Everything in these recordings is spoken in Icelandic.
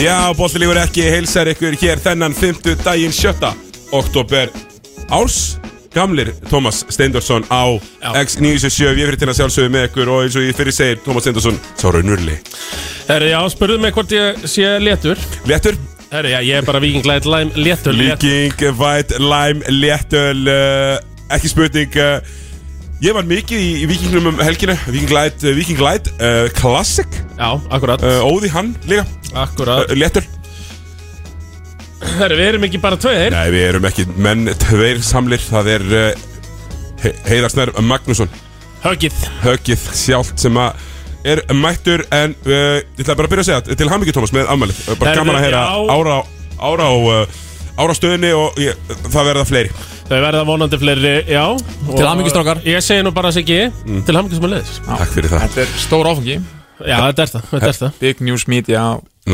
Já, Bóttilífur ekki heilsar ykkur hér þennan 50 daginn 7. oktober árs gamlir Tómas Steindorsson á Já. X977 Ég fyrir til hérna að sjálfsögðu með ykkur og eins og ég fyrir segir Tómas Steindorsson sá raunurli Herri, já, spurðu mig hvort ég sé léttur Léttur, Herri, já, ég er bara vikinglæð læm léttur létt- líking, væt, læm, léttul uh, Ekki spurning uh, Ég var mikið í, í vikingnum um helgina Viking Light, uh, Viking Light uh, Classic Já, akkurat, uh, Óði hann líka, akkurat uh, léttur Herri, við erum ekki bara tveir Nei, við erum ekki menn tveir samlir Það er uh, He- Heiðar Snær Magnússon Höggið höggið sjálft sem að er mættur en uh, ég ætla bara að byrja að segja að- til hamingju Tómas með afmælið Uh, bara Herðu, gaman að heyra já. ára, ára og uh, ára stöðinni og ég, það verða fleiri Þau verða vonandi fleiri, já Til hamingju, strákar. Ég segi nú bara Siggi, Mm. til hamingju sem er leiðis takk fyrir það Þetta er stór áfangi Já, þetta er það, þetta er það Big News Media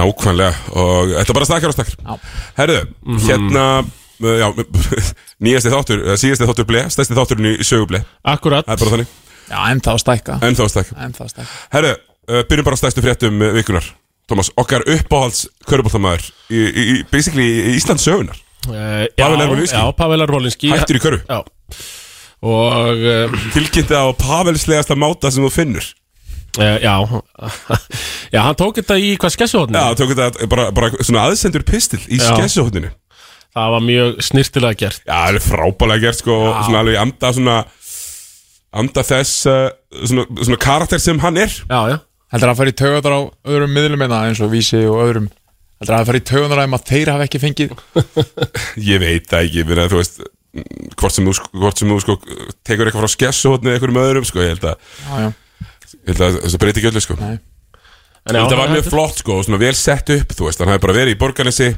nákvæmlega og þetta er bara stakkar og Já. stakkar herðu, Mhm. hérna uh, já, nýjasti þáttur, uh, síðasti þáttur ble stærsti þátturinn í sögu ble Akkurat, það er bara þannig, Já, ennþá að stækka en þá stakk Ennþá að stækka herðu, uh, byrjum bara á stærstu fréttum uh, vikunar Tómas, okkar uppáhalds köruboltamæður í, í, í, basically í Íslands sögunar Uh, Pavel Ervolinski. Já, Pavel Ervolinski hættur í körfu Já Og, uh, tilkynnti á pavelslegasta máta sem þú finnur eh, já Já, hann tók þetta í hvað skessuhotni Já, tók þetta bara, bara svona aðsendur pistil í Mm. Já. skessuhóttinu Já, Það var mjög snirtilega gert það er frábælega gert sko og svona alveg anda svona anda þess uh, svona, svona karakter sem hann er Já, já Heldur að fara í taugatar á öðrum miðlum einna eins og vísi og öðrum Heldur að fara í taugatar á þeim að þeir hafa ekki fengið Ég veit það ekki, minna, þú veist mm, hvort sem þú, sko- hvort sem þú sko tekur eitthvað frá skessuhóttinu eða eitthvað um öðrum sko ég held að, Já, já ég held að það breyti ekki öllu sko Nei. En já, Þetta var mjög þetta- flott sko, og svona vel sett upp þú veist, hann hefði bara verið í borgarnesi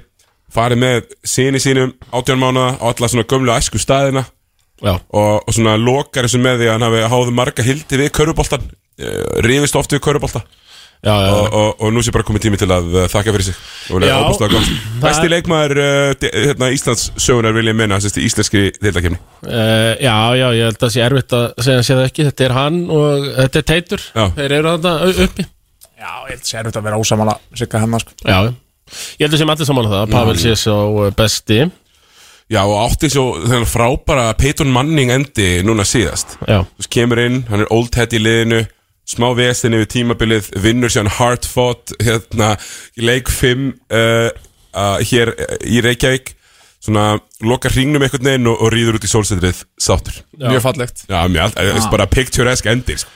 farið með síni sínum, átján mánuða og alla svona gömlu æsku staðina Já, og, og svona lokar þessu með því að hann hafi háðu marga hildi við köruboltan rifist oft við körubolta já, já, og, og, og nú sé bara komið tími til að uh, þakka fyrir sig og Já. lega óbúslega gott Það- Besti leikmaður uh, de- hérna, Íslands sögunar vil ég menna þessi íslenski deildakefni uh, já, já, ég held að sé erfitt að segja sé það ekki Þetta er hann og þetta er Teitur Já. Þeir eru þarna u- uppi Já, ég held að sé erfitt að vera ósamála Sigga hennar sko Já, já Ég held að sé allir saman að það að Pavel sé svo uh, besti Já og átti svo þennan frábara Peyton Manning endi núna síðast Já, Þú veist, kemur inn, hann er old head í liðinu smá vestinni við tímabilið vinnur síðan hardfought hérna, í leik 5 uh, uh, hér uh, í Reykjavík svona, lokar hringnum einhvern veginn og, og rýður út í sólsetrið sáttur Já. Ah. Mjög fallegt Já, mér allt, það er bara picturesque endir sko.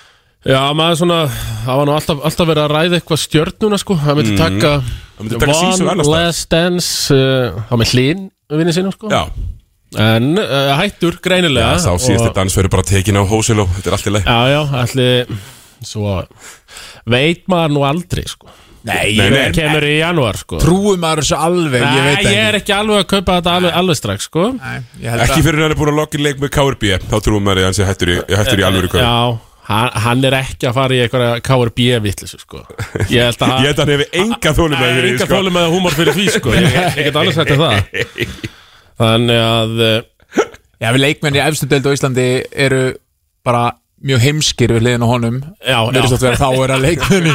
já maður svona Það var nú alltaf, alltaf verið að ræða eitthvað stjörnuna sko Það myndi taka Það Mm-hmm. myndi taka síðan One annars staðar. Last Dance uh, á með hlín vinni sinna sko Já, en uh, hættur greinilega sá síðasti Ah. og- dans verður bara tekin á hósil og þetta er allt í leið já já ætli svo veit maður nú aldrei sko Nei, Nei, ég nei. það kemur í janúar sko Trúum maður þessu alveg, ég veit Nei, það ég er ekki ekki alveg að kaupa þetta alveg, alveg strax sko Nei, ég held Ekki að fyrir hann er búin að lokka í leik með KRB þá trúum maður að hann sé hættur í, hættur í alvöru kvöld já hann, hann er ekki að fara í eitthvað KRB vitlisu sko ég held að Ég held að hann hefur enga þólum það er enga þólum að húmor fyrir því sko ég, ég get alveg sagt að það þannig að eh, Já, við leikmenn í efstu deild á Íslandi eru bara mjög heimskir við hliðin á honum já, já, Verið svo að vera þá er að leikmenn í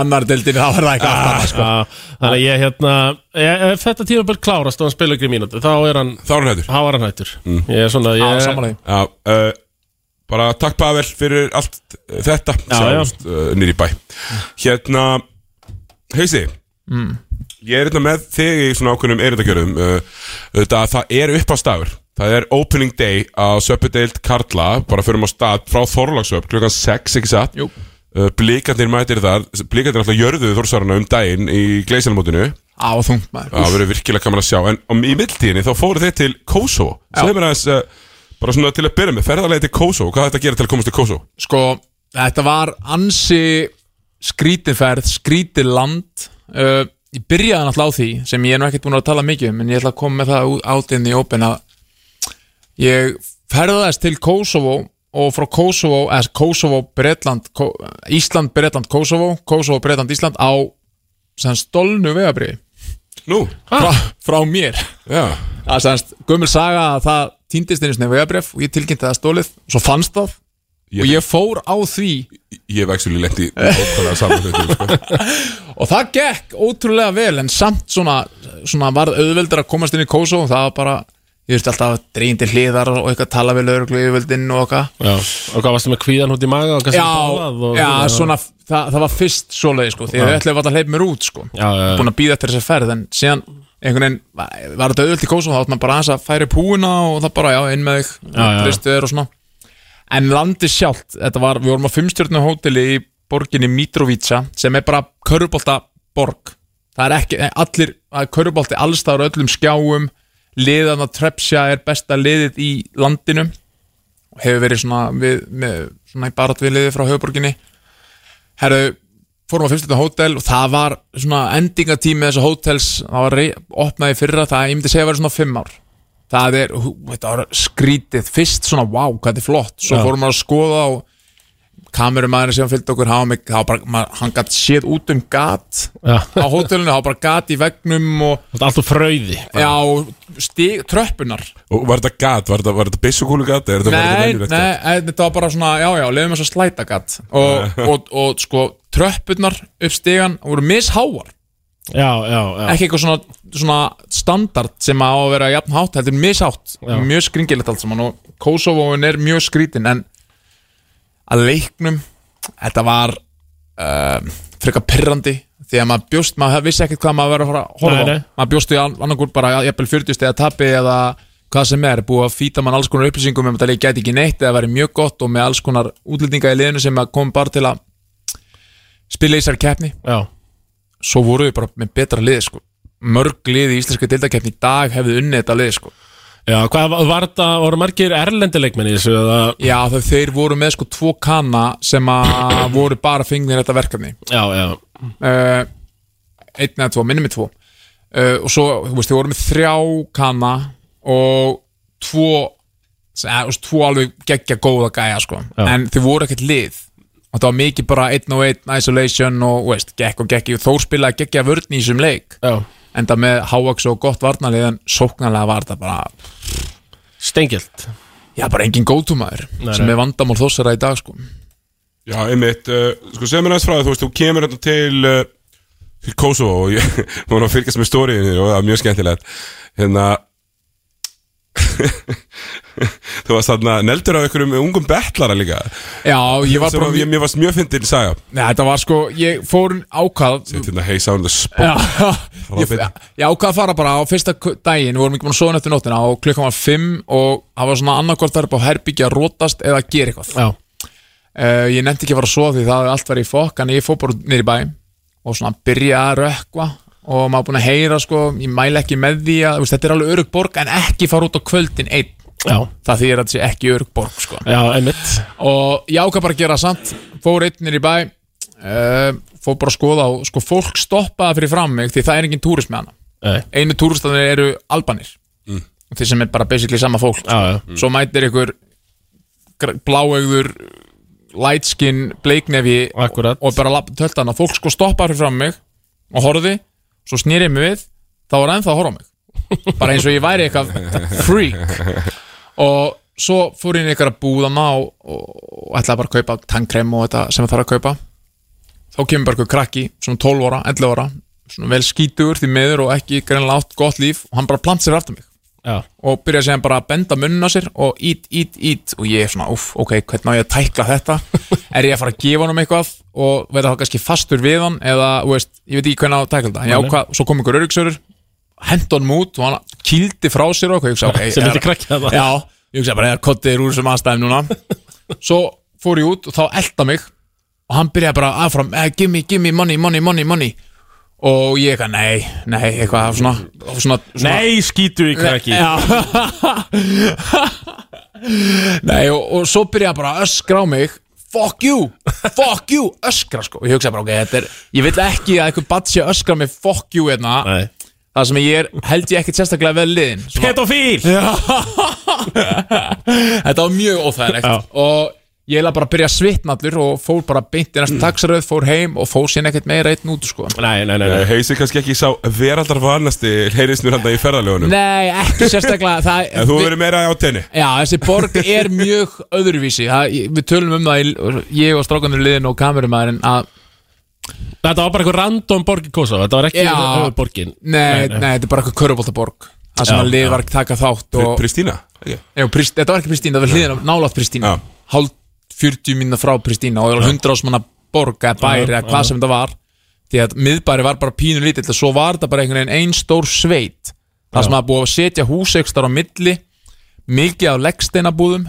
annar deildin þá er það eitthvað allt annað, sko. já þannig að ég hérna ég, ef þetta tímabill klárast og hann spila ekki mínúti þá er hann Þá er hann hættur Hávar hann hættur Mm. Ég er svona ég, Já, sammála því. Já, uh, bara takk Pavel fyrir allt uh, þetta Já, Sjáumst, uh, nýri bæ Hérna, heysi Ég er hérna með þig í svona ákveðnum erindagjörðum uh, Þetta það er upp á stafur Það er opening day á Söpudeild Karla Bara förum á stað frá Þorlagsöp klukkan 6, ekki satt Jú. Uh, Blikarnir mætir þar Blikarnir alltaf jörðuðu Þórsarana um daginn í gleisjarnamótinu Á þungt maður Það verður virkilega gaman að sjá En um, í mildtíðinni þá fóru þeir til Kosovo Segðu mér aðeins uh, Bara svona til að byrja með Ferðarlega til Kosovo Hvað er þetta að gera til að komast til Kosovo? sko, þetta var ansi skrítinferð, skrítið land uh, ég byrjaði náttúrulega á því sem ég er nú ekkert búin að tala mikið um en ég ætla að koma með það átinn í open að ég ferðaðist til Kosovo og frá Kosovo, eða Kosovo, Bretland Ko Ísland, Bretland, Kosovo Kosovo, Bretland, Ísland á sem stolnu vegabrið Nú, frá, frá mér já að semst, gömul saga að það týndist einu sinni vegabref og ég tilkynnti það stólið og svo fannst það Ég- og ég fór á því Ég hef ekki lent í nákvæmlega saman hlutum sko. og það gekk ótrúlega vel en samt svona, svona varð auðveldur að komast inn í Kosovo og það var bara, ég veist alltaf dregin til hliðar og eitthvað tala við lögreglu yfirvöldinn og eitthvað Já, og hvað varstu með kvíðan út í maga og kannski Já, bálað og, já, svona, það, það var fyrst svoleiði sko, því að við ætlum alltaf að hleypa mér út sko Já, já, já. búin að býða eftir þess ferð en síðan einhvern veginn var, var þetta auðvöld í Kosovo þá átt maður bara aðeins að færi púina og það bara, já, inn með þig, já. tristu þér og svona en landi sjálft, þetta var, við vorum á fimmstjörnu hóteli í borginni Mitrovica sem er bara körubólta borg það er ekki, nei, allir, það er körubólti allstaður öllum skjáum liðan að Trepsja er besta liðið í landinu og hefur verið svona, við, með, svona í barat við liðið frá höfuborginni herru, fórum á fyrstöldu hótel og það var svona endingatími þessa hótels, það var rey, opnaði í fyrra það, ég myndi segja að vera svona fimm ár það er, hú, þetta var skrítið fyrst svona, wow, hvað þetta er flott svo Já. fórum við að skoða og kamerumæðurinn sem fylgdi okkur, hann, var með- hann, var bara, maður- hann gat séð út um gat Já, á hótelinu, hann var bara gat í vegnum og þetta er allt úr fröði já, stig, tröppunar Og var þetta gat, var þetta, var þetta byssukúlu gat Nei, Nei, nei, þetta nei nei, þetta var bara svona, já, já, leiðum þess að slæta gatt og, og, og sko, tröppurnar upp stigan voru misháar Já, já, já ekki eitthvað svona, svona standard sem á að vera jafn hátt, heldur mishátt mjög skringilegt allt saman og Kosovoin er mjög skrítin en að leiknum þetta var uh, frekar pirrandi því að maður bjóst, maður vissi ekkert hvað maður verið að fara að horfa á. Nei, nei. maður bjóst í annarkur bara jafnvel 40 steg að tapi eða hvað sem er, búið að fýta mann alls konar upplýsingum um að það gæti ekki neitt eða verið mjög gott og með alls konar útlendinga í liðinu sem að kom bara til að spila í þessari keppni Já, svo voru við bara með betra lið sko. mörg lið í íslenska deildakefni í dag hefðu unnið þetta lið sko. já hvað var- var þetta, voru margir erlendileikmenn í þessu eða, já þau þeir voru með sko tvo kanna sem að voru bara fengnir þetta verkefni Já, já, uh, einn eða tvo, minnum með tvo uh, og svo, þú veist, þau voru með þrjá kanna og tvo eða, þú veist, tvo alveg geggja góða gæja sko. Já. en þau voru ekkert lið og það var mikið bara einn og einn isolation og þú veist, gekk og gekk Þór spilaði geggja vörn í þessum leik já enda með hávaks og gott varnarlið en sóknarlega var þetta bara Stengilt já, bara engin góðtumæður Nei, sem nei. er vandamál þossara í dag sko. Já, einmitt, uh, sko segja mér næst frá því Þú veist, þú kemur hérna til uh, til Kosovo og ég var að fylgjast með stóriðinu og það var mjög skemmtilegt hérna þú varst þarna neldur af einhverjum ungum betlara líka já, ég var sem bara að ég, mér varst mjög fyndin saga Nei, þetta var sko, ég fór ákvað Þetta er heisa on the spot Já, ég, ég ákvað að fara bara á fyrsta k- daginn, við vorum ekki búin að sofa nættu nóttina og klukkan var 5 og það var svona annarkvort þar upp á herbyggja að rótast eða að gera eitthvað Já, uh, Ég nefndi ekki að fara að sofa því það hafði allt verið í fokk en ég fór bara niður í bæ og svona byrja að rökkva og maður búin að heyra sko, ég mæla ekki með því að þú veist, þetta er alveg örug borg en ekki fara út á kvöldin einn já, það þýðir að þetta sé ekki örug borg sko já, einmitt og ég ákvað bara að gera það samt fór einnir í bæ uh, fór bara að skoða og sko fólk stoppaði fyrir fram mig því það er engin túrist með hana Nei, einu túristanir eru albanir og þeir sem er bara basically sama fólk sko. Já, já, Mm. svo mætir ykkur gr- bláeygður light skin, bleiknefi Akkúrat. og bara lapp- tölta hann og fólk sko stoppaði fyrir fram mig og horfði, svo snýri ég mig við þá var ennþá að horfa á mig bara eins og ég væri eitthvað freak og svo fór ég inn í eitthvað búðana og, og, og ætlaði bara að kaupa tannkrem og þetta sem það þarf að kaupa þá kemur bara eitthvað krakki svona 12 ára, 11 ára svona vel skítugur því meður og ekki greinlega átt gott líf og hann bara plant sér aftur mig já, og byrja að segja bara að benda munnuna sér og ít, ít, ít og ég er svona, uff, ok, hvernig á ég að tækla þetta er ég að fara að gefa honum eitthvað og verða þá kannski fastur við hann eða, þú veist, ég veit ekki hvernig á að tækla þetta já, Nei. hvað, svo kom ykkur öryggsörur hend honum út og hann kýldi frá sér og eitthvað, ég hugsa, ok, sem er- lítið krakkja það Já, ég hugsaði bara, eða kottið er úr sem aðstæðum núna Svo fór ég út og þá elda mig og hann byrjaði bara aðfram eh, Give me, give me money, money, money, money og ég eitthvað, nei, nei, eitthvað svona, svona, svona Nei, skítur í krakki Já Nei, og, og svo byrjaði bara að öskra á mig Fuck you, fuck you, öskra sko Og ég hugsaði bara, ok, þetta er Ég vil ekki að einhver bat sé að öskra á mig fuck you hérna Nei Það sem ég er, held ég ekkit sérstaklega vel liðin Svona- Pedofíl Þetta var mjög óþægilegt Já. og ég heila bara að byrja að svitna allur og fór bara beint í næsta Mm. taxaröð, fór heim og fór síðan ekkert meira einn út sko. Nei, nei, nei, nei. Eh, Heisi kannski ekki sá veraldar vanasti heyrisnur handa í ferðalögunum Nei, ekki sérstaklega það, En þú verður meira á tenni Já, þessi borg er mjög öðruvísi það, ég- Við tölum um það, í- ég og strákanur liðin og kamerumæðurinn að Þetta var bara eitthvað random borg í Kosovo Þetta var ekki Já. höfuð borgin Nei, nei, þetta er bara eitthvað körubóltaborg Það sem Já, að já. lið var að taka þátt og, Pristína okay. já, prist, Þetta var ekki Pristín, það var hliðin á nálátt Pristín Já. Hálf 40 mínna frá Pristín og það var 100 ásmanna borg eða bæri Já, eða hvað já. sem þetta var Því að miðbæri var bara pínu lítill og svo var þetta bara einhvern veginn ein stór sveit Það sem að búið að setja hús ekstar á milli Mikið af leggsteinabúðum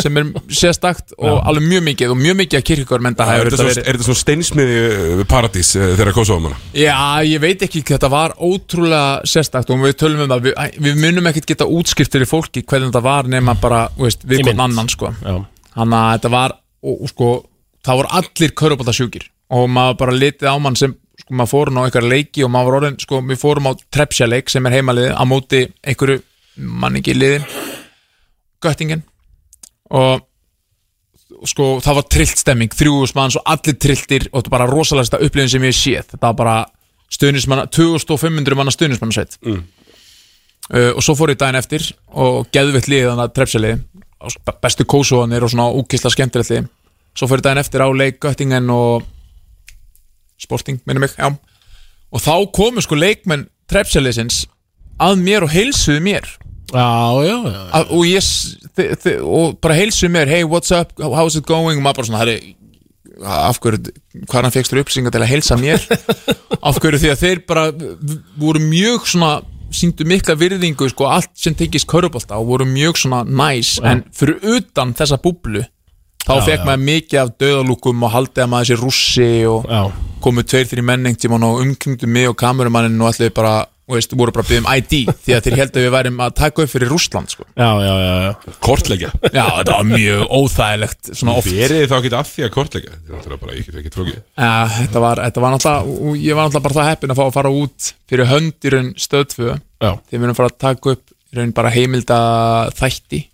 sem er sérstakt og alveg mjög mikið og mjög mikið af kirkjur menn það Er hefur þetta þetta svo- verið er þetta svona steinsmiði eh, paradís eh, þegar Kosovo manna? Já, ég veit ekki, þetta var ótrúlega sérstakt og við tölum um það, við, æ, við munum ekkert geta útskýrt fyrir fólki hvernig þetta var nema bara, þú veist, við Í hvern mynd. annan, sko. Já, Þannig að þetta var, og, og sko, það voru allir körubóttasjúkir og maður bara litið á mann sem, sko, maður fórum á einhverja leiki og maður var orðin, sko, við fórum á Trepsjaleik sem er heimaliðið á móti einhverju manningi liðin, göttingin og og sko, það var trillt stemming, þrjúðus manns og allir trilltir og þetta var bara rosalegsta upplifin sem ég hef séð þetta var bara stuðnismanna 2500 manna stuðnismannasveit mm. uh, og svo fór ég daginn eftir og geðvitt liðið þannig að trefsjalið bestu kósuðanir og svona úkisla skemmtilegt lið svo fór ég daginn eftir á leik Göttingen og Sporting, minnum mig, já og þá komu sko leikmenn trefsjaliðsins að mér og heilsuðu mér já, já, já. að, og ég s- þi- þi- og bara heilsu mér, hey what's up, how's it going og maður bara svona, herri af hverju, hvað hann fegst þér upplýsingar til að heilsa mér af hverju því að þeir bara v- voru mjög svona síndu mikla virðingu, sko, allt sem tengist körubólta og voru mjög svona nice en fyrir utan þessa búblu þá fekk maður mikið af döðalúkum og haldið að maður sé rússi og já. komu tveir þrjir menn einhvern tímann og umkringdu mig og kameramanninn og allir bara, og veist, voru bara að byggja um ID því að þeir heldur við værim að taka upp fyrir Rússland sko. Já, já, já, já. Kortleggja Já, þetta var mjög óþægilegt svona oft Verið þið þá ekki að því að kortleggja? Þetta er náttúrulega bara ekki, ekki trókið Já, þetta var, þetta var náttúrulega, og ég var náttúrulega bara það heppin að fá að fara út fyrir hönd í raun stöðtfu Já. því við erum fara að taka upp í raun bara heimilda þætti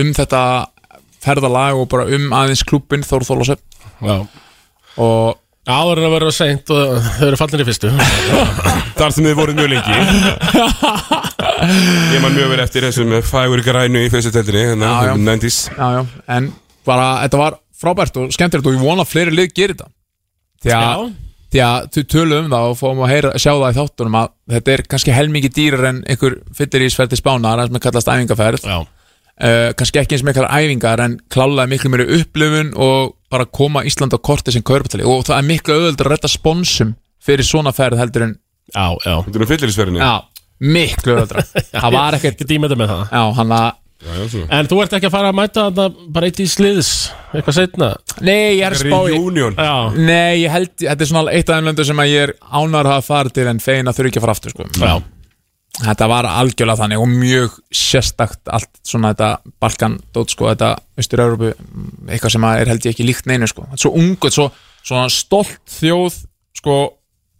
um þetta ferðalag og bara um aðeins klúbin Þór Þólasöf já. og Áður en að vera seint og þau eru fallin í fyrstu Þar sem þið voruð mjög lengi Ég man mjög vel eftir þessum uh, fægur grænu í hérna, fyrsteteldinni Já, já. 90s já, já, en bara þetta var frábært og skemmtilegt og ég vona að fleiri lið gerir þetta því að, Já. því að þú tölum um það og fórum að heyra, sjá það í þáttunum að þetta er kannski helmingi dýrar en einhver fyllir í sverti spánar, það sem er kallast æfingaferð Já, uh, kannski ekki eins miklar æfingar en klálega miklu meiri upplifun og bara koma Ísland á korti sem körbetali og það er miklu auðveldur að retta sponsum fyrir svona ferð heldur en já, já Þetta er nú fyllirisverðinni já, miklu auðveldur það var ekkert Ekki dýmið með það já, hann að En þú ert ekki að fara að mæta þetta bara eitt í sliðis Eitthvað seinna nei, ég er að spá í Reunion Já, nei, ég held þetta er svona eitt af þeim löndu sem að ég er ánar að hafa farið til en fegin að þurfi ekki að fara aftur sko. já, þetta var algjörlega þannig og mjög sérstakt allt svona þetta Balkan dót sko, þetta Östur-Európu mm, eitthvað sem að er held ég ekki líkt neinu sko svo ungu, svo, svona stolt þjóð sko,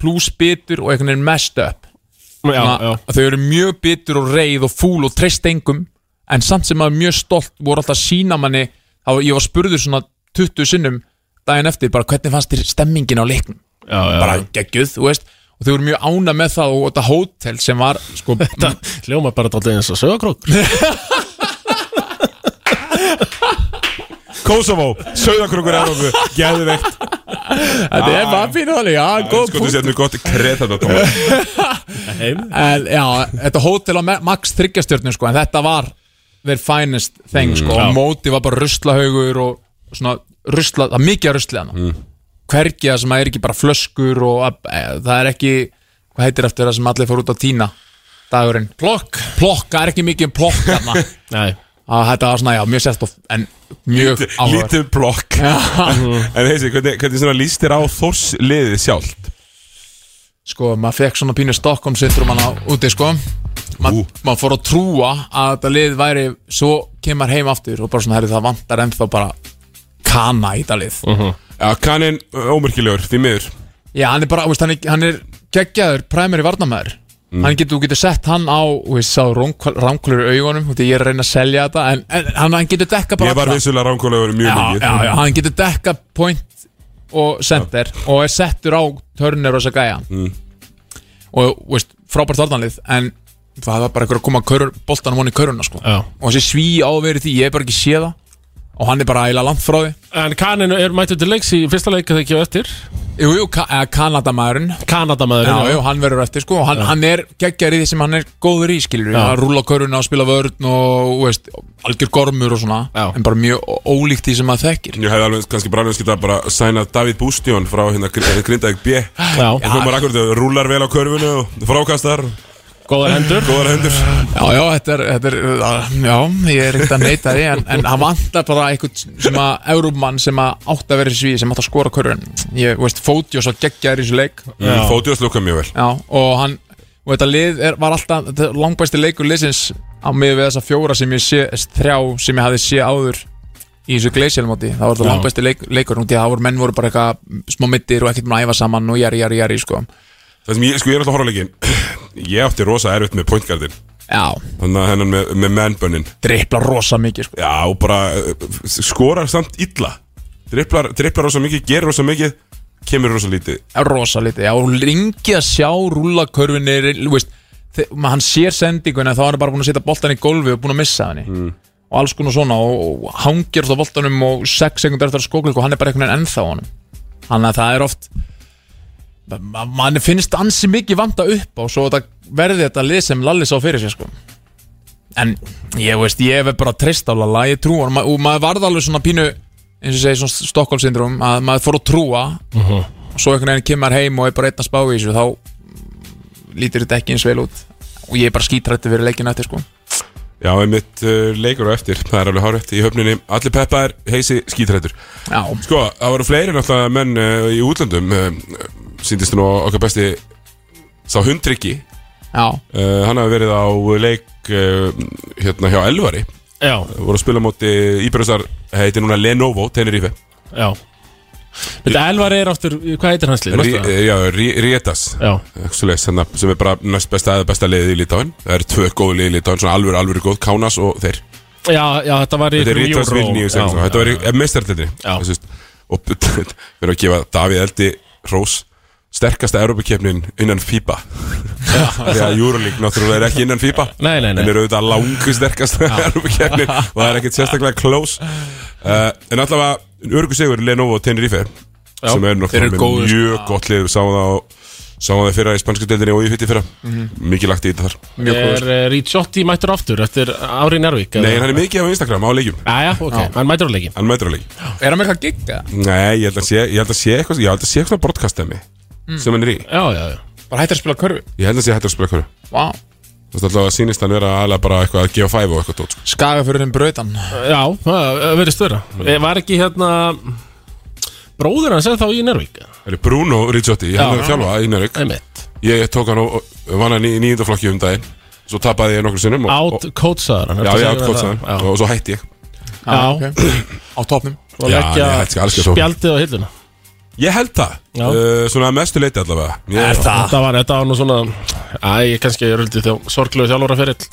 pluss bitur og einhvern veginn messed up já, já. Svona, þau eru mjög bitur og reið og fúl og treyst engum en samt sem maður er mjög stolt voru alltaf sína manni þá, ég var spurður svona 20 sinnum daginn eftir bara hvernig fannst þér stemmingin á leiknum já, já. bara geggjuð, þú veist og þau voru mjög ána með það og þetta hótel sem var sko, Hljóma bara dálítið eins og sögakrók Kosovo, Söðakrokur Európu Gæðvegt Þetta er bara fínu þannig, já, góð Sko þú punkt séð mjög gott kreð þarna Tómas. Heim En já, þetta hótel á me- max þryggjastjörnum sko, en þetta var their finest thing sko, og móti var bara ruslahaugur og svona rusla, það er mikið að rusli hana mm. hvergi það sem að er ekki bara flöskur og að, e, það er ekki hvað heitir eftir það sem allir fór út á tína dagurinn, Plokk plokk, það er ekki mikið um plokk þarna, Nei, að þetta var svona, já, mjög sérst of, en mjög áhugaverð. Lítið blokk Mm. En heisi, hvernig, hvernig svona líst þér á Þors liðið sjálft? sko, maður fekk svona pínu Stockholm syndrum hann á úti, sko Ú. maður mað fór að trúa að þetta lið væri svo kemur heim aftur og bara svona, herri, það vantar ennþá bara kana í þetta lið Mhm. Já, kaninn ómerkilegur, því miður já, hann er bara, þú veist, hann er, hann er geggjaður, primary varnamæður Mm. hann getur, þú getur sett hann á þú veist, sá ránkvölur í augunum og því ég er að reyna að selja þetta en, en hann, hann getur dekka bara Ég var alla. vissulega ránkólegur mjög já, mikið já, já, hann getur dekka point og center og er settur á törnir og þess að gæja Mm. og þú veist, frábært orðanlið en það var bara einhver að koma kör, boltan voni í köruna sko. Já. og þessi sví á að vera í því, ég hef bara ekki séð það og hann er bara ægilega langt frá því En Kanin er mættur til leiks í fyrsta leik að það ekki á eftir Jú, jú, ka eh, Kanadamaðurinn Kanadamaður Já, já, hann verður eftir sko og hann, hann er geggjari því sem hann er góður í skilur Já. hann rúla köruna og spila vörn og þú veist, algjör gormur og svona Já. en bara mjög ó- ólíkt því sem maður þekkir Ég hefði alveg kannski bara alveg skitað bara að sæna David Bústjón frá hérna Gr- Grindavík B og já komar akkurat og rúlar vel á körfunu og frákastar, Góðar hendur góðar hendur Já, já, þetta er, þetta er uh, já, ég er ekkert að neita því en, en hann vantar bara einhvern sem að Európmann sem að átt að vera í svíði sem átt að skora körun ég, þú veist, Fóti og svo geggjari í þessu leik Já. Fótiðast lukka mjög vel Já, og hann og þetta lið er, var alltaf þetta er langbæsti leikur liðsins á mig við þessa fjóra sem ég sé þrjá sem ég hafði sé áður í þessu gleisjálmóti það var þetta Já. langbæsti leik, leikur og það voru menn voru bara eitthvað smá mittir og ekkert búin að æfa saman og jari, jari, jari sko. Það sem ég, sko ég er alltaf að horfa á leikinn Ég átti rosa erfitt með pointgardin já, Þannig að hennan með, með mennbönnin drippla rosa mikið sko. Já, og bara uh, skorar samt illa Dripplar, dripplar rosa mikið, gerir rosa mikið Kemur rosa lítið rosa lítið, já, og ringi að sjá rúllakörfinni, þú veist þe- ma- hann sér sendinguna þá er hann bara búin að setja boltan í gólfi og búin að missa hann mm. og alls konar svona og, og hangir þá boltanum og 6 sekundar eftir að skókla og hann er bara einhvern veginn ennþá á hann þannig að það er oft ma- mann finnst ansi mikið vanda upp á svo þetta verði þetta lið sem Lalli sá fyrir sér sko en ég veist, ég hef bara treyst á Lalla, ég trú hann ma- og maður varð alveg svona pínu eins og segir svona Stockholm-syndrom að maður fór að trúa og svo einhvern veginn kemur heim og er bara einn að spá í þessu þá mm, lítur þetta ekki eins vel út og ég er bara skítrætti fyrir leikinu eftir sko Já, einmitt uh, leikur á eftir Það er alveg hárvætt í höfninni Allir peppaðir, heisi, skítrættur já, Sko, það voru fleiri náttúrulega menn uh, í útlöndum uh, Sýndist nú okkar besti Sá hundryggi já, uh, Hann hafi verið á leik uh, Hérna hjá Elvari Já, Voru að spila á móti Íbjörnsar Heiti núna Lenovo, Tenerife já Þetta Elvar er áttur, hvað heitir hans lið? Rí, Manstu það? eh, Já, Rí, Ríetas Já, Svoleiðis, hérna, sem er bara næst besta eða besta liðið í Litáin það eru tvö góð liðið í Litáin, svona alvöru, alvöru góð Kánas og þeir, já, já, þetta var í þetta er einhverjum Rítas Euro. Vilnius Já, eða eitthvað. þetta eh, já, já. verður mestartildri Já. og við erum að gefa Davíð Eldi Rós sterkasta Európa-kefnin innan FIBA því að Euroleague náttúrulega er ekki innan FIBA Nei, nei, nei. en er auðvitað langu sterkasta Európa-kefnin og það er ekkert sérstaklega close uh, en allavega örgu sigur Lenovo og Tenerife Já. sem er Þeir eru náttúrulega góðir, með sko. mjög gott lið sáum það á Sáum það fyrra í spansku deildinni og í fytti fyrra Mikið lagt í þetta þar mjög Er góður eh, Ricciotti mættur aftur eftir ári í Nærvík? Nei, en hann er mikið á Instagram á leikjum Jæja, ok, hann mættur á leikin Hann mætur á leik er það með eitthvað gigga? Nei, ég held að sé, ég held að sé eitthvað Ég held að sé eitthvað broadcast-dæmi Mm. Sem hann er í Já, já, já bara hættir að spila körfi Ég held að sé hættur að spila hverju wow. Þú veist alltaf að sýnist hann vera aðlega bara eitthvað að gefa fæf og eitthvað tótt sko. skaga fyrir þeim brautan já, Já, það verið störa Mm. Var ekki hérna Bróður hans er þá í Nærvík Það er Bruno Ricciotti, hann Já. er að þjálfa í Nörg Einmitt Ég tók hann og og vann hann í nýjöndaflokki um daginn Svo tapaði ég nokkru sinnum og, Out og, coachaðar hann Já, ertu að ég segja átt mér kótt það? það Og svo hætti ég Já. okay. á topnum Og Já, leggja nei, þetta skal alls ekki svo. spjaldið á hilluna Ég held það, Já. uh, svona að mestu leiti allavega ég, er það? Þetta var, þetta var nú svona Æ, ég kannski er ölldi þjó Sorglegu þjálfara ferill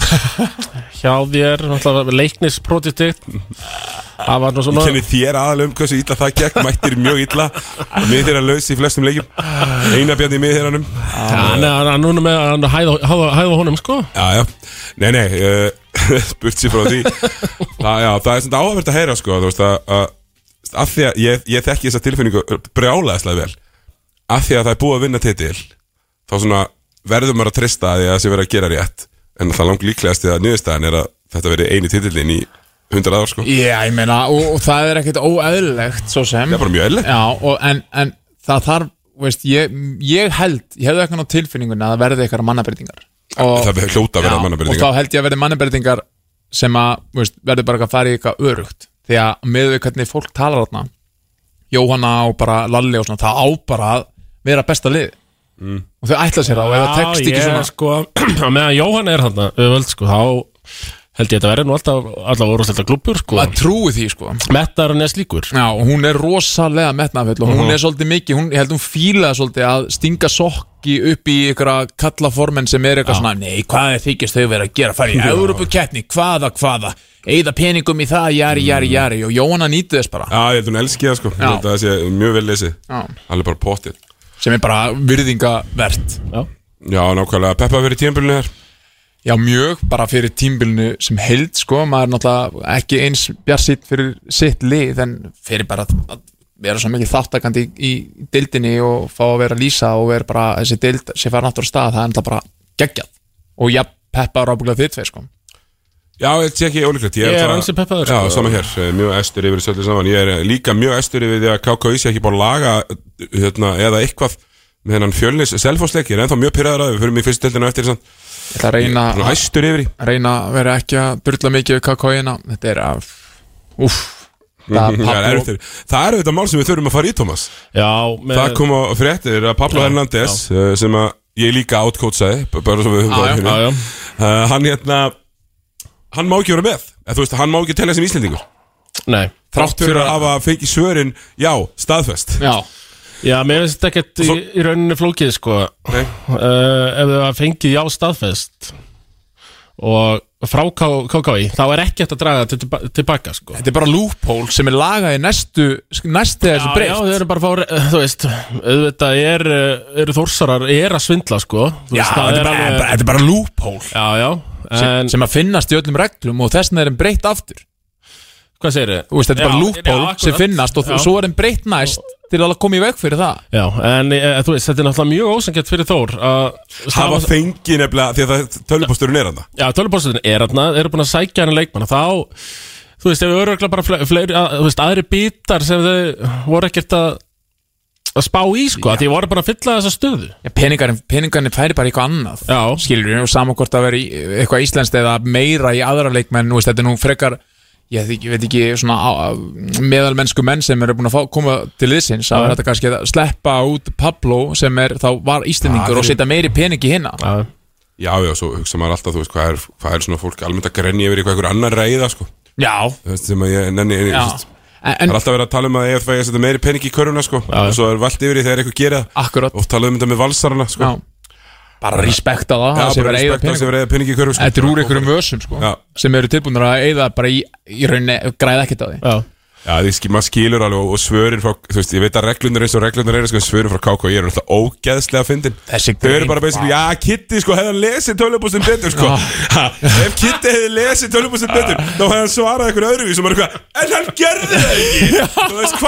Hjá þér, náttúrulega leiknis project Það var nú Ég svona kenni þér aðalega um hversu illa það gekk Mættir mjög illa Mið þeirra laus í flestum leikjum Einabjarni í mið þeirranum Hann er hann er núna með að hæða, hæða, hæða honum, sko Já, já, nei, nei uh, Spurt sér frá því það, já, það er svona áhverfð að heyra sko, þú veist, að, að, að því að ég, ég þekki þessa tilfinningu brjálaðislega vel Af því að það er búið að vinna titil Þá svona verður maður að treysta að því að það sé verið að gera rétt En það langt líklegast að niðurstaðan er að þetta verið eini titilin í 100 ár sko. já, ég meina, og, og það er ekkert óeðlilegt svo sem Það er bara mjög eðlilegt. já, og, en, en það þarf veist, ég, ég held, ég hefði eitthvað á tilfinningunni að það verði eitthvað mannabreytingar og, Það er hljóta að vera og mannabreytingar þá held ég að verði mannabreytingar sem að þú veist, verður bara að fara í eitthvað örugt því að með við hvernig fólk talar þarna Jóhanna og bara Lalli og svona það á bara að vera besta lið og þau ætla sér það og ef það tekst ekki ég, svona sko, að meðan Jóhann er hann auðvöld sko, þá held ég að þetta verði nú alltaf allavega úrúsleita klubur sko að trúi því sko Mettar hann eða slíkur Já, og hún er rosalega metnaföll og hún er svolítið mikið, hún, ég held hún fílaði svolítið að stinga sokki upp í ykkur kallaformen sem er eitthvað svona Nei, hvað er þykist þau verið að gera, fara í Európukeppni, hvaða, hvaða, eigða peningum í það, jari, jari, jari og Jóhanna nýtti þess bara Já, ég held hún elski það sko Ég held að það sé mjög vel lesið Já. Alveg bara pottir sem er bara virðingavert Já, Já, nákvæmlega Peppa fyrir tímbilinu þér Já, mjög, bara fyrir tímbilinu sem held sko, maður er náttúrulega ekki eins bjarsitt fyrir sitt lið en fyrir bara að vera svo mikið þáttakandi í, í deildinni og fá að vera að lýsa og vera bara þessi deild sem fara náttúrulega stað, það er náttúrulega bara geggjað og já, Peppa er ábygglega þitt sko. Já, þetta sé ekki ólíklegt Ég er náttúrulega- ansi peppaður, Já, sko. sama hér, eh, mjög estur yfir þessu öllu saman Ég er eh, líka mjög estur yfir því að KKI sé ekki búin að laga hérna, eða eitthvað með hennan fjölnis selfosleiki, ég er ennþá mjög pyrraður að við fyrir mig fyrst deildina á eftir samt. Ég ætla að reyna, Svona æstur yfir því reyna að vera ekki að burla mikið við kakóina, þetta er að úff, það Já, það er er pappi eftir- það eru þetta mál sem við þurfum að fara í, Thomas já með, Það kom á fréttir að Pablo Hernández eh, sem að ég líka átkótsaði b- bara svo við höfum Já, það já, hérna. já, já. Eh, hann hérna hann má ekki vera með eða þú veist, hann má ekki telja sem Íslendingur Nei þrátt fyrir að hafa fengið svörin já, staðfest Já, Já, mér finnst þetta ekkert svo- í, í rauninni flókið sko uh, Nei. Ef þau hafa fengið já staðfest og frá K- KKI þá er ekki hægt að draga þetta tilba- tilbaka sko þetta er bara loophole sem er lagað í næstu, næstu þessu Já, já, breytt þau eru bara að fá, þú veist, auðvitað er, eh, eru þórsarar, er að svindla, sko. Þú Já, veist, það þetta er bara, bara, þetta er bara loophole Já, já, sem, en, sem að finnast í öllum reglum og þess vegna er þeim breytt aftur hvað segir þau? Þú veist, þetta er bara loophole sem finnast og já, já. svo er þeim breytt næst til að koma í veg fyrir það Já, en e, þú veist, þetta er náttúrulega mjög ósangett fyrir Þór að hafa stafa- fengið nefnilega því að það- tölvupósturinn er hann Já, tölvupósitin er þarna, eru búin að sækja hann leikmann og þá, þú veist, ef öruglega bara fle, fleiri, að, þú veist, aðri bítar sem þau voru ekkert að að spá í, sko, að því voru bara að fylla þessa stöðu Já, peningarnir, peningarnir færi bara í eitthvað annað Já. skilur við og saman hvort að vera í eitthvað íslenskt eða meira í aðra leikmenn þú veist, þetta er nú frekar ég veit ekki, veit ekki svona á, á- meðalmennsku menn sem eru búin að fá, koma til liðsins að þetta kannski að sleppa út Pablo sem er, þá var Já, íslendingur og fyrir- setja meiri pening í hinna Já, já, já, svo hugsa maður alltaf, þú veist, hvað er, hvað er svona fólk almennt að grenja yfir eitthvað einhver annar reyða sko, Já, Þú veist, sem að ég nenni þú já. veist, En, það er en alltaf verið að tala um að EFV setja meiri pening í köruna sko, Já. og svo er vald yfir því þegar eitthvað gera það. akkurat og tala um þetta með valsarana sko. já. bara respekta það Já, það sem bara er að respekta eyða peningum sem er eða peningi í körfu sko. Þetta er úr einhverjum vössum sko Já. sem eru tilbúinir að eyða bara í, í rauninni græða ekkert á því já, Já, því skil, maður skilur alveg og- og svörin frá, þú veist, ég veit að reglunir eins og reglunir eru sko, en svörin frá KKI eru alltaf ógeðslega fyndin Þessi Þau eru grein, bara basically, já, Kitty sko, hefði hann lesið tölvupústin betur sko ha, Ef Kitty hefði lesið tölvupústin betur Ah. þá hefði hann svarað einhverju öðruvís og maður eitthvað En hann gerði það ekki Þú veist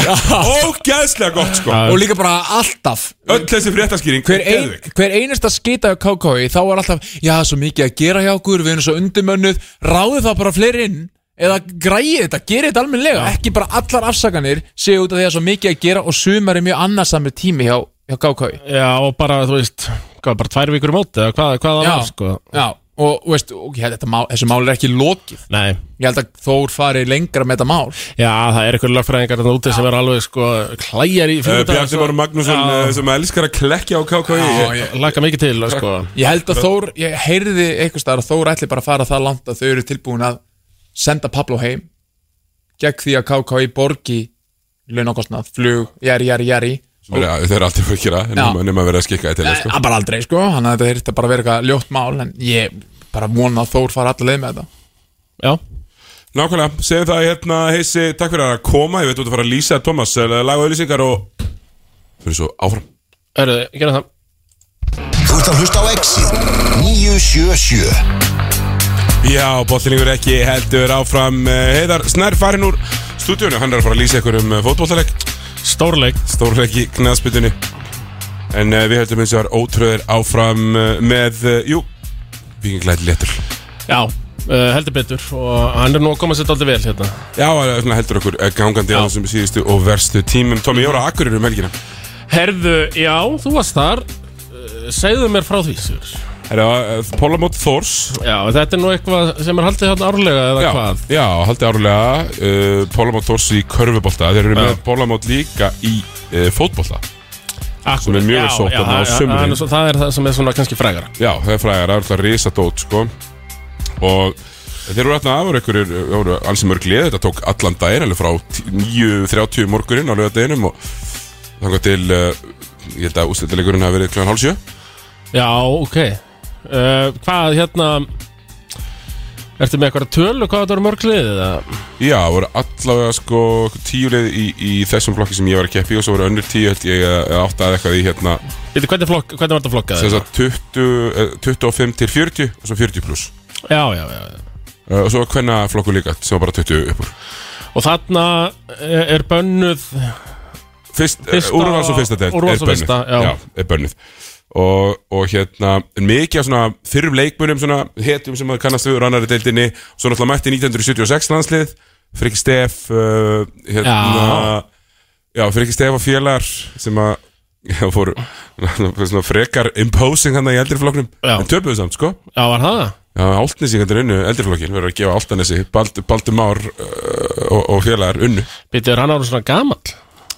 hvað? Ógeðslega gott sko og líka bara alltaf Öll þessi fréttaskýring, Ah. hver, ein, geðvik hver einasta skita á KKi þá er alltaf, já það er svo mikið að gera hjá okkur við erum svo undumönnuð, ráðu það bara fleiri inn eða græði þetta, gera þetta almennilega ekki bara allar afsakanir séu út af því að það er svo mikið að gera og sumar er mjög annarsamri tími hjá, hjá KKi já, og bara, þú veist, hvað, bara tvær vikur í móti, eða hvað, hvað það Já, var, sko já, og þú veist, ok, þetta má, þessu mál er ekki lokið Nei, ég held að Þór fari lengra með þetta mál já, það er eitthvað lögfræðingar þarna úti sem er alveg, sko, klæjar í sko. Uh, fyrir Bjarni Már Magnússon uh, sem elskar að klekkja á Já, KKI ég- Laka mikið til, sko Ég held að Þór, ég heyrði einhvers staðar að Þór ætli bara að fara það langt að þau eru tilbúin að senda Pablo heim gegn því að KKI borgi launakostnað, flug, jari, jari, jari Sem eru- Þau eru alltaf fyrir að gera, Já. nema- nema að vera að skikka þetta sko. Það bara aldrei sko, hann að þetta þyrfti bara að vera eitthvað ljótt mál en ég bara vona að Þór fara allar leið með þetta Já, Nákvæmlega, segjum það hérna heisi, takk fyrir að koma, ég veit út að fara að lýsa Thomas, eh, laga auðlýsingar og fyrir svo áfram hörðu, gera það Þú ert að hlusta á Exit 977 Já, bollinningur ekki heldur áfram eh, Heiðar Snær farinn úr stúdíunum, hann er að fara að lýsa ykkur um fótbollaleg Stórleik stórleik í knaðspytunni en uh, við heldum eins og var ótröður áfram uh, með, uh, jú vikinglæti léttur Já, uh, heldur betur Og hann er nú að koma sér dálítið vel hérna Já, eh, svona heldur okkur eh, gangandi á Já. þessum síðustu og verstu tímum Tommi, ég voru að akkurir um helgina Herðu, já, þú varst þar uh, Segðu mér frá því, Sigur Herra, eh, Pólamót Þórs Já, þetta er nú eitthvað sem er haldið hérna árlega eða já, hvað Já, haldið árlega uh, Pólamót Þórs í körfubolta Þeir eru með Pólamót líka í uh, fótbolta Akkur, Sem er mjög vel sótt já, þarna á já, sumrin. hann er svo- Það er það sem er svona kannski frægara Já, það er frægar, það er alltaf risadót sko. og þeir voru aðna afur ykkur uh, voru alls mörg lið, þetta tók allan daginn alveg frá 9.30 morgunin á lögadeginum og þangað til uh, ég held að úsleitilegurinn hafi verið kl. hálf sjö Já, ok uh, Hvað hérna Ertu með eitthvað tölu hvað þetta voru mörg lið eða? já, voru allavega sko tíu lið í, í þessum flokki sem ég var að keppi og svo voru önnur tíu held ég eða eða átta eða eitthvað í hérna Veitir, hvernig, flokk, hvernig var þetta flokkað? þess að 20, eh, 25 til 40 og svo 40 pluss Já, já, já, já uh, og svo var hvenna flokku líka sem var bara 20 uppur Og þarna eh, er er bönnuð fyrst, Fyrsta- fyrsta, úrvals og fyrsta deild úrvals og er bönnuð. fyrsta, já. er bönnuð og, og hérna mikið af svona fyrrum leikmönum svona hetum sem maður kannast við úr annari deildinni svo náttúrulega mætti 1976 landslið Friki Stef uh, hérna, já, Friki Stef og félagar sem að já, fóru svona frekar imposing hann í eldri flokknum Já. en töpuðu samt sko Já, var það? Já, Áltnesi hendur unnu, eldriflokkin, verður að gefa Áltnesi, Bald, Baldur Már uh, og, og félagar unnu. Býtið, hann ára svona gamall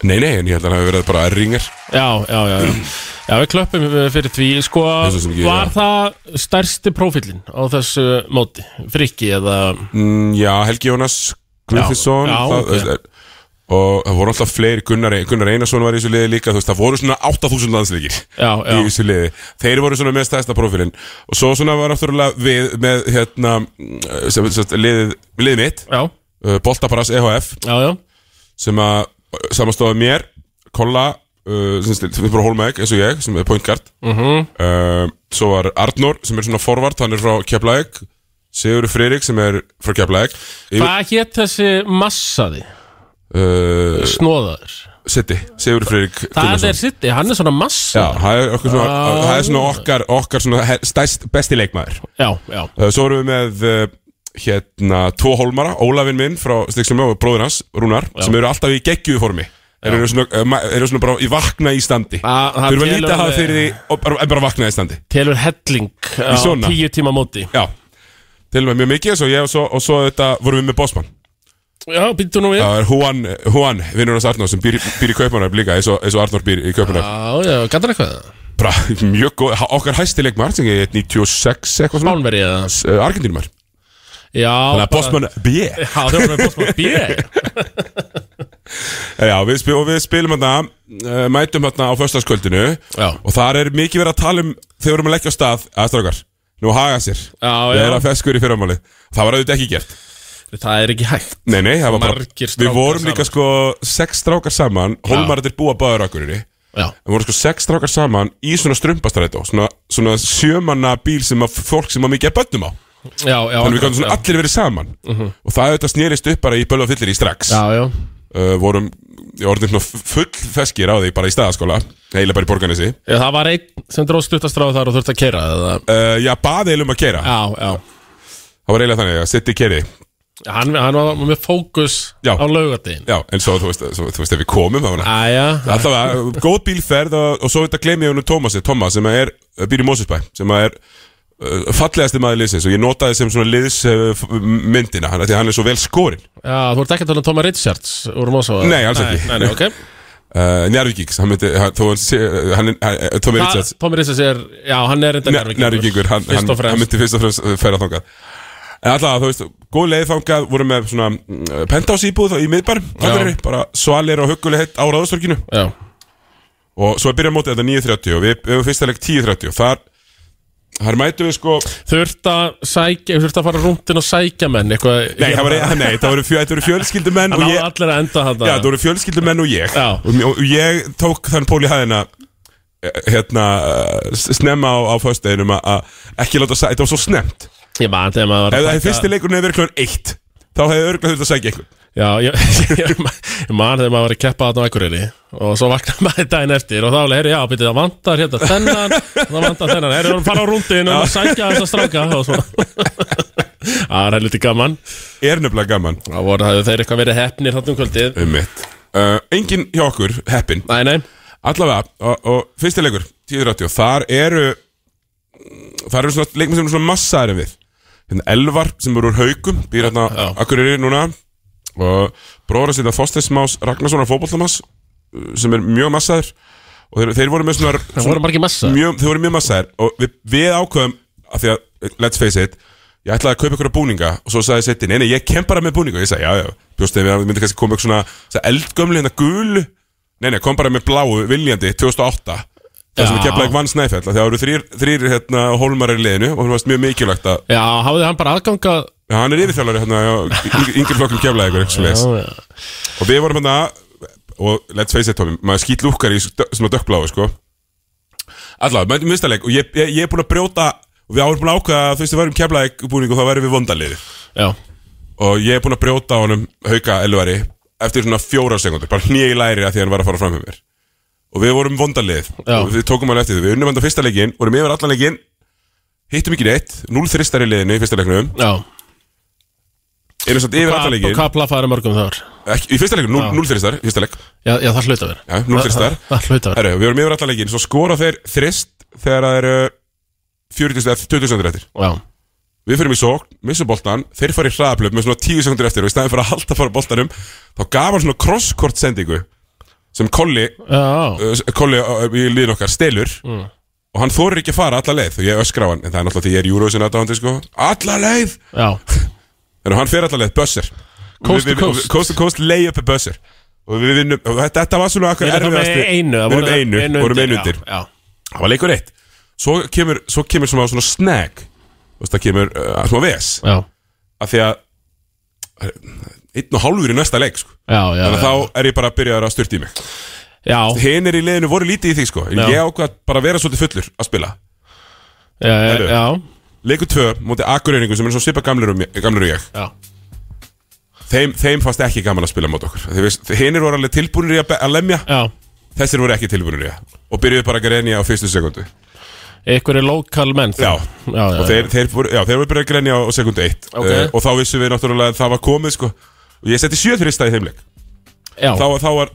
Nei, nei, en ég held að hann hafi verið bara erringar. Já, já, já, já. já við klöppum eh, fyrir því Sko, er svo sem ekki- var já. það stærsti prófílinn á þessu móti? Frikki eða Mm, já, Helgi Jónas, Guðfinsson, Já, já, það, ok. þú veist, og það voru alltaf fleiri, Gunnar, E, Gunnar Einarsson var í þessu liði líka, þú veist, það voru svona 8000 landsleikir Já, í já, þessu liði. Þeir voru svona með stæðsta profilinn og svo svona var náttúrulega við með, hérna, mm, sem, sem, sem, liðið, liðið mitt, já, uh, Boltaparas EHF, já, já. sem að samastóða mér Kolla uh, sem stil- sem er bara Holmæk eins og ég sem er point guard uh, svo var Arnór sem er svona forvart hann er frá Keflæk Sigur Fririk sem er frá Keflæk Hvað hétt þessi massaði uh, snóðaður? Sitti, Sigur Fririk Það Gunnarsson. er sitt, hann er svona massa Já, það er, okkur svona, Ah. það er svona okkar, okkar svona he- stæst, besti leikmaður já, já, Uh, Svo erum við með uh, hérna, tvo hólmara, Ólafinn minn frá Stikksum og bróður hans, Rúnar, sem eru alltaf í geggjuðu formi Þeir eru svona, uh, ma- eru svona bara í vakna í standi Ah, Þurfa það telur lítið að hafa alveg- fyrir því og bara, en bara vakna í standi telur helling á svona? tíu tíma móti Já, til og með mjög mikið svo ég, og, svo, og svo þetta vorum við með Bosman Já, býttu nú við Já, Það er Juan, Juan vinnur hans Arnór sem býr, í- býr í Kaupanar líka eins og, eins og Arnór býr í Ah. Kaupanar já, gættar eitthvað Bara mjög góð, ha- okkar hæstileik maður sem er 96 eitthvað svona Spánveri eða uh, Argentínum maður Já, Þannig að Bosman B Já, það var með Bosman B Já, við spil, og við spilum hérna, uh, mætum hérna á föstaskvöldinu Já. og þar er mikið verið að tala um þegar við erum að leggja á stað aðstrákar, nú haga sér Já, við já. erum að feskur í fyrramáli það var auðvitað ekki gert Það er ekki hægt Nei, nei, það var bara, Margir strákar við vorum saman. líka sko sex strákar saman, holmarðir búa báður akkurinni, Já, við vorum sko sex strákar saman í svona strumpastrætó svona, svona sjömanna bíl sem að fólk sem að mikið er bönnum á, já, já þannig við gætum já. Mhm. svona allir verið saman og það auðvitað snerist upp bara í bölva fyllir í strax Já, já, uh, vorum ég orðin svona full feskir á því bara í staðaskóla, eiginlega bara í borganessi Já, það var einn sem dróð stuttastráð þar og þurfti að keira eða... uh, já, baði eiginlega um að kera Já, já það var eiginlega þannig að setja í keri Hann, hann var með fókus Já. á laugardegin já, en svo þú veist, svo, þú veist ef við komum það var hann Æja, Alltaf að, góð bílferð og, og svo þetta gleymi ég nú Tómasi, Tómas sem er, eh, býr í Mósusbæ sem að er uh, fallegasti maður liðsins og ég notaði sem svona liðsmyndina hann, af því að hann er svo vel skorinn já, þú ert ekki að tala um Tóma Richards úr Mósava Nei, alls ekki. Nei, nei, ok uh, Njárvíkíks, hann myndi hann, þó hann, sé- hann, hann, hann Tómi Richards Tómi Richards er, já, hann er enda Njárvíkingur, hann, hann, Fyrst og hann fremst myndi fyrst og fremst uh, færa þangað En alltaf, þú veist, góð leið þangað voru með svona uh, pentás íbúð í miðbar Akureyri, bara svalir og hugguleg heitt á ráðustorkinu Já, og svo byrja mótið þetta 9.30 og við við höfum fyrsta leik 10.30 og þar, þar mætum við sko þurft að sækja, þurft að fara rúndin og sækja menn eitthvað Nei, það voru, hérna- nei, það voru, fjö, þetta voru fjölskyldumenn Það og náðu ég, allir að enda þetta já, það voru fjölskyldumenn og ég Já. og, og ég tók þann pól í hæðina eh, hérna, eh, s- snemma á, á föstudeginum að- að ekki láta sæ, þetta var svo snemt ef Ég man þegar maður var það að hefði fyrsti leikurinn hefði verið klón 1 þá hefði örgulega þurft að sækja einhvern Já, ég, ég man þegar maður var að keppa þarna á Akureyri og svo vaknaði maður daginn eftir og þá var heyri, já, byrja, það vantar hérna þennan það vantar þennan, heyri, það fara á rúndin og sækja þess að stráka og svo Ah, Það var helviti gaman er nefnilega gaman þá voru það þeir eitthvað verið heppnir þarna um kvöldið um mitt uh, engin hjá okkur, heppin Nei, nei, allavega, og, og fyrsti leikur 10.30, þar eru þar eru svona leikmenn sem eru svona massaðar en við hérna Elvar sem eru úr haukum býr hérna Já. Akureyri núna og bróður að setja Þorsteinsmás Ragnarssonar fótbollamanns uh, sem er mjög massaður og þeir, þeir voru með svona, það voru margir massa mjög, þeir voru mjög massaðir og við, við ákveðum af því að, let's face it ég ætlaði að kaupa ykkur búninga og svo sagði Setti, nei, nei, ég kem bara með búninga og ég sagði, já, já, bjóst þeim, við myndi kannski koma ykkur svona, svona eldgömlu hérna gul nei, nei, kom bara með bláu, viljandi, 2008 þar sem Já. við kemlaði vann snæfell af því það eru þrýr, þrýr hérna, hólmar er í liðinu og það varst mjög mikilvægt að Já, hafði hann bara aðganga Já, hann er yfirþjálfari hérna yngri flokkum kemlaði ykkur, eitthvað leis Já, já. og við vorum hérna og let's face it Tommy, maður skýt lúkkar í dö- svona dökkbláu sko allavega, maður mista leik og ég, ég, ég er búin að brjóta og við árum búin að ákveða að þú veist við varum kemlaði búning og þá værum við vondaliði Já, og ég er búin að brjóta á honum hauka elvari eftir svona fjóra sekundur, bara hnýja í læri að því að hann var að fara fram með mér og við vorum vondalið Já. og við tókum hann eftir því, við unnum hann á fyrsta leikin vorum yfir allan leikin, hittum ekki neitt 0 þristar í leiðinu í fyrsta leiknum já erum samt yfir allan Hvað leikin, hvað plaffaði mörgum þar? ekki, í fyrsta leikin 0 þristar, í fyrsta leik Já, já, það hluta verið Já, núll þristar. Það hluta verið Herru, við vorum yfir allan leikinn, svo skora þeir þrist þegar það eru 40 eða 20 sekundur eftir. Já, Við fyrir í sókn, missum boltan, þeir fara í hraðablöf með svona 10 sekundur eftir og í staðin fyrir að halda fara boltanum, þá gaf hann svona crosskort sendingu sem Kolli, já, já, uh, Kolli uh, í liðin okkar stelur og hann þorir ekki að fara alla leið og ég öskra á hann, en það er náttúrulega því ég er Eurovision aðdáðandi sko, alla leið! já En hann fer alla leið, buzzer. Coast to Við- við- coast. Coast to coast, lay up a buzzer. Og við vinnum, og þetta, þetta var svona akkur Við erum erfiðasti. með einu það Við erum einu, vorum einu já, undir. Já, það var leikur eitt svo kemur, svo kemur svona, svona snag þú veist það kemur uh, smá ves já, af því að eh, einn og hálfur í næsta leik sko. já, já þannig að já. þá er ég bara að byrja að styrta í mig Já, hinn er í liðinu voru lítið í því sko en Já. ég ákvað bara að vera svolítið fullur að spila já, já, Herru. já, leikur tvö mútið Akureyringum sem er svo svipa gamlur og, mér- gamlir og ég já þeim, þeim fannst ekki gaman að spila mót okkur hinn voru alveg tilbúinir í að, be- að lemja Já, þessir voru ekki tilbúinir í að og byrjuðu bara að grenja á fyrstu sekundu ykkur er lokal menn þá. Já. já, já, og þeir, þeir, voru, já, þeir voru byrjað að grenja á sekundu eitt Ok. uh, og þá vissum við náttúrulega að það var komið sko. og ég setti sjö þrista í þeimleik já, þá, þá var,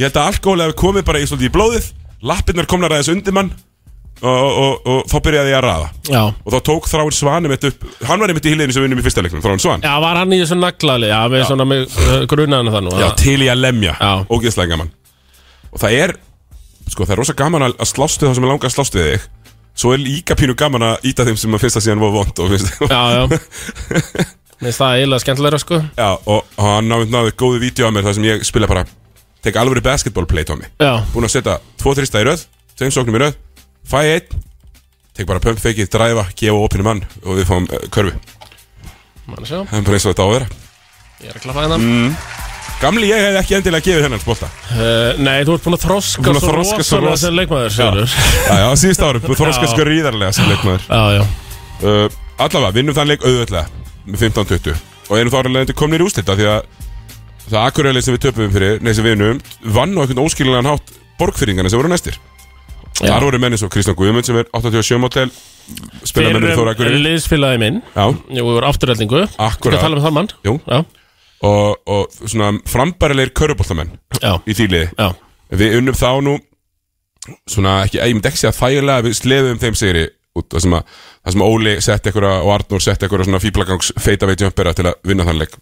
ég held að alkohóli hafi komið bara í, svolítið, í blóðið lappirnar komnar aðeins undir mann og, og, og, og þá byrjaði ég að raða já og þá tók Þráin Svanum eitt upp hann var einmitt í hiliðinu sem við vinnum í fyrsta leiknum Þráin Svan Já, var hann í þessu naglali, já, við svona uh, með grunaðan um það nú Já, að- til í að lemja, Já. ógeðslega gaman og það er sko, það er rosa gaman að að slást við þá sem er langa að slást við þig svo er líka pínu gaman að íta þeim sem að finnst það síðan var vond og finnst Já, já Mér finnst það eiginlega skemmtilegra, sko Já, og hann náði, náði góðu vídeo af mér þar sem ég spila bara Tek alvöru basketball play, Tommy Já, Búin að setja tvo þrista í röð, tveim sóknum í röð Fæ einn, tek bara pump feikið, dræfa, gefa opinu mann Og við fáum uh, körfu mann sjá, Það er bara eins og þetta á að vera ég er að klappa hérna Mm. Gamli ég hefði ekki endilega gefið hennan spolta Uh, nei, þú ert búin að þroska Búin að svo þroska svo rosalega ros- sem leikmaður, Sigurður Já, já, á síðust árum, þú þorskast Já. sko ríðarlega sem leikmaður Já, já, uh, Allavega, vinnum þann leik auðvöldlega Með 15-20 Og erum þá áralegandi komnir í úslita Því að það akkurælið sem við töpum fyrir Nei, sem við vinnum, vann á einhvern óskiljanlegan hátt Borgfyrringana sem voru næstir já. Þar voru menn eins og Kristján Guðmund sem er 87 mótel Spila mennur í Þóra Akureyri liðsfélagi minn Já, Jú, við vorum afturreldingu Akkurat Skal akkurat tala um þann mann? Jú. Já, og, og svona frambærilegir körubóltamenn já, í því liði já, Við unnum þá nú Svona ekki, ég myndi ekki segja þægilega Við slefum þeim sigri út Það sem, að, það sem Óli setti einhverja og Arnur setti einhverja Svona fýblagangs feita veit jömpera til að vinna þann leik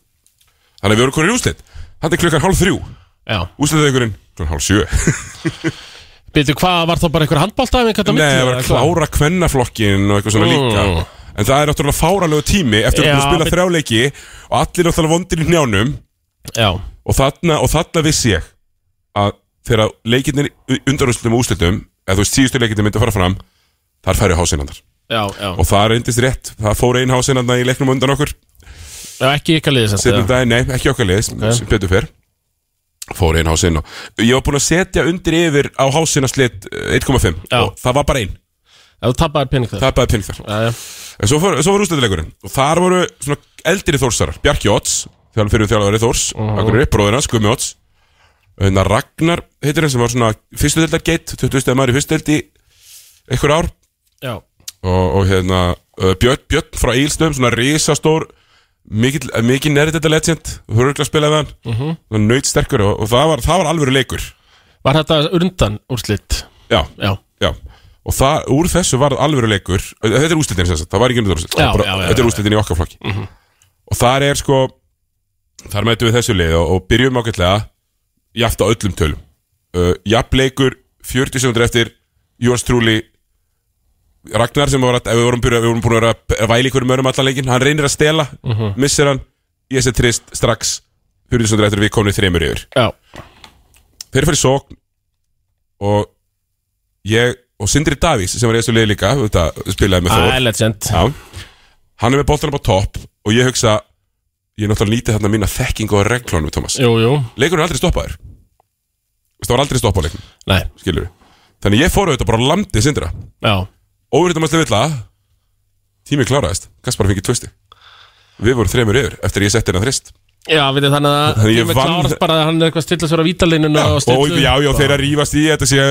Þannig að við vorum hverju í úslit Þannig klukkan hálf þrjú já Úslitaðingurinn klukkan hálf sjö Býtu, hvað var þá bara einhver hérna handbóltæfing? Nei, það var að klára kvennaflokkin og eitthvað svona Mm. líka En það er náttúrulega fáralegu tími eftir að Já, við spila bet- þrjáleiki og allir náttúrulega vondir í njánum Já, og þarna, og þarna vissi ég að þegar leikinnir undanúslutum og úslutum eða þú veist síðustu leikinnir myndi að fara fram þar færi hásinandar já, já og það reyndist rétt, það fór ein hásinandar í leiknum á undan okkur Já, ekki ykkar liðið sem setjum þetta daginn, nei, ekki okkar liðis sem betur fyrr fór ein hásinn og ég var búinn að setja undir yfir á hásinnaslit 1,5 Já. og það var bara ein, Ef þú tappaðir pening þar tapaði pinning þar Já, já, En svo, fór, svo var úsleitilegurinn Og þar voru svona eldri þórsarar Bjarki Odds, þjálfur fyrir þjálfari Þórs uh -huh. Akkur er uppbróðurinn, Gummi Odds Þannig að Ragnar heitir hann sem var svona Fyrstu deildar geit, 20 stegar maður í fyrstu deild í Einhver ár já, Og, og hérna uh, Björn, Björn frá Egilstöðum, svona risastór Mikið, mikið nærið þetta legend Þú höfðu að spila við hann uh -huh. Nautsterkur og, og það, var, það var alvöru leikur var þetta undan úrslit? Já, Já, já Og það, úr þessu var alvöru leikur Þetta er úslitin sem sagt, það var ekki undur úslit Já, já, Þetta já, já, Mhm. er já. úslitin í okkar flokki Og þar er sko Þar mætum við þessu lið og, og byrjum ágætlega Jaft á öllum tölum uh, Jafn leikur, 40 sekundur eftir Jóns Trúli Ragnar sem var að, við vorum, byrja, við vorum búin að vera að væli hverjum örum allan leikin, hann reynir að stela Mhm. missir hann, ég sé trist strax Hjörðisundur eftir við komum við þreymur yfir Já, þeir fyrir sókn og ég og Sindri Davís sem var í þessu liði líka þetta, spilaði með það er Þór legend Já. hann er með boltan upp á topp og ég hugsa ég náttúrulega nýti þarna mína þekking og reglunum Thomas Jú, jú, leikurinn er aldrei stoppaður Veist, það var aldrei stoppað leiknum nei, skilur þannig ég fór auðvitað bara á landið Sindra já óverðum allir vilja tími kláraðist Kaspar fengið tvösti við vorum þreymur yfir eftir að ég setti hennar þrist Já, við þið þannig að Þannig ég Tími vann- klárast bara að hann er eitthvað að stilla sér á vítalinuna og og stilla já, já, þeir að rífast í þetta sé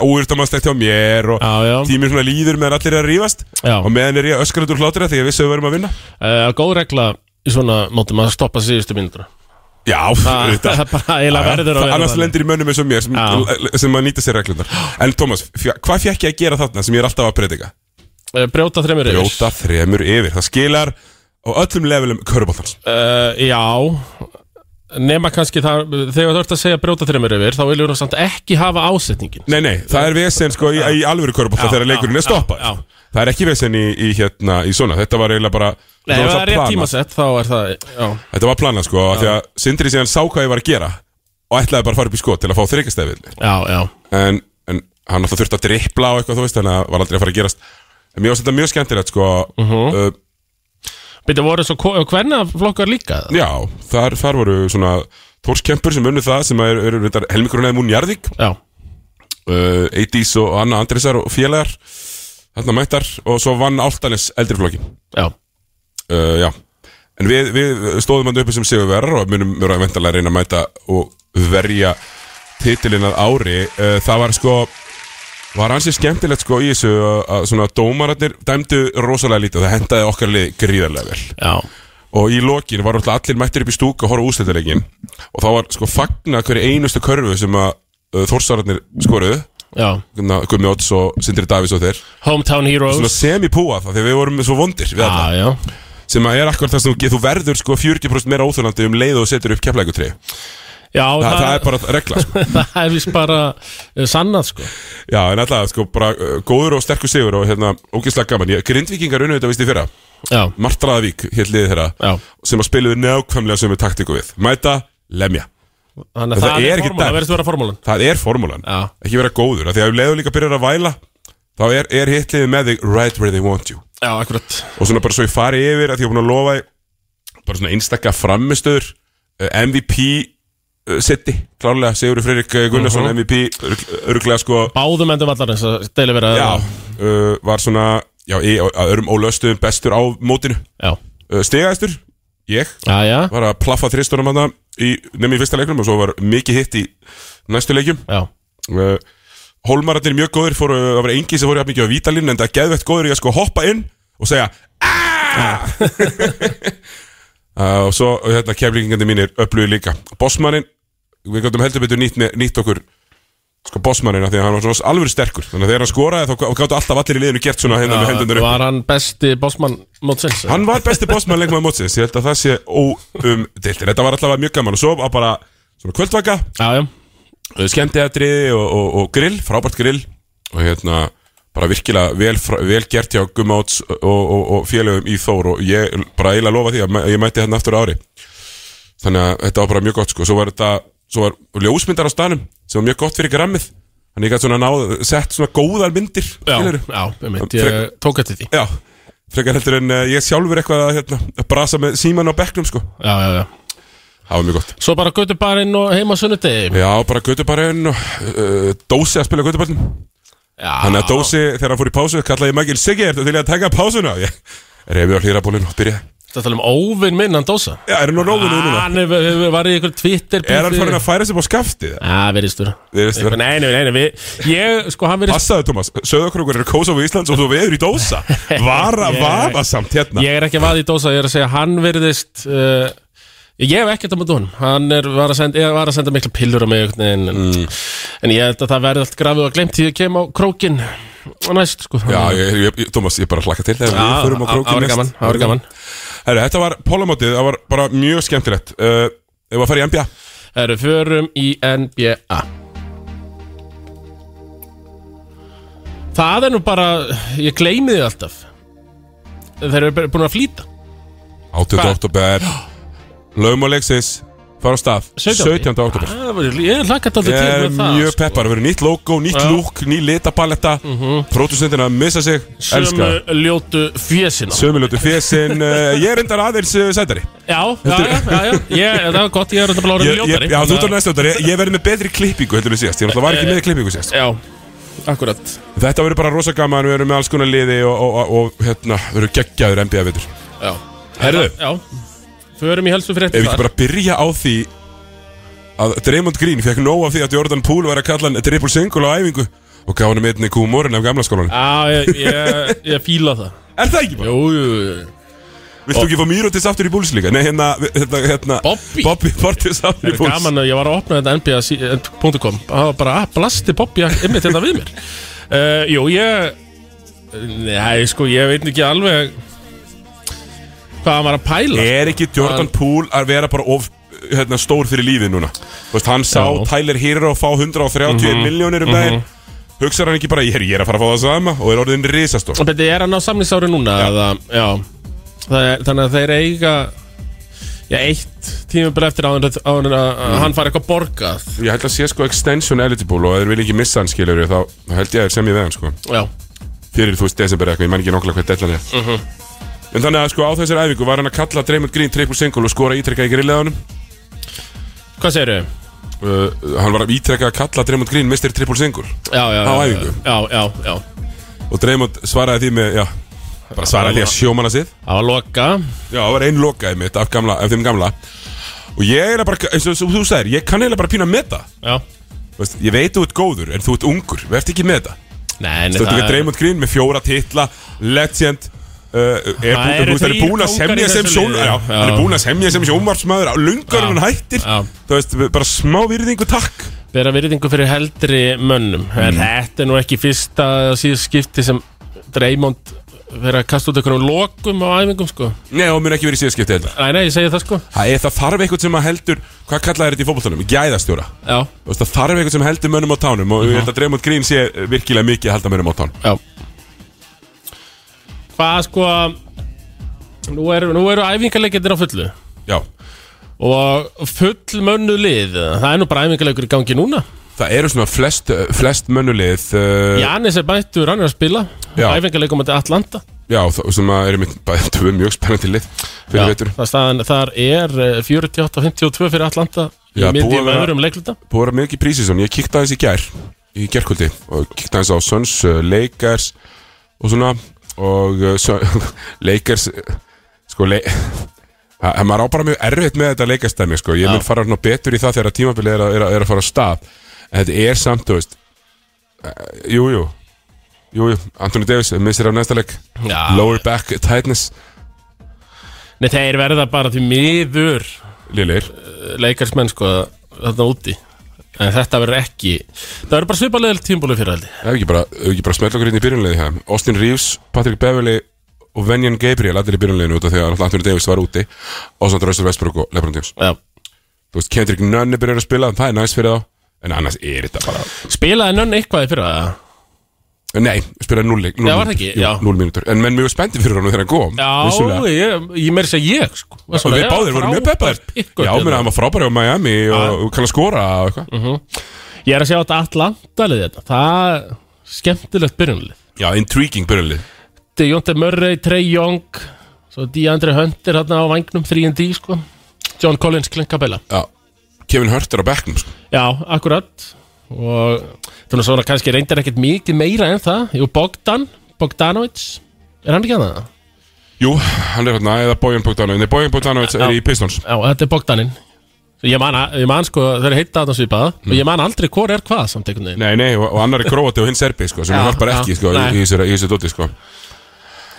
óverðamannslegt hjá mér og Já, já. tíminn svona líður meðan allir er að rífast Já. og meðan er ég öskrandi úr hlátur þegar ég vissi að við verum að vinna Uh, góð regla í svona mótum að stoppa síðustu mínútur Já, Það auðvitað. það er bara eiginlega Já, já. verður Það- að vera annars þannig. lendir í mönnum eins og mér sem, Já. sem að nýta sér reglundar En Tómas, fjö- hvað fekk ég að gera þarna sem ég er alltaf að predika? Eh, Brjóta þreymur yfir Brjóta þremur yfir, það skilar á öllum levelum köruboltans Uh, já nema kannski það, þegar þú ert að segja brjóta þreymur yfir þá viljum við samt ekki hafa ásetningin Nei, nei, það er vesen sko í, í alvöru körubolta Já, þegar já, leikurinn er já, stoppað sko. já. Það er ekki vesen í, í, hérna, í svona, þetta var eiginlega bara Nei, þetta ef var það er rétt planað. tímasett þá er það já, Þetta var planað sko, af því að Sindri síðan sá hvað ég var að gera og ætlaði bara að fara upp í skot til að fá þreikastæfið já, já, en, en hann alltaf þurfti að drippla og eitthvað þú veist, þannig að það var aldrei að fara að gerast en mér finnst þetta mjög skemmtilegt sko uh, byrja voru svo ko- hvernig flokkar líka það? já, þar, þar voru svona Þórskempur sem unnu það sem er, er, er helmingurinn eða Mún Jarðvík Já, uh, Eidís og Anna Andresar og félagar þarna mættar og svo vann Áltanes eldri flokki já, uh, já, en við, við stóðum hann uppi sem sigurverðar og munum vera að reyna að mæta og verja titilinn að ári uh, það var sko var hansi skemmtilegt sko í þessu að, að svona dómararnir dæmdu rosalega lítið og það hendaði okkar lið gríðarlega vel já og í lokin var alltaf allir mættir upp í stúku að horfa úsleitalegin og þá var sko fagna hverju einustu körfu sem að uh, þórsararnir skoruðu Já, Gunnar- Gummi Odds og Sindri Davís og þeir hometown svona heroes semi-púa það þegar við vorum svo vondir við alla Já, já, sem að er akkurat það sem þú getur þú verður sko 40% meira óþjólandi um leið og þú setur upp keflækutri það, já það, er bara regla sko. það er vist bara eh, sannað sko já en alltaf sko bara uh, góður og sterkur sigur og hérna ógeðslega gaman ég, grindvíkingar unnu þetta vist í fyrra Já, Martraðavík hér liðið þeirra já sem að spiluðu nákvæmlega sömu taktiku við mæta lemja Þannig En að það það er er ekki formúlan, dæmt. það verðist að vera formúlan það er formúlan Já. ekki vera góður af því að ef leiður líka byrjar að væla þá er, er hitt liðið með þig right where they want you Já, akkurat og svona bara svo ég fari yfir að því ég er búin að lofa því, bara svona einstakka framistöður MVP eh, seti, klárlega Sigurður Freyrik eh, Gunnarsson Mhm. MVP, örglega sko Báðum endum allar eins að deili vera já, uh, var svona já, í, að örum ólöstuðum bestur á mótinu já, uh, stegaðistur, ég já, já, var að plaffa þristunum hann nefnum í fyrsta leiknum og svo var mikið hitt í næstu leikjum já. uh, Hólmararnir mjög góður fóru, það var engi sem fóru jafn mikið á vítalinn en það er geðvegt góður í að sko hoppa inn og segja "Ah!" uh, og svo hérna, kemlingandi mínir öflugi líka Bossmannin, við gáttum heldur betur nýtt, með- nýtt okkur sko Bossmannin af því að hann var svona alveg sterkur þannig að þegar hann skoraði þá gáttu alltaf allir í liðinu gert svona hérna Ah, með hendunar upp Var hann besti bossmann mótsins? Hann var besti bossmann leikmaður mótsins, ég held að það sé óumdildir, þetta var alltaf mjög gaman og svo var bara svona kvöldvaka Já, já, skemmtiðatriði og, og, og grill, frábært grill og hérna bara virkilega vel, fra- vel gert hjá Gummáts og, og, og félögum í Þór og ég bara eiginlega lofa því að mæ- ég mæti hérna aftur á ári þannig að þetta var bara mjög gott sko svo var þetta, svo var ljósmyndar á stanum sem var mjög gott fyrir grammið þannig ég gæti svona náð, sett svona góðar myndir já, skilurðu? já, ég meint, ég tók eftir því já frekar heldur en uh, ég sjálfur eitthvað að hérna, að brasa með síman á bekknum sko Já, já, já það var mjög gott Svo bara gautu barinn og heima á sunnudegi já, bara götubarinn og uh, dósi að spila götubarinn Þannig að Dósi, þegar hann fór í pásu, kallaði ég Michael Siggi, ertu til í að taka pásuna? Ég reyfi á hlýrabólinn og byrja. Það tala um óvinn minn, hann dósa Já, er hann á nógunni núna? Hann hefur hefur- var í ykkur Twitter Er hann farin að færa sig upp á skaftið? Já, verðist vera Virðist vera. Eitthvað- Nei, nei, nei, nei við, Ég, sko, hann verðist Passaðu, Tómas, söðakrókur eru kósa á Íslands og þú veður í Dósa. Vara, Ég- vafa samt hérna. Ég er ekki að vaða í dósa, ég er að segja Hann verðist uh, Ég hef ekkert á móti honum Hann er, var, að senda, ég var að senda mikla pillur á mig einhvern veginn, en, Mm. en ég held að það verði allt grafið og glemt Því ég kem á krókin Næst, sko Já, ég, ég, ég, Tómas, ég bara hlakka til þegar við Já, förum á það- það krókinn var gaman, það var gaman. Herru, þetta var pólamótið, það var bara mjög skemmtilegt. Uh, ef að fara í NBA, Herru, förum í NBA Það er nú bara, ég gleymi þið alltaf Þeir eru bara búin að flýta 8. Hvað? oktober Laumalegsis fara á stað 17. oktober ah, Ég hlakka þetta Ég til er með Eh, það sko? mjög peppar, það verður nýtt logo, nýtt Já. lúk, ný litapaletta Pródusentina missa sig, sko. elska Sömu ljótu fjesina Sömulötu fjesin, uh, ég er endar aðeins uh, sætari Já, já, já, já, já. Ég, Það var gott, ég er þetta bara orðin ég, ég, ljótari Já, þú ert á þannig að- næsta öndar, ég, ég verði með betri klippingu heldur við síðast Ég náttúrulega var ekki Eh. með klippingu síðast Já, akkurat Þetta verður bara rosa gaman, við erum með alls konar liði og, og, og, og hérna, við erum geggjaður NBA-vitur Já Herðu. Já, förum í helstu Ef fréttir við ekki bara byrja á því að Draymond Green fekk nóg af því að Jordan Poole var að kalla hann triple single á æfingu og gaf hann um einni kúmórin af gamla skólanum Já, ég, ég, ég fíla það Er það ekki bara? Jú, jú, jú, jú Viltu ekki fá Mýrótis aftur í búlis líka? Nei, hérna, hérna, hérna Bobby. Bobby Portis aftur í Það er búlis gaman að ég var að opna þetta nba.com og eh, það var bara að blasti Bobby að ymmið þetta við mér uh, Jú, ég Nei, sko, ég veit ekki alveg hvað hann var að pæla Er ekki Jordan Hann- Poole að vera bara of hérna, stór fyrir lífið núna? Þú veist, hann sá Já. Tyler Hero fá 131 miljónir um daginn Hugsar hann ekki bara, ég er, ég er að fara að fá það sama og er orðin risastór Beti, er hann á samlingsári núna? Já, eða, já. Það Er, Þannig að þeir eiga já, eitt tímabil eftir áður en að mm. hann fari eitthvað borgað Ég held að sé sko extension eligible og ef þeir vil ekki missa hann skilur þá þá held ég að þeir semja við hann sko Já, fyrir þú veist desember eða eitthvað, ég menn ekki nokkla hvað dellan er En þannig að sko á þessari æfingu var hann að kalla Draymond Green triple single og skora ítrekka í grillið á hvað segirðu? uh, hann var að ítrekka að kalla Draymond Green Mr. Triple Single Já, já, Á já, æfingu? Já, já, já og Draymond svaraði því með, já bara svaraði því að sjómanna sið Það var loka já, það var einn lokaði mitt af, gamla, af þeim gamla og ég er eiginlega bara, eins og þú- þú sagðir ég kann eiginlega bara pína með það Já Veist, ég veit þú ert góður en þú ert ungur verð ekki með það Nei, nei, þú ert ekki Draymond Green með fjóra titla legend Uh, er, bú, Það eru er, er þrír búin að kóngar í semja sem þessu sjón liði. já, Já. hann er búin að semja sem sjónvarsmaður á lungar hann hættir Já. þú veist, bara smá virðingu takk bera virðingu fyrir heldri mönnum Mm. en þetta er nú ekki fyrsta eða síðast skipti sem Dreymond verið að kasta út einhverjum lokum á æfingum sko Nei, og mun ekki verið síðaskipti heldur Nei, nei, ég segi það sko Það er það þarf eitthvað sem að heldur Hvað kallaði þetta í fótboltanum? Gæðastjóra Já, Þú veist, Það þarf eitthvað sem heldur mönnum á tánum Og ég held að Draymond Green sé virkilega mikið að halda mönnum á tánum já Hvað sko Nú eru, nú eru æfingarleikendir á fullu Já og full mönnu lið það er nú bara æfingarleikur í gangi núna Það eru svona flest, flest mönnulið uh, Janis er bættur, hann er að spila Já. æfingarleikum á Atlanta já þá- sem að eru mitt bara tvö mjög spennandi lið Fyrir Já, veitur það staðan, þar er eh, 48-52 fyrir Atlanta í Já, búið miðjum að vera- öðrum leikluta Búið að vera mikið prísísson Ég kíkti aðeins í gær Í gærkvöldi Og kíkti aðeins á Suns, uh, Lakers Og svona Og uh, Sun- Lakers uh, Sko, le Það það- maður á bara mjög erfitt með þetta leikastæmi sko. Ég mun fara svona betur í það þegar tímabilið er, að- er, að- er að fara á stað En þetta er samt, þú veist eh, Jú, jú Jú, jú, Anthony Davis, missir af næsta leik Já. Lower back tightness Nei, þeir verða bara því miður Lilir leikarsmenn sko þarna úti en þetta verður ekki það verður bara svipalegil tímbúli fyrir heldig Ef ekki bara, ef ekki bara smetla okkur inn í byrjunliði hér Austin Reeves, Patrick Beverly og Venjan Gabriel Allir í byrjunliðinu út af því að náttúrulega Anthony Davis var úti Og samt Russell Westbrook og Lebron James Já. Þú veist, Kendrick Nunn er byrjun að spila Það er næs fyrir þá En annars er þetta bara Spilaði nönn eitthvað í fyrra eða? Nei, spilaði núl leik Já, var það ekki? Já. Núl mínútur En menn mjög spendi fyrir hann þegar hann kom Já, vissulega. ég, ég meiri segja ég sko. Var Og svona, við já, báðir vorum mjög frábært peppaðir pick-up Já, hérna. menn, hann var frábæri á Miami og, og kann að skora og eitthvað Mhm. Ég er að sjá þetta allandalið þetta Það er skemmtilegt byrjunlið Já, intriguing byrjunlið Dejonte Murray, Trey Young Svo Deandre Hunter hérna á vangnum 3D sko John Collins klinkabella Já Kevin Hurt er á bekknum sko. Já, akkurat Og þannig svona kannski reyndir ekkert mikið meira en það Jú, Bogdan, Bogdanovic Er hann ekki að það? Jú, hann er hérna Eða Bojan Bogdanovic Nei, Bojan Bogdanovic er Já. í Pistons Já, þetta er Bogdaninn Ég man, ég man sko, þeir heita þarna svipað Og Mm. ég man aldrei hvor er hvað samt einhvern veginn Nei, nei, og, og annar er Króati og hinn Serbi sko, sem Já, hjálpar já, ekki sko, nei. í, í þessu- í þessu dóti sko.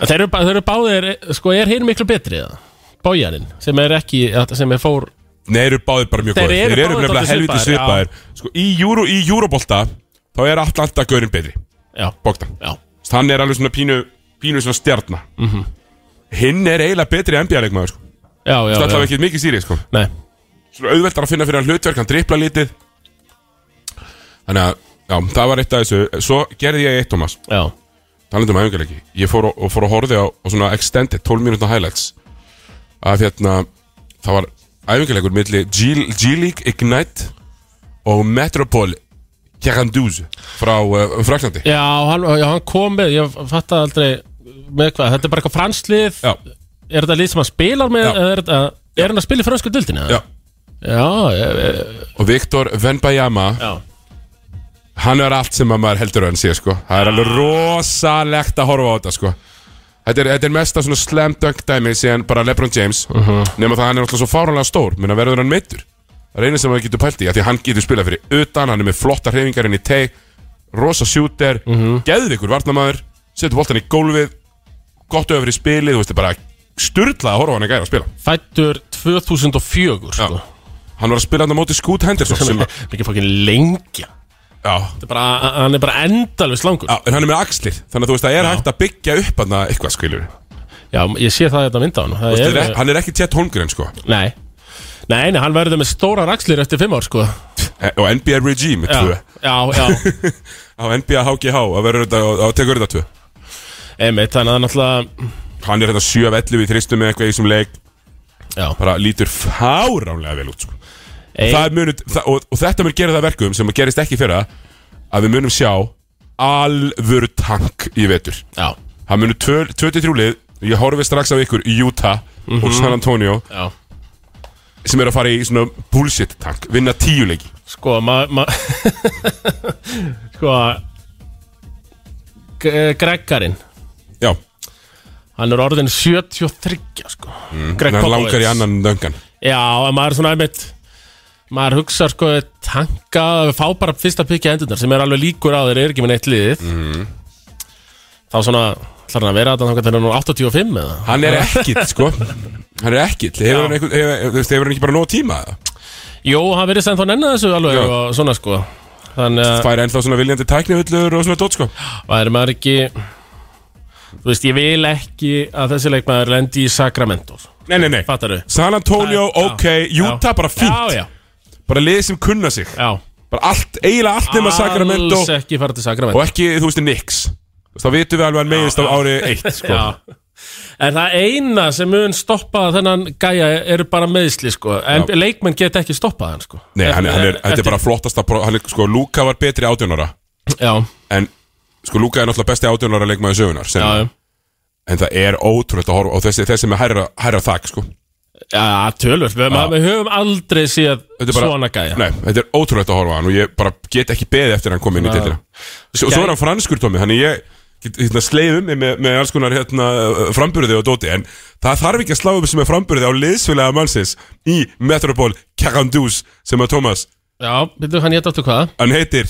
Þeir eru, bá- þeir eru báðir, sko, er hinn miklu betri eða? Bójaninn, sem er ekki, sem er fór Nei, eru báðir bara mjög Þeir góðir eru Þeir eru báðir nefnilega dálítið helviti svipaðir, svipaðir sko, Í Júru, í Júrubolta þá er Atlanta gaurinn betri Já, Bogdan já, Hann er alveg svona pínu, pínu svona stjarna Hinn er eiginlega betri NBA-leikmaður sko. Mhm. já, já, Það er já. ekki mikið sýri sko. Nei, Svona auðveldar að finna fyrir hann hlutverk, hann dripla lítið Þannig að Já, það var eitt af þessu Svo gerði ég eitt, Thomas Já, talandi um æfingarleiki ég fór og, og fór að horfa á, á svona extended 12 minútna highlights af hérna það var æfingarleikur milli G- G-League Ignite og Metropole Gerandouze frá uh, Fraklandi já, hann, já, hann kom með Ég fatt aldrei með hvað Þetta er bara eitthvað franslið já, Er þetta lið sem hann spilar með Já. eða Er, þetta, er hann að spila í fransku dildinu? já Já, ég, ég, og Viktor Venbayama já hann er allt sem að maður heldur að hann sé sko. það er alveg rosalegt að horfa á þetta sko. þetta, er, þetta er mesta svona slam dunk dæmi síðan bara Lebron James nema það að hann er alltaf svo fáránlega stór menn verður hann meittur það er einu sem maður getur pælt í af því að hann getur spilað fyrir utan hann er með flotta hreyfingar inn í teg rosa sjúter, mm -hmm. geðvikur varnamaður setur boltan í gólfið gott öfri spilið, þú veist, bara styrlað að horfa á hann að gæra að spila Fættur 2004 Já. sko. hann var að spila hann á móti Scoot Henderson sem, Mikið fokkin lengja já, Þetta er bara, Hann er bara endalvis langur já, en hann er með axlir þannig að þú veist, það er hægt að byggja upp hann eitthvað skilur Já, ég sé það þetta mynda á hann Það Þú veist, er- þetta er- hann er ekki Chet Holmgren sko Nei Nei, nei, hann verður með stóra rakslir eftir fimm ár, sko E- og NBA Regime Já, tvö. já, já á NBA HGH að verður þetta og- og tekur þetta tvö Einmitt, þannig að það er náttúrulega hann er þetta 7 af 11 í þristum með eitthvað í þessum leik Já, bara lítur fáránlega vel út sko. Ein- Það munur, það, og, og þetta mun gera það verkum sem gerist ekki fyrra að við munum sjá alvöru tank í vetur já, það munur 23 lið ég horfi strax á ykkur í Utah Mhm. og San Antonio já sem eru að fara í svona bullshit tank vinna tíu leiki Sko, maður ma Sko G- Greggarinn já, Hann er orðin 73, sko mm, en hann langar í annan döngan Já, en maður er svona einmitt Maður hugsa sko tanka Fá bara fyrsta pikið endurnar sem er alveg líkur á þeir eru ekki með neitt liðið Mhm. Þá svona ætlar hann að vera þetta þannig að hann er nú 85 eða Hann er ekkit, sko Hann er ekkit, hefur hann, einhver, hefur, þú veist, hefur hann ekki bara nóg tíma eða? Jó, hann verið sem þá nenni þessu alveg Já. og svona sko Þannig að Færa ennþá svona viljandi tæknihullur og svona dót, sko væri maður ekki Þú veist, ég vil ekki að þessi leikmaður lendi í Sacramento Nei, nei, nei Fattar þau? San Antonio, Það- já. ok, Utah, bara fínt Já, já, Bara lið sem kunna sig já Bara allt, eiginlega allt nema Sacramento Alls ekki fara til Og Sacramento ekki, þú veist, Nix Þá vitum við alveg hann meginst á ári eitt, sko Já En það eina sem mun stoppa þennan gæja eru bara meðsli sko En Já. leikmenn get ekki stoppað hann sko Nei, hann, er- hann er, þetta Eftir- er bara flottasta pro- hann er, Sko, Luka var betri 18 ára Já, En, sko, Luka er náttúrulega besti 18 ára leikmaður sögunar sem, já, já En það er ótrúlegt að horfa Og þessi, þessi með hærra, hærra þak, sko Já, tölvöld, við, ma- við höfum aldrei séð Þetta er bara- svona gæja Nei, þetta er ótrúlegt að horfa á hann og ég bara get ekki beðið eftir að hann kom inn í titlina S- Og svo er hann franskur, Tómi, þannig ég get- hérna, sleið um mig með, með alls konar hérna, uh, framburði og dóti En það þarf ekki að slá upp sem er framburði á liðsfélaga mannsins í Metropol Carandous sem að Tómas Já, veitum hann hétt áttu hvað Hann heitir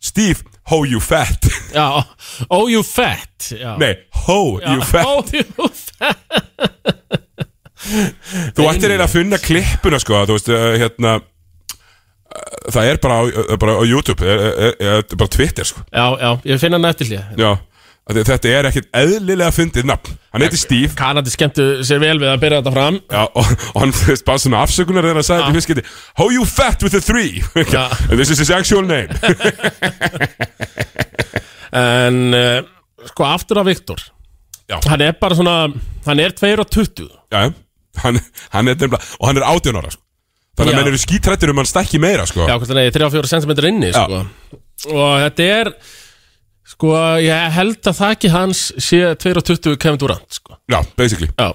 Steve Ho You Fat Já, oh you fat já. Nei, Ho já. You Fat Oh you fat Þú ættir eiginlega að finna klippuna sko Þú veist, uh, hérna uh, Það er bara á, uh, bara á YouTube er, er, er, eh, er bara Twitter sko Já, já, ég finn hann eftir hlýja Já, af því að þetta er ekkert eðlilega fyndið nafn Hann heitir Steve Kanadi skemmtu sér vel við að byrja þetta fram Já, og, og hann þú veist bara svona afsökunar þegar hann sagði þetta í fiskiti How you fat with the three Já. And This is his actual name En uh, sko, aftur að Viktor Já. Hann er bara svona, hann er 22 Já, hann, hann er nefnilega Og hann er 18 ára sko. Þannig Já. að menn eru skítrættir um hann stækki meira sko. Já, hvort hann er 3-4 cm inni Já. sko. Og þetta er Sko, ég held að það ekki hans sé 22 kemur durant sko. Já, basically Já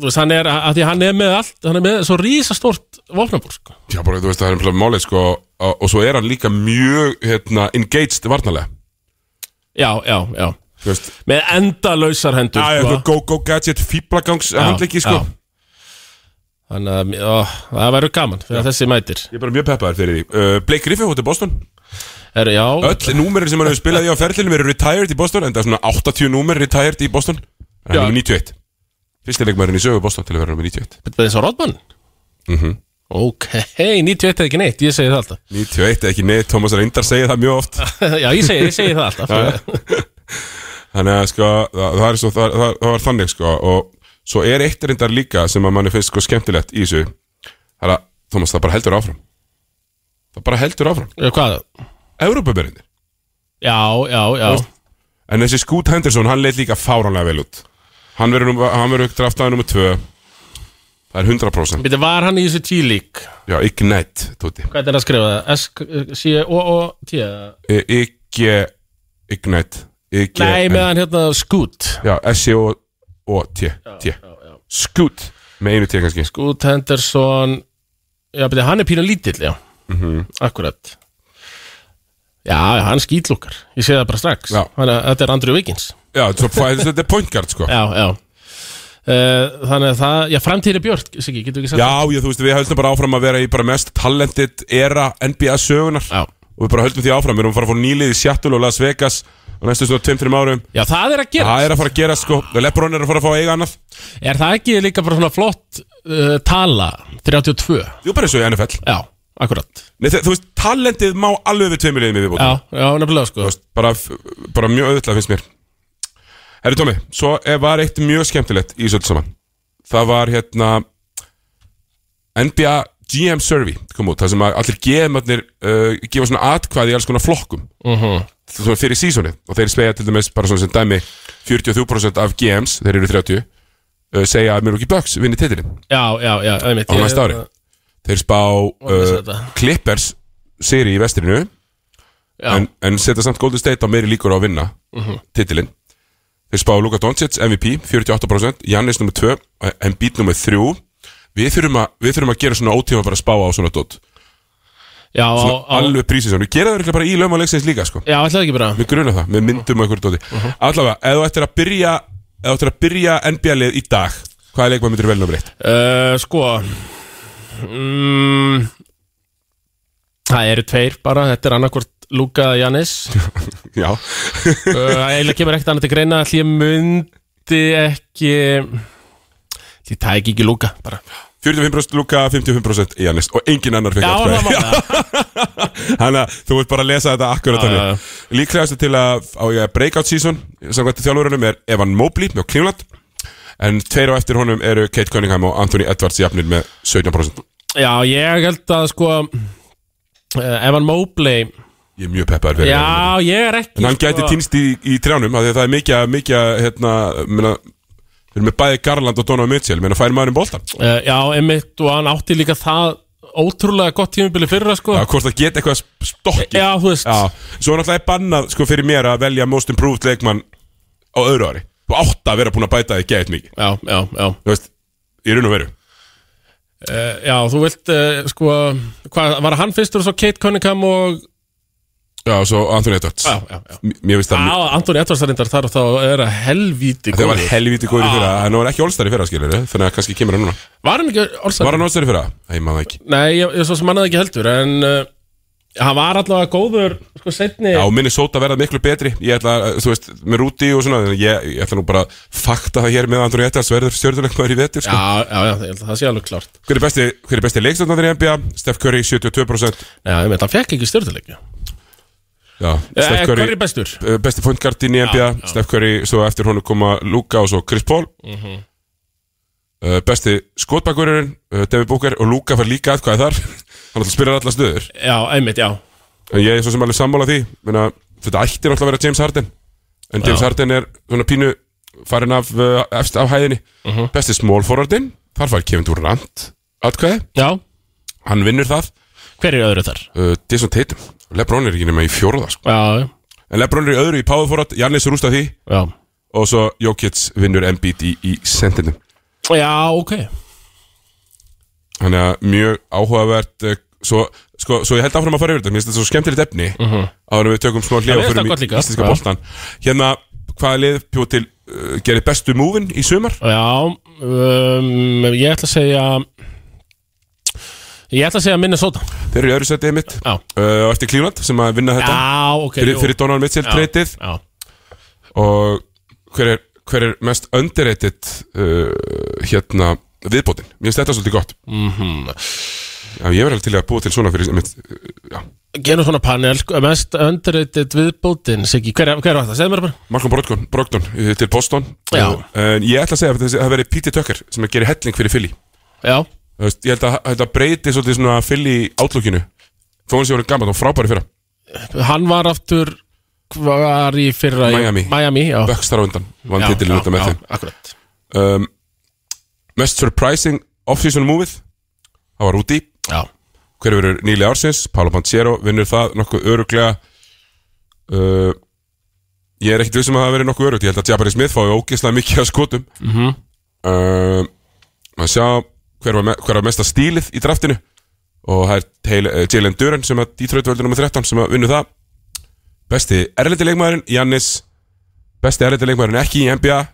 Þú veist, hann er, að því hann er með allt Hann er með svo rísastort vopnabúr sko. Já, bara þú veist, það er nefnilega málið sko, og, og svo er hann líka mjög hérna, engaged varnalega Já, já, já Þú veist, Með endalausar hendur já, já, sko. þú go-go-gadget fíblagangs handleiki sko. Þannig að ó, það verður gaman fyrir að þessi mætir Ég er bara mjög peppaður fyrir því uh, Blake Griffin, hótti Boston Heru, já, Öll númerin sem hann hefur spilað í á ferlinum eru retired í Boston En það er svona 80 númer retired í Boston En hann Já. er með 91 Fyrsti leikmærin í sögu Boston til að vera með 91 Það er svo Rodman Mhm. Ok, 91 er ekki neitt, ég segi það alltaf 91 er ekki neitt, Thomas Reindar segir það mjög oft Já, ég segi, ég segi það alltaf Þannig að sko, það, það, er svo, það, það, það var þannig sko Og svo er eitt reyndar líka sem að manni finnst sko skemmtilegt í þessu Það er að, Thomas, það bara heldur áfram Það bara heldur áfram Já, Hvað? Európaberinir Já, já, já En þessi Scoot Henderson, hann leit líka fáránlega vel út Hann verður númer- hann verður draftaði nummer 2 Það er 100% Býttu, var hann í þessu G-League? Já, Ignite, Tóti Hvernig er að skrifa það? S-C-O-O-T Ekki E, Ignite Ekki Nei, með hann hérna Scoot Já, S-C-O-T T Scoot Með einu T kannski Scoot Henderson Já, býttu, hann er pínu lítill, já Mhm. Akkurat Já, já, hann skýtlúkar Ég sé það bara strax Já. Þannig að þetta er Andrew Wiggins Já, svo, þetta er point guard sko Já, já Uh, þannig að það, já framtíðin er björt Siggi, getur við ekki sagt Já, ég, þú veist, við höldum bara áfram að vera í bara mest talented era NBA sögunar Já. og við bara höldum því áfram, við erum að fara að fá nýlið í Seattle og Las Vegas á næstu svona 2-3 árum já, það er að gera Það er að fara að gera sko, Lebron er að fara að fá að eiga annað Er það ekki líka bara svona flott uh, tala 32? Jú, bara eins og í NFL Já, akkurat Nei, þe- Þú veist, talentið má alveg við tveimur liðum í viðbúti Já, já nefnilega sko bara, bara mjög auðvitað finnst mér Herri Tómi, svo er- var eitt mjög skemmtilegt í þessu öllu saman Það var hérna NBA GM Survey kom út, það sem að allir GM-arnir uh, gefa svona atkvæði í alls konar flokkum uh -huh. fyrir sísonið og þeir spegja til dæmis bara svona sem dæmi 43% af GMs, þeir eru 30 uh, segja að Milwaukee Bucks vinni titilin Já, já, já, á einmitt næsta uh, ári Þeir spá missa uh, þetta. Clippers seri í vestrinu Já. Mhm. en, en setja samt Golden State á meiri líkur á að vinna uh titilin Þeir spá Luka Doncic MVP 48% Jannis nummer 2 eh, Embiid nummer 3 Við þurfum, að, við þurfum að gera svona ótíma bara að spá á svona dot Já, á, Svona á, alveg prísið svona Við gera það örugglega bara í lögum og leiksins líka sko já, ætlaði ekki bara Mér gruna það, mér myndum og einhverju doti Mhm. Allavega, ef þú ættir að byrja ef þú ættir að byrja NBA-lið í dag hvaða leikmann myndir vel nummer 1? uh, Sko mm, Það eru tveir bara Þetta er annarkvort Luka eða Jannis uh, Já, Eiginlega kemur ekkert annað til greina Því ég myndi ekki Því það ekki ekki Luka bara 45% Luka, 55% Janis og engin annar fekk Já, það atkvæði. var það Þannig að þú vilt bara lesa þetta akkurat Já, þannig já, Líklegast til að á ég að breakout season samkvæmt þjálfurunum er Evan Mobley með Cleveland en tveir á eftir honum eru Kate Cunningham og Anthony Edwards jafnir með 17% Já, ég held að sko uh, Evan Mobley Ég er mjög peppaður fyrir honum. Já, ég er ekki sko. En hann gæti týnst í, í trjánum af því að það er mikið, mikið hérna, meina, við erum með bæði Garland og Donovan Mitchell meina fær um maðurinn boltan Uh, já, einmitt og hann átti líka það ótrúlega gott tímubili fyrra sko Já, hvort það geti eitthvað stokki Já, þú veist Já, svo er náttúrulega bannað sko fyrir mér að velja most improved leikmann á öðru ári Þú átt að vera búin að bæta þig gæt mikið já, já, já. Þú veist, í raun og veru Uh, já þú vilt uh, sko hvað, var hann fyrstur og svo Kate Cunningham og Já, svo Anthony Edwards já, já, já. M- Mér finnst það Já, mjög Antoni Edvards reyndar þar og þá er að helvíti Það var góður. helviti góður í fyrra, en það var ekki allstar í fyrra skilur Þannig að kannski kemur hann núna Var hann ekki Var orðsætt? hann allstar í fyrra? Æ, maður ekki Nei, ég, ég svo sem mannaði ekki heldur en uh, hann var allavega góður sko setni Já, minni sóta verða miklu betri Ég ætla, að, þú veist, með rúti og svona þannig að ég, ég ætla nú bara að fakta það hér með að Anthony Edwards verður stjörnuleikmaður í vetur já, sko. já, já, ég held að það sé alveg klárt Hver er besti, hver er besti leikstöndanir í NBA? Steph Curry 72% Já, ég meint, hann fekk ekki stjórnuleikja Já, Steph Hver Curry er bestur? Uh, besti point guard í NBA Steph Curry, svo eftir honum koma Luka og svo Chris Paul uh, besti skotbakurinn uh, David Booker og Luka fær líka eitthvað þar hann alltaf spilar allar stöður Já, einmitt, já en ég er svo sem alveg sammála því Meina, þetta ætti náttúrulega að vera James Harden en James Harden er svona pínu farin af, uh, efst af hæðinni besti small forwardin, þar fær Kevin Durant atkvæði, Já, hann vinnur það hver er í öðru þar? uh, Jason Tatum, Lebron er ekki nema í fjóruða sko. Já, en Lebron er í öðru í power forward, Jannis rústa því já og svo Jokic vinnur Embiid í, í sendinum Já, ok þannig að mjög áhugavert eh, svo, sko, svo ég held áfram að fara yfir þetta mér finnst þetta svo skemmtilegt efni uh -huh. áður en við tökum smá Já, hljá mér finnst Mhm. það gott líka. íslenska Já. boltan hérna, hvaða lið bjóð til uh, gerir bestu múvin í sumar Já, um, ég ætla að segja Ég ætla að segja Minnesota þeir eru í öðru setið mitt Já, uh, og eftir Cleveland sem að vinna þetta já ok fyrir, jú. fyrir Donovan Mitchell Já, treytið Já, og hver er, hver er mest underrated uh, hérna viðbótin, mér finnst þetta svolítið gott Mhm. já, ég verður til að búa til svona fyrir mitt, já, genum svona panel sko, Mest underrated viðbótin Siggi, hver, hver var það? Segðu mér bara Malcolm Brogdon, Brogdon eh, til Boston Já. En ég ætla að segja að þessi- það veri Píti Tökker sem er gerir helling fyrir Philly Já, Þú veist, Ég held að þetta breyti svolítið svona Philly átlokinu Þó hann sé voru gaman og frábæri fyrra hann var aftur var í fyrra í- Miami. Miami já. Bökstar á undan, vann Já, titilin já, út af með já, þeim akkurat. um, Mest surprising off-season movie Það var Rúti Já. Hver verður nýli ársins? Paolo Panciero vinnur það nokkuð öruglega uh, Ég er ekkit vissum að það verið nokkuð örugt Ég held að Jabari Smith fái ógislega mikið að skotum mm -hmm. uh, Að sjá hver var, me hver var mesta stílið í draftinu Og það er Taylor- eh, Jalen Duren sem að Detroit völdur nr. 13 sem að vinnur það Besti erlendileikmaðurinn Jannis Besti erlendileikmaðurinn ekki í NBA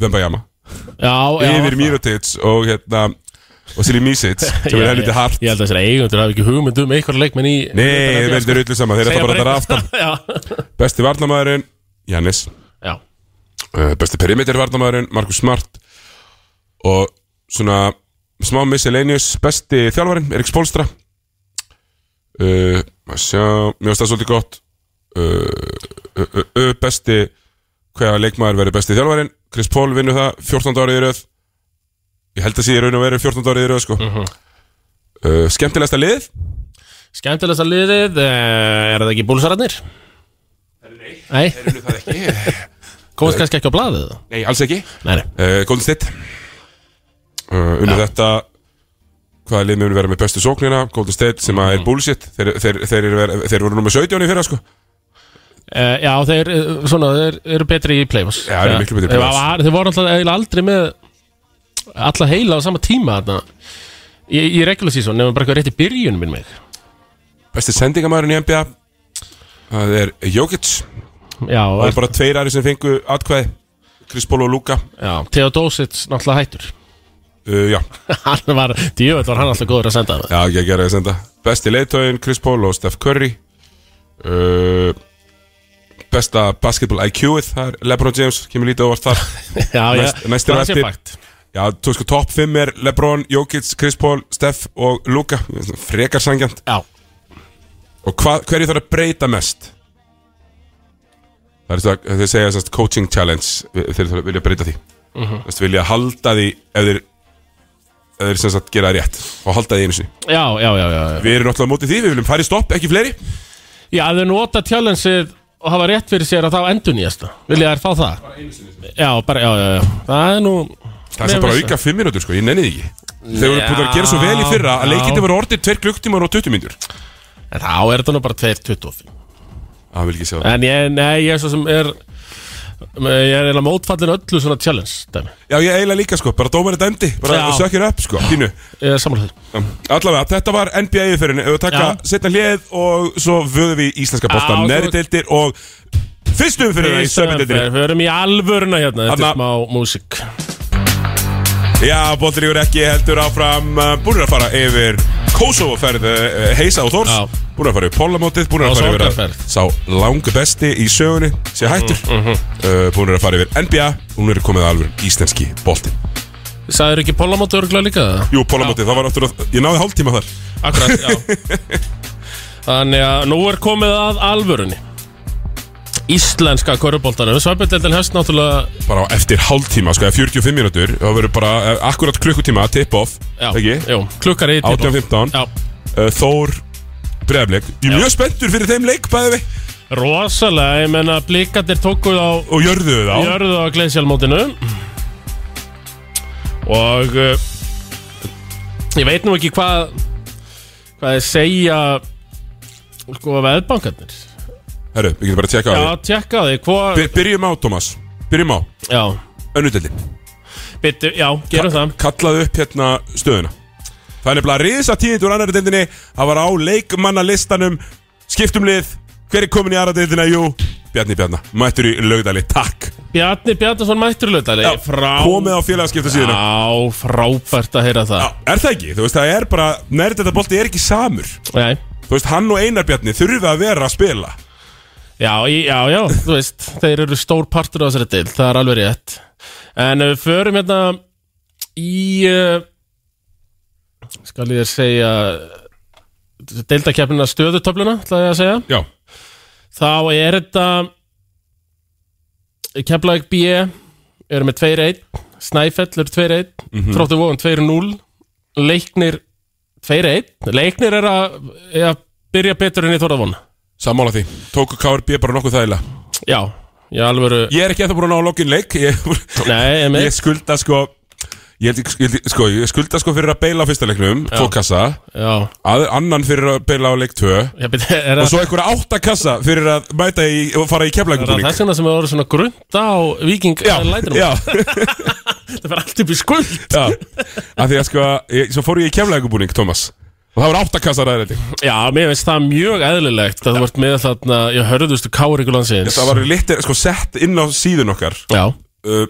Vembayama Já, já, yfir það. Mirotic og hérna og Sili Misic sem Ég- er helviti hart Ég held að þessir eigendur hafi ekki hugmynd um einhverja leikmenn í Nei, þeir verður rullu saman, þeir ætla sko. bara þar aftan aftan Besti varnamæðurinn, Jannis Já, uh, Besti perimeter varnamæðurinn, Markus Smart og svona smá miscellaneous, besti þjálfarinn Erik Spolstra uh, að sjá, mér finnst það svolítið gott uh, uh, uh, uh, besti hvaða leikmaður verður besti þjálfarinn Chris Paul vinnur það 14 árið í röð ég held að sé í raun og veru 14 árið í röð sko. uh, skemmtilegsta lið skemmtilegast að liðið eh, er það ekki búlsararnir? Nei, það ekki komast kannski ekki á blaðið Nei, alls ekki Nei, nei, uh, Golden State uh, Unnu þetta Hvaða lið mjög vera með bestu sóknina Golden State sem að er bullshit Þeir, þeir, þeir, eru vera- þeir voru nummer 17 í fyrra sko Eh, Já, þeir, eh, svona, þeir eru betri í play-offs Já, þeir eru miklu betri í Þeir playoffs. var- Þeir voru alltaf eiginlega aldrei með alla heila á sama tíma þarna Í, í regular season, nefnum bara eitthvað rétt í byrjun minn mig Besti sendingamæðurinn í NBA Það er Jokic Það Já, er, er bara tveir aðri sem fengu atkvæði Chris Paul og Luka já Theodosic náttúrulega hættur uh, Já, Hann var, djöfell var hann alltaf góður að senda það já ég gerði að senda Besti leiðtögin Chris Paul og Steph Curry uh, Besta basketball IQ-ið Það er LeBron James, kemur lítið ávart þar Já, já, Næst- næstir það á sé eftir. fakt. Já, þú veist sko, topp 5 er Lebron, Jokic, Chris Paul, Steph og Luka Frekar sangjant Já, Og hva, hverju þarf að breyta mest? Það er það, þeir segja þessast coaching challenge Þeir þarf að vilja breyta því Þú veist, vilja halda því ef þeir ef þeir sem sagt gera það rétt Og halda því einu sinni já, já, já, já, já. Við erum náttúrulega á móti því, við viljum fara í stopp, ekki fleiri Já, ef þau nota challengeið og hafa rétt fyrir sér að þá endur nýjasta Vilja þær fá það? Já, bara, já, já, já Það er nú Það er sem bara auka 5 minútur sko, ég nenni því ekki Þeir voru búin að gera svo vel í fyrra að Já. leikindi voru orðið 2 klukktímar og 20 mínútur En þá er þetta nú bara 2.25 Það Ah, vil ekki segja það En ég, nei, ég er svo sem er Ég er eiginlega mótfallin öllu svona challenge dæmi. Já, ég eiginlega líka sko, bara dómarinn dæmdi Bara Já. sökir upp sko, pínu Ég er sammála því Já, Allavega, þetta var NBA yfirferðin Við taka Já. setna hlið og svo vöðum við íslenska bósta Já, Næri svo- deildir og fyrstu umferðina í sömu deildir Við höfum í alvöruna hérna Þetta Þarna- er smá músík Já, bóttilegur ekki heldur áfram uh, Búin að fara yfir Kosovo-ferð uh, Heisa og Þórs Já. Búin að fara yfir Pólamótið Búin Og að fara yfir að- sorgarferð. Mm, mhm. Sá langu besti í sögunni Sér hættur uh, Búin að fara yfir NBA Hún er komið að alveg íslenski bólti Sæður ekki Pólamóti örgulega líka það? Jú, Pólamótið, það var aftur að Ég náði hálftíma þar Akkurat, já Þannig að nú er komið að alvörunni Íslenska körubóltanum Sveppeldildin hefst náttúrulega Bara á eftir hálftíma, sko, eða 45 mínútur Það verður bara uh, akkurat klukkutíma tip-off Já, Ekki? jú, klukkar í 18-15 Já, uh, Þór Breiðablik Ég er Já. mjög spenntur fyrir þeim leik bæði við rosalega, ég menna blikarnir tókuð á Og jörðuðu þá jörðu á gleðsjálfmótinu og uh, ég veit nú ekki hvað hvað þið segja sko veðbankarnir Herru, við getum bara að tjekka á Já, því tjekka því, hvað By- Byrjum á, Tómas Byrjum á Já, Önnudeldin bitu, já, gerum það Kallaðu upp hérna stöðuna Það er nefnilega risa tíðindur annari deildinni Það var á leikmannalistanum Skiptum lið Hver er komin í aðra deildina? Jú Bjarni Bjarna Mættur í laugdali Takk Bjarni Bjarnason mættur lögdali frá Komið á félagaskipta síðuna Já, frábært að heyra það Er það ekki? Þú veist, það er bara Nærið þetta bolti er ekki samur Já, Þú veist, hann og Einar Bjarni þurfa að vera að spila Já, í- já, já, þú veist Þeir eru stór partur á þessari deil, það er alveg rétt En ef við förum hérna í uh, Skal ég þér segja Deildakeppnina stöðutöfluna, ætlaði ég að segja Já Þá er þetta Keflavík B E, eru með 2-1 Snæfell eru 2-1 Þróttu vóðum 2-0 Leiknir 2-1 Leiknir er að, er að byrja betur enn í Þórðavon Sammála því, tóku KRB bara nokkuð þægilega Já, ég alvöru Ég er ekki eftir búin að ná að lokin leik Ég, Nei, ég ég skulda sko ég, held ég- ég, held ég- sko ég skulda sko fyrir að beila á fyrsta leiknum, tvo kassa Já, að, Annan fyrir að beila á leik 2 ég byrja, Og er það svo einhverja átta kassa fyrir að mæta í, og fara í er það keflækubúning þess vegna sem við vorum svona grunda á viking Já, lætinum? já, Þetta fyrir allt upp í skuld já Af því að sko, ég, svo fór ég í keflækubúning, Thomas Og það var átta kassa ræðrætti Já, mér finnst það mjög eðlilegt að þú vart með þarna, ég hörðustu káringu landsins Það var litir, sko, sett inn á síðun okkar Já, uh,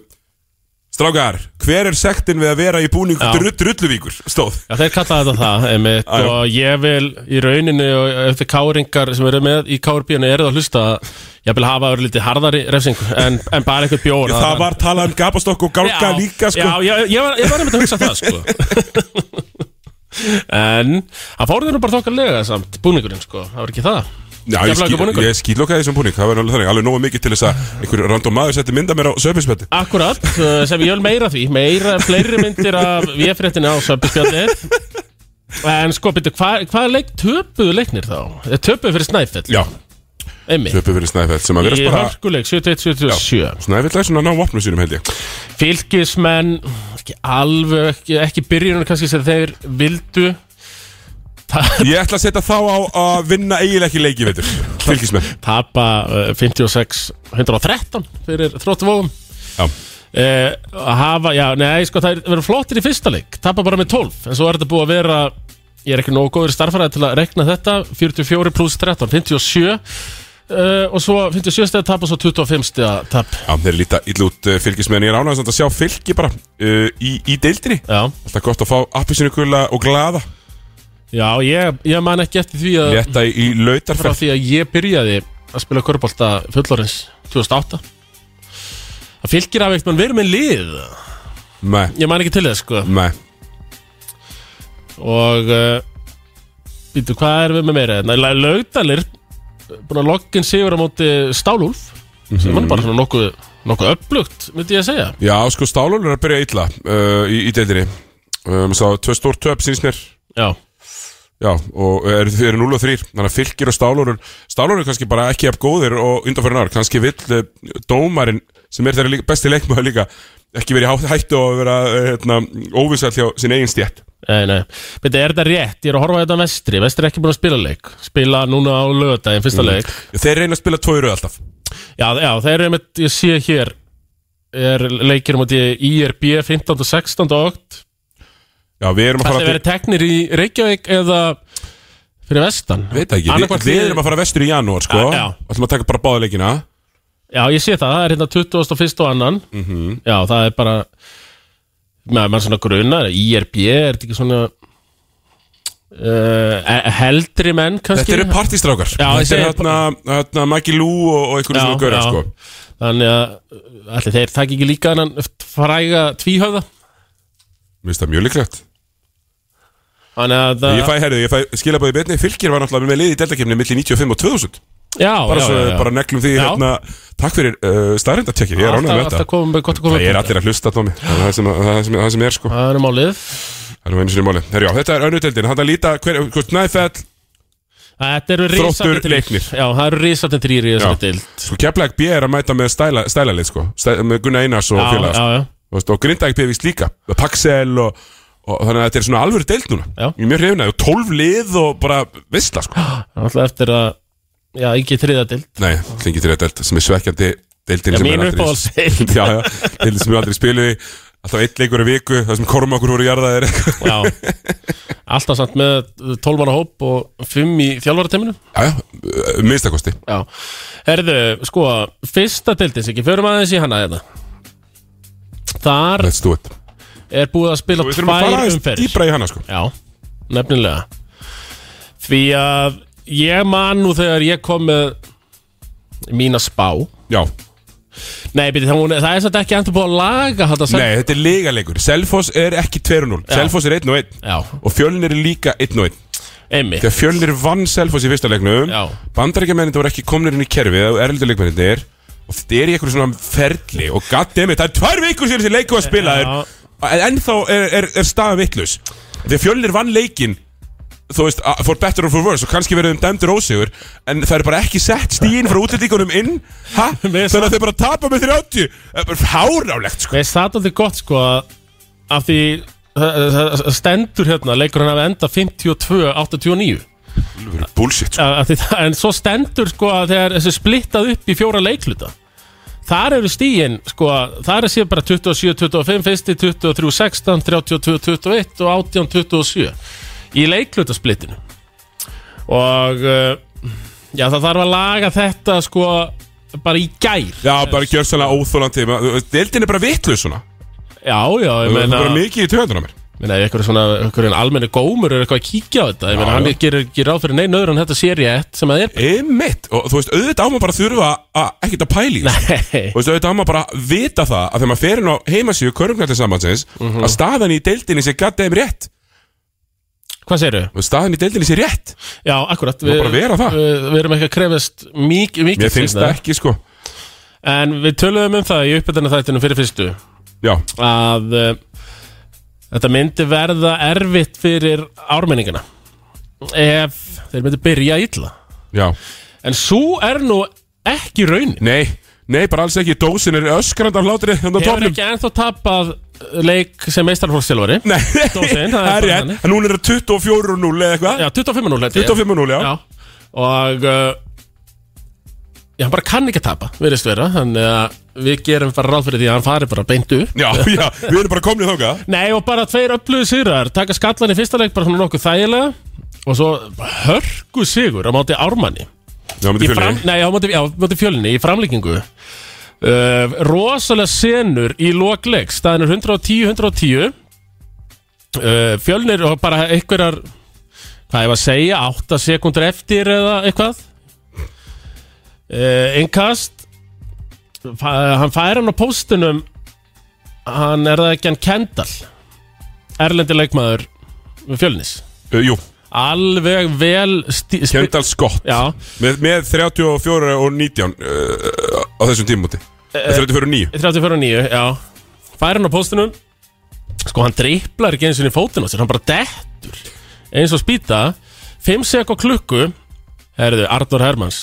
Strákar, hver er sektin við að vera í búningu Já. drull, drulluvíkur? Stóð já þeir kallaði þetta það einmitt, Já, já. og ég vil í rauninni og ef þið káringar sem eru með í kárbíðinu eru að hlusta ég vil hafa verið litið harðari refsingu en, en bara eitthvað bjór Það var talað um gapastokk og gálka Já, líka sko. Já, já, ég var, ég var einmitt að hugsa það sko En hann fór þeir nú bara þokkalega samt búningurinn sko, það var ekki það Já, ég, Keflavíkur skil, búningur. ég skýtlokaði þessum búning Það var alveg þannig, alveg nógu mikið til þess að einhver random maður setti mynda mér á söpinsbætti Akkurat, uh, sem ég vil meira af því meira, fleiri myndir af VF-réttinu á Söpbjörnir En sko, byrju, hva, hvaða leik töpuðu leiknir þá? Þeir Töpuðu fyrir Snæfell, Já, einmitt söpum fyrir Snæfell sem að Í vera bara hörkuleik 71-77 Snæfell er svona að ná vopnum sínum held ég Fylgismenn, ekki alveg ekki, ekki byrjunum kannski sem þeir vildu Ég ætla að setja þá á að vinna eiginlega ekki leiki veitur Fylgismenn tapa uh, 56-113 fyrir þróttvóðum Já. Eh, að hafa, já, nei, sko, það verður flottir í fyrsta leik Tapa bara með 12 En svo er þetta búið að vera Ég er ekki nógu góður starfræði til að rekna þetta 44 pluss 13, 57 uh, Og svo 57 stið tapa Svo 25 stið að tap Já, þeir líta ill út uh, fylgismenn Ég er ánægðan að sjá fylgi bara uh, í, í deildinni Já, Alltaf gott að fá appisinu gula og glaða já ég, ég man ekki eftir því að Létta í, í Frá lautarferð því að ég byrjaði að spila körbólta fullorins 2008 Það fylgir af eitt mann verið með lið Nei, Ég man ekki til þess, sko nei og uh, býtu, hvað erum við með meira hérna? Laugdalir búin að loggin sigur á móti Stálúlf sem er bara Mhm. svona nokkuð nokkuð upplugt, myndi ég að segja Já, sko, Stálólur er að byrja illa uh, í, í deildinni um, Sá, tvö stór töp síns mér já, Já, og eru er 0 og 3 Þannig að fylgir og stálórun Stálórun er kannski bara ekki af góðir og undanfærin ár Kannski vill uh, dómarinn sem er þeirra líka, besti leikmaður líka ekki verið hátt hættu og vera eh, hérna, óvissall hjá sinni eigin stjætt nei, nei býtu, er þetta rétt, ég er að horfa þetta vestri vestri er ekki búin að spila leik, spila núna á lögadaginn fyrsta Mhm. leik, Þeir reyna að spila tvö í röð alltaf já, já, þeir eru með ég sé hér, er leikir á móti IRB 15. og 16. og 8 Já, við erum að það fara er verið teknir í Reykjavík eða fyrir vestan Veit það ekki, við, Annaðhvort við lið- erum að fara vestur í janúar sko Já, já. Ætlum að taka bara báða leikina Já, ég sé það, það er hérna 21. og annan Mhm. Já, það er bara maður maður svona grunar IRB, er þetta ekki svona uh, e- heldri menn kannski Þetta eru partistrákar Já, ég Þetta segi- er hérna, hérna Maggi Lú og, og einhverjum svona gaurar sko Þannig að allir þeir takk ekki líka hennan fræga tvíhöfða Mér finnst það mjög líklegt Þannig að Ég fæ, herrðu, ég fæ skilabæði betni Fylgir var náttúrulega með liði í deltakefni milli 95 og 2000 já, bara, já, svo, já, já. bara neglum því Já. hérna, takk fyrir uh, staðrindatjekkið, ég er ánægð með alltaf, alltaf þetta komum, gott að koma það er allir að hlusta Tómi það er það sem, það er sem, það sem er sko Það er málið það er nú einu sinni máli Herjá, þetta er önnudeldin, hann að líta hver, hver, snæfell, Þetta eru Þróttur, risarnir þrír. Leiknir. Já, það eru risarnir þrýr í þessari Já. dild sko Keflæk B er að mæta með stæla, stælalið sko Stæ, með Gunnar Einars og Já, félags já, já Þú veist, og Grindavík B vist líka, Paxel og, og þannig að þetta er svona alvöru deild núna Já. ég er mjög hrifin að og 12 lið og bara vissla sko, Alltaf eftir að, já, ekki þriða dild nei, klingi til þetta deild sem er svekkjandi deildin Já, sem er mín aldrei- uppáhaldsdeild. já, já, deildin sem við aldrei spilum í alltaf eitt leikur í viku, það sem kormakur voru jarðaðir eitthvað Já, alltaf samt með 12 manna hóp og 5 í þjálfarateiminu Já, já, minnstakosti Já, herðu, sko fyrsta deildins ekki, förum aðeins í hana hérna. þetta Þar Let's do it er búið að spila Og við þurfum að fara tvær aðeins umferðir dýpra í hana sko Já, nefnilega Því að ég man nú þegar ég kom með mína spá Já, Nei, byrja, það, hún- það er satt ekki endur búið að laga þetta sem- nei, þetta er legaleikur Selfoss er ekki 2-0 Já. Selfoss er 1-1 Já, Og fjölnir er líka 1-1 einmitt Þegar fjölnir vann Selfoss í fyrsta leiknum Já. Bandarækjamennin voru ekki komnir inn í kerfið Og erlenduleikmenninir Og þetta er í einhverju svona ferli Og goddammit, það er tvær vikur sér þessi leiku að spila Já. En ennþá er, er, er staða vittlaus Þegar fjölnir vann leikin þú veist, a- for better or for worse og kannski verðum dæmdur ósigur en það er bara ekki sett stíin frá útlendingunum inn ha? Við þannig að þeir bara tapa með 30 Það er bara hárálegt sko Mér finnst það aldrei gott sko að af því það það- það stendur hérna leikur hann að enda 52-89 Það er bullshit sko. Af- af því það- en svo stendur sko að þegar þessi splittað upp í fjóra leikluta þar eru stíin sko þar er sér bara 27-25 fyrsti 23-16, 32-21 og 18-27 í leikluta splittinu og uh, já það þarf að laga þetta sko bara í gær Já, bara gjör sannlega óþólandi Deildin er bara vitlu svona já já Það ég er meina bara mikið í töðunum mér Meina, ykkur svona, ykkur almenni gómur er eitthvað að kíkja á þetta Ég meina, Já, hann já. gerir ekki ráð fyrir neina öðru en þetta sé rétt sem að er Einmitt, og þú veist, auðvitað á maður bara að þurfa að ekkert að pæli Nei, og þú veist, auðvitað á maður bara að vita það að þegar maður fer inn á heimasíu körfnættisambandsins Mhm. að staðan í deildinni sé gætt eða rétt hvað segirðu? Þú veist, staðan í deildinni sé rétt Já, akkurat má bara vera það. Við, við erum ekki að krefast mikið mik Mér finnst það ekki, sko En við töluðum um það í uppbytana þættunum fyrir fyrstu Já, að uh, þetta myndi verða erfitt fyrir ármenningana ef þeir myndi byrja illa já En svo er nú ekki raunin Nei, nei, bara alls ekki, dósin er öskrand af hlátri hérna Þannig að Hefur topnum ekki ennþá tapað leik sem meistarfólkstilvari Nei, Dósin, það er það bara er rétt þannig. En núna er það 24.0 eða eitthvað Já, 25 núl 25.0, já. já. Og uh, Já, hann bara kann ekki að tapa Verðist vera Þannig að við gerum bara ráð fyrir því að hann fari bara beint upp Já, já, við erum bara komnið þóka Nei, og bara tveir upplöðu sigrar Taka skallan í fyrsta leik bara svona nokkuð þægilega Og svo hörku sigur á máti Ármanni Já, myndi Í fjölni Nei, á móti, já, á móti fjölni í framlíkingu uh, Rosalega senur í lokleik Staðan er 110-110 uh, Fjölnir og bara einhverjar Hvað ég var að segja, 8 sekundur eftir eða eitthvað uh, Innkast Fæ, Hann fær hann á póstunum Hann er það ekki hann Kendall Erlendi leikmaður Fjölnis Eh, Jú, Alveg vel stí, spi- Kendall Scott Já, Með, með 34 og 19 uh, á þessum tímúti Eh, uh, 34 og 9 34 og 9, já Fær hann á póstunum Sko, hann driplar ekki eins og í fótinn á sér Hann bara dettur Eins og spýta 5 sek á klukku Herðu, Arnur Hermans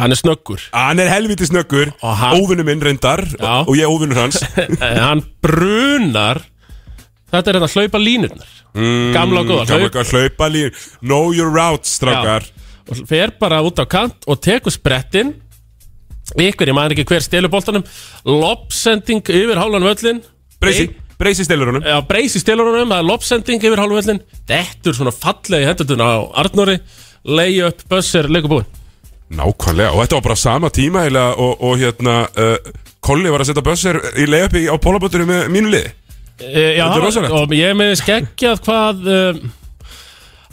Hann er snöggur Hann er helviti snöggur, Og hann- óvinnu minn reyndar Já. og ég óvinnu hans Eh, Hann brunar Þetta er þetta hlaupa línurnar Gamla og góða Mm, Gamla hlaup hvað hlaupa lín Know your routes, strákar Og fer bara út á kant og tekur sprettin Ykkur, ég maður ekki hver stelur boltanum Lopsending yfir hálfan völlin Breysi, breysi stelur honum Já, breys í stilurunum, það er lobsending yfir hálfvellin Dettur svona fallega í hendutuna á Arnóri Lay up, buzzer, leikur búinn Nákvæmlega, og þetta var bara sama tíma eiginlega, og, og hérna uh, Kolli var að setja bössir í leiðupi á pólabötunum með mínu liði e, Já, Þetta er rosalegt. og ég er með skeggjað hvað um,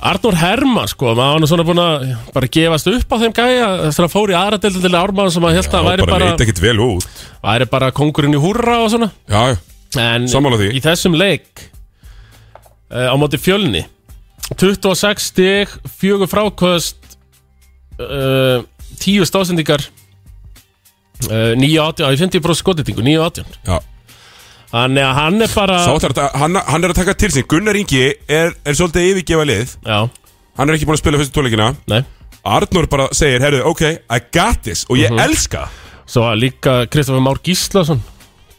Arnór Hermann, sko maður var nú svona búin að bara gefast upp á þeim gæja Þessar að fór í aðra deildi til ármann sem að held Það að væri bara, bara, leit ekkit vel út væri bara kongurinn í húrra og svona Já, En Sammála því. í þessum leik uh, á móti fjölni 26 stig, fjögur frákost uh, 10 stásendingar uh, 9-18, á, ég finnst ég bara skotitingu 9-18 já Þannig að hann er bara Sá þetta, hann, hann er að taka til sín Gunnar Ingi er, er svolítið yfirgefa lið Já, Hann er ekki búin að spila fyrstu tónleikina nei Arnur bara segir, herru, ok, I got this Og Mhm. ég elska það. Svo var líka Kristoffer Már Gíslason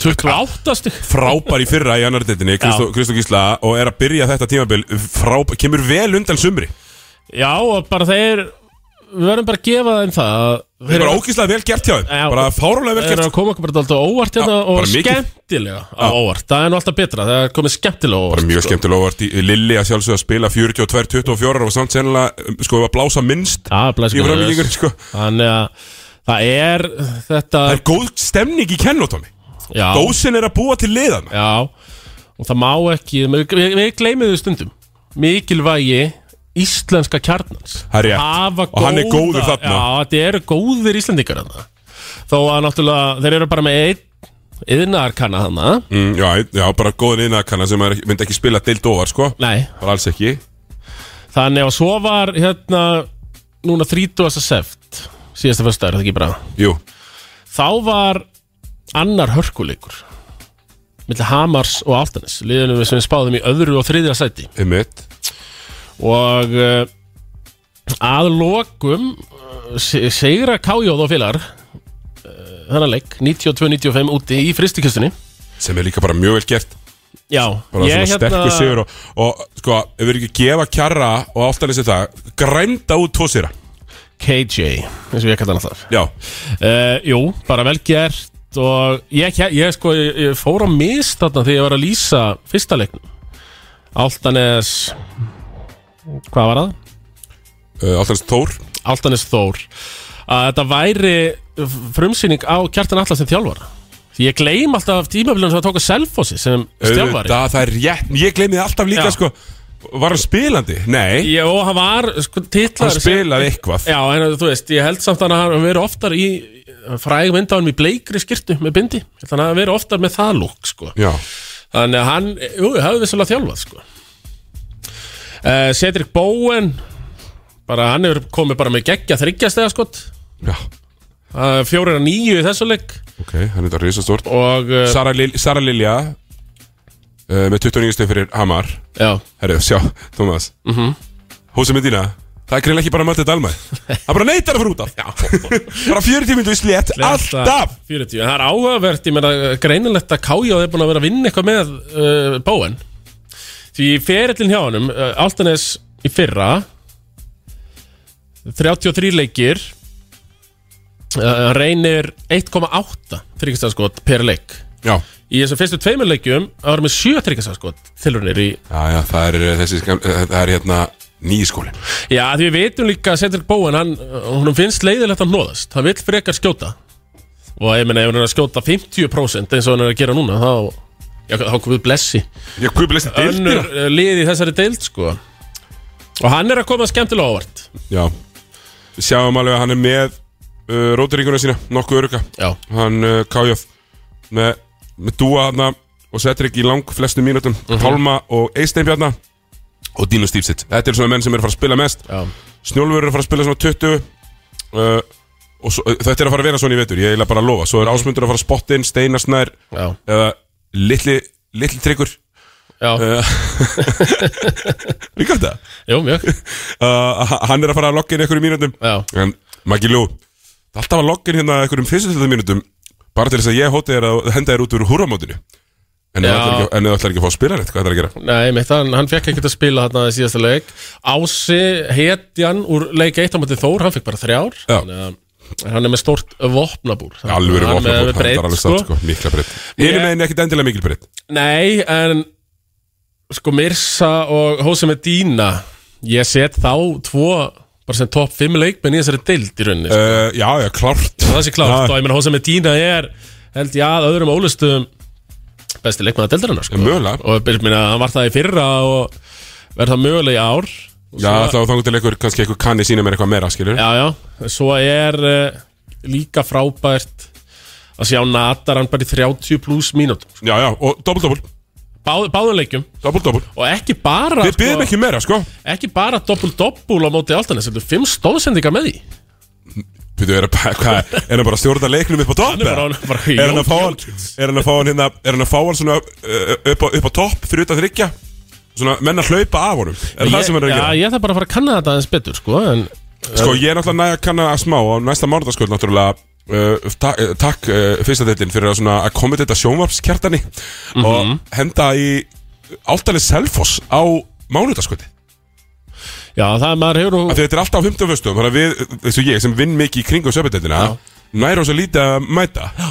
28 stig frábær í fyrra í annar deildinni Kristó Kristó Gísla og er að byrja þetta tímabil frábær, kemur vel undan sumri Já, og bara þeir Við verðum bara að gefa þeim það að Það er þeir- bara ógíslað vel gert hjá þeim Já. Bara fárálega vel Það er gert að koma okkur bara dálítið á óvart hérna Já, og bara mikið. skemmtilega á óvart. Það er nú alltaf betra, það er komið skemmtilega á Bara óvart. mjög skemmtilega óvart í Lilli að sjálfsögða að spila 42-24 og samt sennilega um, sko að blása minnst Það er í framlíkingur blæskulega. sko. Þannig að það er þetta... Það er góð stemning í kennotómi já, Góðsinn er að búa til liðan já, og það má ekki, við, við- við gleymið þau stundum, mikilvægi íslenska kjarnans. Það er rétt. Hafa Og hann er góður góða- þarna. Já, þetta eru góðir íslendingar þarna. Þó að náttúrulega, þeir eru bara með einn, yðnarkanna þarna. mm, já, já, bara góðin innakana sem maður myndi ekki spila deild óvar sko. Nei, Bara alls ekki Þannig að svo var hérna núna 30. seft síðasta föstudagur, er það ekki bara Jú, þá var annar hörkuleikur millir Hamars og Altanis liðunum við sem við spáðum í öðru og þriðja sæti einmitt og uh, að lokum uh, se- sigra Kájóð og félagar uh, þennan leik 92-95 úti í fristikistunni sem er líka bara mjög vel gert Já, bara svona hérna- sterkur sigur og, og sko, ef við ekki gefa kjarra og alltaf lýsir það, grænda út tvo sýra KJ, eins og ég kallar hann alltaf já, Uh, jú, bara vel gert og ég, ég, ég sko ég, ég fór á mist þarna þegar ég var að lýsa fyrsta leiknum Altanes hvað var það? uh, alltaf lýsir Þór Altanes Þór að þetta væri frumsýning á Kjartan Atlas sem þjálfara því ég gleym alltaf tímabilunum sem það tók að selfossi sem stjálfari auðvitað, það er rétt, ég gleymi það alltaf líka Já. sko, var hann spilandi? Nei, Jó, hann var sko hann titlar spilaði eitthvað Já, en þú veist, ég held samt að hann hafi verið oftar í fræg mynd á hann í bleikri skirtu með bindi, þannig að hann hafi verið oftar með það lúk sko já, Þannig að hann, jú, hafði vissulega þjálfað sko. uh, Cedric Bowen bara hann hefur komið bara með geggja þryggjastega skot já, uh, fjórir að nýju í þessu leik ok, hann er þetta risastórt og uh, Sara, Lil Sara Lilja uh, með 29 stið fyrir Hamar já, herru, sjá, Thomas mm Mhm. -hmm. Húsi Medina það er greinlega ekki bara Matti Dalmæ hann bara neytar að fara út af bara 40 minnum í slétt, alltaf 40, en það er áhugavert, ég meina greinilegt að Kája er búin að vera að vinna eitthvað með uh, Bowen því ferillin hjá honum, uh, Altanes í fyrra 33 leikir uh, reynir 1,8 þryggjastega per leik já, í þessum fyrstu tveimur leikjum að vera með sjö tryggjastaskot tilhörnir í já, já, það er eh, þessi, skam- eh, það er hérna nýskólin já því við vitum líka að Cedric Bowen hann, hún finnst leiðilegt að nóðast hann vil frekar skjóta og ég meina ef hann er að skjóta 50% eins og hann er að gera núna þá, já, þá komið blessi ég kupi lesti önnur deildir eh, lið í þessari deild sko og hann er að koma skemmtilega ávart já, við sjáum alveg að hann er með uh, rótiríkuna sína, nokkuð öruga já, hann uh, Kájóð með, með dúa hann og Cedric í lang flestum mínutum Mhm. Pálma og Eistein Bjarnar og Dino Stífsitt þetta eru svona menn sem eru að fara að spila mest já, Snjólfur er að fara að spila svona 20 uh, og svo, þetta er að fara að vera svona í vetur ég eiginlega bara að lofa, svo er Ásmundur að fara að spotta inn Steinar Snær já, eða litli, litli tryggur já, uh, líka þetta jú, mjög uh, hann er að fara að logga inn einhverjum mínutum já, en Maggi Ljó það er alltaf að logga inn hérna einhverjum fyrstu til mínutum bara til þess að ég hóti þér að henda þér út úr húramótinu en þú Já. ætlar ekki- en þú ætlar ekki að fá að spila neitt hvað ætlar að gera Nei, mitt, hann, hann fekk ekkert að spila þarna í síðasta leik Ási, hetjan úr leik 1 á móti Þór, hann fekk bara þrjár Já. Þannig að hann er með stort vopnabúr Þannig að alveg verið hann er með vopnabótt, breidd, það er alveg satt sko, mikla breytt Ég- hinum meginn ekkit endilega mikil breytt sko. Nei, en sko Mirsa og Hósi Medina Ég set þá tvo bara sem topp 5 leikmenn í þessari dild í rauninni uh, uh, já, já, klárt Það sé Já. klárt og ég meina Hósi Medina er held ég að öðrum ólustum besti leikmenn að dildarinnar sko. Mögulega. Og ég meina, hann var það í fyrra og verð það mögulega í ár Já, þá þangur til einhver, kannski einhver kanni sína mér eitthvað meira, skilur Já, já, svo er uh, líka frábært að sjá Natar hann bara í 30 pluss mínútum já, já og dobbul, dobbul, Báð, Báðuleikjum dobbul, dobbul og ekki bara Við byrðum ekki meira, sko ekki bara doppul-doppul á móti Altanes þetta er fimm stóðsendinga með því Býtu, er, að- hvað, er hann bara að stjórna leiknum upp á topp? hann er bara, eða? hann Er hann er bara að fá hann, Jókic. er hann að fá hann hérna, er hann að fá hann svona uh, upp á, upp á topp fyrir utan þryggja? Svona menn að hlaupa af honum, er það sem hann er að Já, gera? ég þarf bara að fara að kanna þetta aðeins betur sko, en, Sko, ég er náttúrulega næg að kanna að smá á næsta mánudagskvöld náttúrulega Uh, ta uh, takk uh, fyrsta deildin fyrir að svona að koma þetta sjónvarpskjartani og henda í általið selfos á mánudaskvöldi Já, það er maður hefur Af og, því þetta er alltaf á 50 föstum Þannig að við, eins og ég sem vinn mikið í kringum söpindendina Nær á svo lítið að mæta að,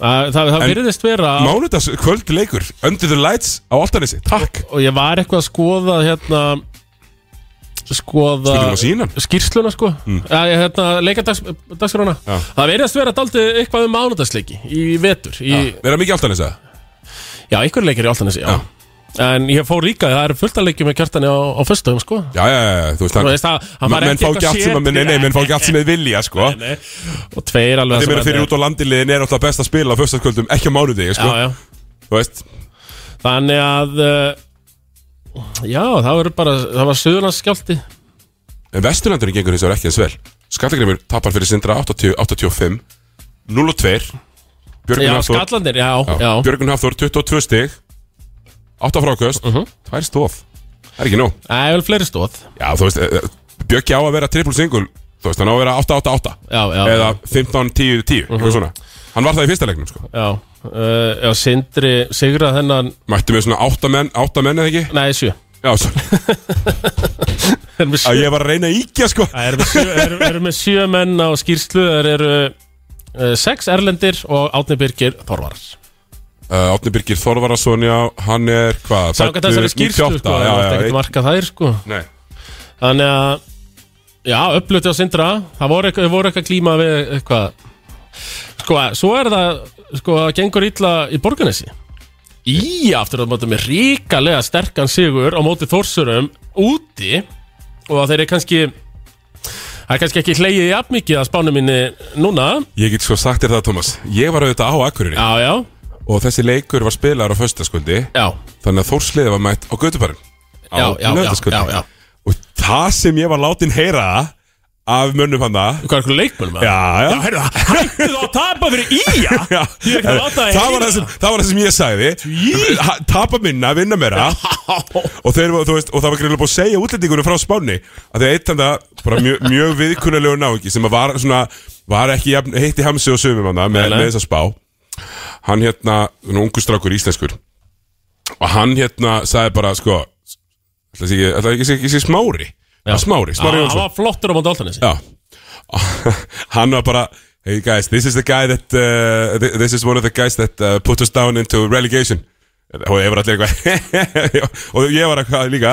það, það En- virðist vera Mánudags kvöldleikur Under the lights á Altanesi Takk og ég var eitthvað að skoða hérna skoða Spurningum á sínan. skýrsluna sko mm. hérna, leikadagsgrána Já. það verðast vera daldið eitthvað um mánudagsleiki í vetur í, já. Verða mikið Altanesi eða? einhver leikir í Altanesi já. Já. en ég fór líka, það eru fullt að leikjum með kjartani á, á föstum sko Já, já, já, já, þú veist Þú hann veist, það- hann var Men- Menn ekki fá eitthvað ekki allt sem að sér- Nei, nei, menn fá ekki allt sem þið vilja, sko Nei, nei. og tveir alveg Þeir sem meira hann fyrir er- út á landiliðin er alltaf best að spila á föstaskvöldum, ekki á mánudegi, sko já, já. Þú veist, þannig að uh, já, það var bara það var söðurlandsskjálti en Vesturlandurinn gengur hins vegar ekki eins vel Skallagrimur tapar fyrir Sindra 80, 85 0 og 2 Björgun já, Hafþór skallandir, já, já, Mhm. Já. Björgun Hafþór 22 stig 8 fráköst, 2 stof Það er ekki nóg Það er vel fleiri stóð Já, þú veist, eh, eh, Bjöggi á að vera triple single Þú veist, hann á að vera 8-8-8 Já, já, Mhm. Eða 15-10-10 eitthvað svona. Hann var það í fyrsta leiknum sko. Já, uh, já Sindri sigrað þennan Mættu með svona 8 menn, 8 menn eða ekki Nei, sjö Já, svo, Erum við að sjö, ég var að reyna að íkja sko. Æ, erum við sjö, erum, erum við sjö menn á skýrslu Það eru uh, sex erlendir og Átni Birgir Þorvar uh, Átni Birgir Þorvarasonja Hann er hvað? Sáka fæddur þessari skýrslu 98, sko, það já, er já, ekkert ein- marka þær sko Nei. Þannig að Já, upplöti á Sindra Það voru eitthvað, voru eitthvað klíma við eitthvað Sko, svo er það Sko, það gengur illa í borganessi Í aftur að móta með ríkalega sterkan sigur á móti Þórsurum úti og þeir eru kannski það er kannski ekki hleyið jafn mikið að spánu minni núna Ég get sko sagt þér það, Thomas Ég var auðvitað á Akureyri Já, já, Og þessi leikur var spilaður á föstaskvöldi já, Þannig að Þórsliði var mætt á Götubarinn já, já, já, já, já. Og það sem ég var látin heyra Af mönnum hann það Hvað er eitthvað leikmönnum að? Já, já, já heyrðu það, hættu þá að tapa fyrir Ía Já, Ég er ekki að láta það það var heyra. það, sem, það var það sem ég sagði Ha- Tapa minna, vinna meira og, þeir, voru, þú veist, og það var greinilega búið að segja útlendingunum frá spáni að þeir eitt hann það mjög, mjög viðkunnulegu náingi sem að var, svona, var ekki jafn, heitt í hamsi og sömum hann með, Nei, nei. með þess að spá hann hérna, svona ungu strákur íslenskur og hann hérna sagði bara sko ætla ekki, ætla ekki, ekki, ekki smári Já. smári, smári Já, hann Jónsson var flottur á móti Áltanesi Já Hann var bara Hey guys, this is the guy that uh, thi- This is one of the guys that uh, put us down into relegation Og ég var allir eitthvað Og ég var eitthvað líka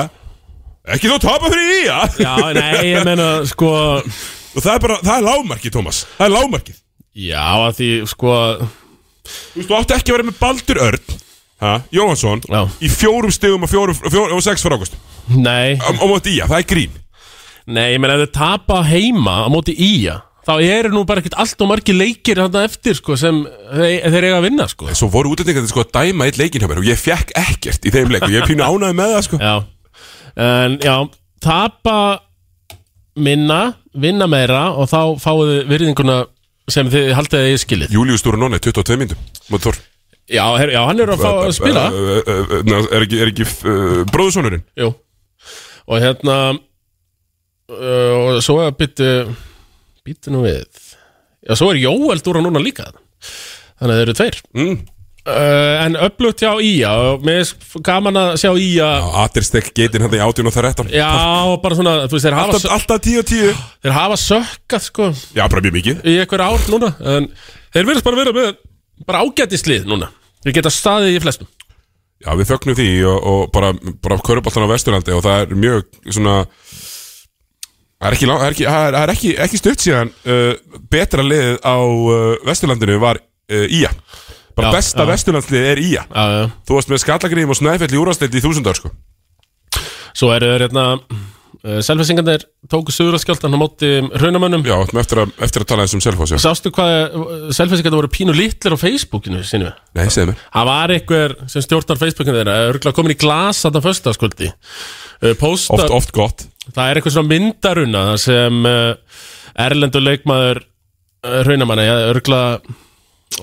Ekki þú tapa fyrir í, já Já, nei, ég meina, sko Og það er bara, það er lágmarkið, Thomas Það er lágmarkið Já, að því, sko Þú veist, þú átti ekki að vera með Baldur Örn ha, Jóhansson Já. Í fjórum stegum og, fjórum, fjórum, og sex fyrir águst Nei, Og móti í, já, það er grín nei, ég meina, ef þau tapa heima á móti Ía Þá eru nú bara ekkert allt og margir leikir þarna eftir, sko, sem þeir, þeir eiga að vinna, sko Svo voru útlendingar sko að dæma eitt leikinn hjá mér Og ég fekk ekkert í þeim leik Og ég er pínu ánæði með það, sko Já, en, já, tapa minna, vinna meira Og þá fáið þið virðinguna sem þið haldið að ég skilið Július Stúranóni, 22 myndum Móti Þór Já, her, já hann er að fá að spila Ö, ö, ö, ö, ná, Er ekki, er ekki uh, bróðsonurinn? Jú Og hérna uh, Og svo er byttu Byttu nú við Já, svo er Jóel dúra núna líka Þannig að þeir eru tveir Mm. uh, En upplutt hjá Ía og Mér er s- gaman að sjá Ía Já, Aterstek getinn hann í 18 og það 13 Já, og bara svona, þú veist, þeir hafa, Alltaf, sö- alltaf 10 og 10 þeir hafa sökkað sko, Já, bara mjög mikið í einhver ár núna En þeir verðast bara vera með bara ágætislið núna Þeir geta staðið í flestum Já, við fögnum því og, og bara, bara köruboltan á Vesturlandi og það er mjög svona Það er ekki, lang- það er ekki, það er- það er ekki, ekki stutt síðan uh, betra liðið á uh, Vesturlandinu var uh, Ía Bara Já, besta já. Vesturlandslið er Ía Já, já Þú varst með skallagrýðum og snæfell í úrvarsleild í þúsundar sko Svo eru þeir hérna uh, Selfessingarnir tóku suðuraskjáltan á móti raunamönnum Já, áttum eftir, að- eftir að tala eins um selfos Sástu hvað selfinsingandi voru pínu litlir á Facebookinu sinni við? Nei, segðu mér Það var einhver sem stjórnar Facebookinu þeirra, örgulega komin í glas þarna föstaskvöldi. Posta, Oft, oft gott það er eitthvað svona myndaruna þar sem uh, erlendur leikmaður uh, raunamanna, ja, örgulega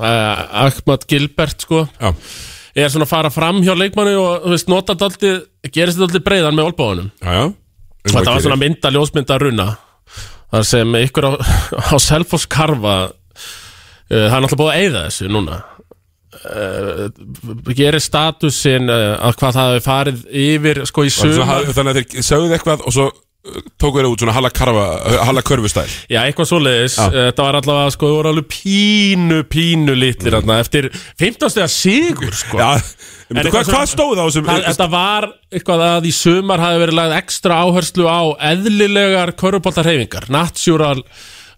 uh, Ahmad Gilbert sko, Já er svona að fara fram hjá leikmannu og þú veist, nota daldi, gerist þetta aldrei breiðan með olbáðunum. Já, já Og Þetta var svona mynda ljósmynda runa þar sem ykkur á, á Selfoss karfa uh, það er náttúrulega búið að eyða þessu núna uh, gerir statusin uh, að hvað það hefur farið yfir sko í Var suma svona- Þannig að þeir sögðu eitthvað og svo uh, tóku þeir út svona halla, karfa, uh, halla körfustæl já eitthvað svoleiðis uh, þetta var allavega sko, það voru alveg pínu pínu litlir mm. eftir 15 stegar sigur sko Já, um, En hvað, eitthvað hvað svona- stóð á þessum Það, þetta var eitthvað að í sumar hafi verið lagð ekstra áherslu á eðlilegar körubóltarhefingar, natural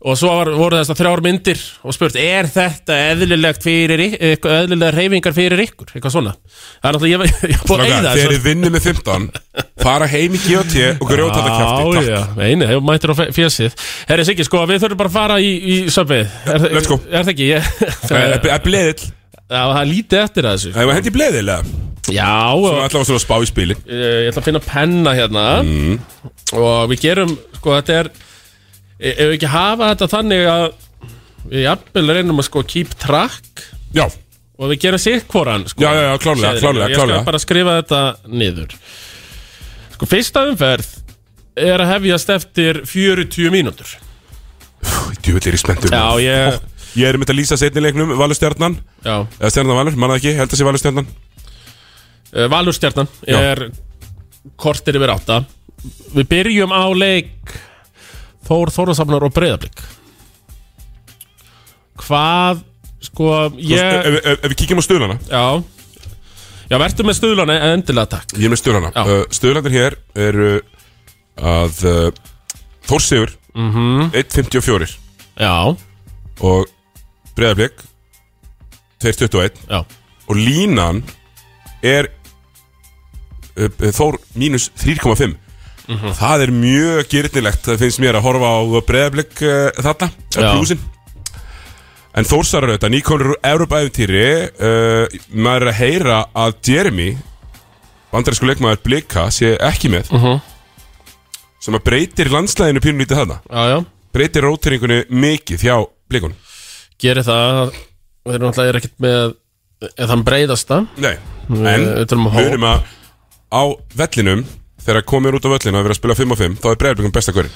og svo var, voru þess að þrjár myndir og spurt, er þetta eðlilegt fyrir, ykk- eitthvað eðlilegar hefingar fyrir ykkur eitthvað svona, það er náttúrulega ég, ég, ég búið að Strákar, eyða Þeir eru þessu vinnu með 15 fara heim í GOT og grjóta þetta kjafti Já, já, eini, það mættir á fe- fjesið Herri Siggi, sko, við þurfum bara að fara í, í söpvið let's go. Eh, Er það ekki? Ég, það, Það er bleðil já, það er lítið eftir að þessu Það Eh, var hendi bleðil eða? Já, og- Alltaf var svona að spá í spili Eh, ég ætla að finna penna hérna Mm. og við gerum sko þetta er e- ef við ekki hafa þetta þannig að við jafnvel reynum að sko keep track Já, og við gerum sitt hvoran sko, Já, já, já, klárlega, Seðilinn. klárlega, ég skal klárlega. bara skrifa þetta niður sko Sko, fyrsta umferð er að hefjast eftir 40 mínútur Djúvill er í spenntum Já, ég Ég er mynd að lýsa setni leiknum Valur Stjarnan já. Eða Stjarnan Valur, manna ekki, held að sé Valur Stjarnan Eh, Valurstjarnan Já. er kortir yfir átta Við byrjum á leik Þór Þórðarsafnar og Breiðablík Hvað Sko, Ef, ég ef, ef við kíkjum á stöðlana Já Já, verður með stuðlana eh, endilega takk Ég er með stöðlana Já. uh, Stöðlandir hér eru að uh, Þór Sigur -hmm. 1.54 Já, og Breiðarblik 2.21 já, og línan er uh, uh, Þór mínus 3.5 Mhm. Það er mjög gyrnilegt, það finnst mér að horfa á breyðablik uh, þarna, Já. pjúsin. En Þórsarar auðvitað, nýkonur úr Európa-æfintýri, uh, maður er að heyra að Jeremy, bandarísku leikmaður Blika, sé ekki með, Mhm. sem að breytir landslæðinu pínulítið þarna, já, já breytir róteringunni mikið hjá Blikunum. Gerir það Þeir eru náttúrulega ekkert með Eða þann breiðasta Nei, en Við þurfum að hó- munum að á vellinum þegar komir út á vellinu að vera að spila 5 og 5 þá er Breiðarbyggjum besta hverjum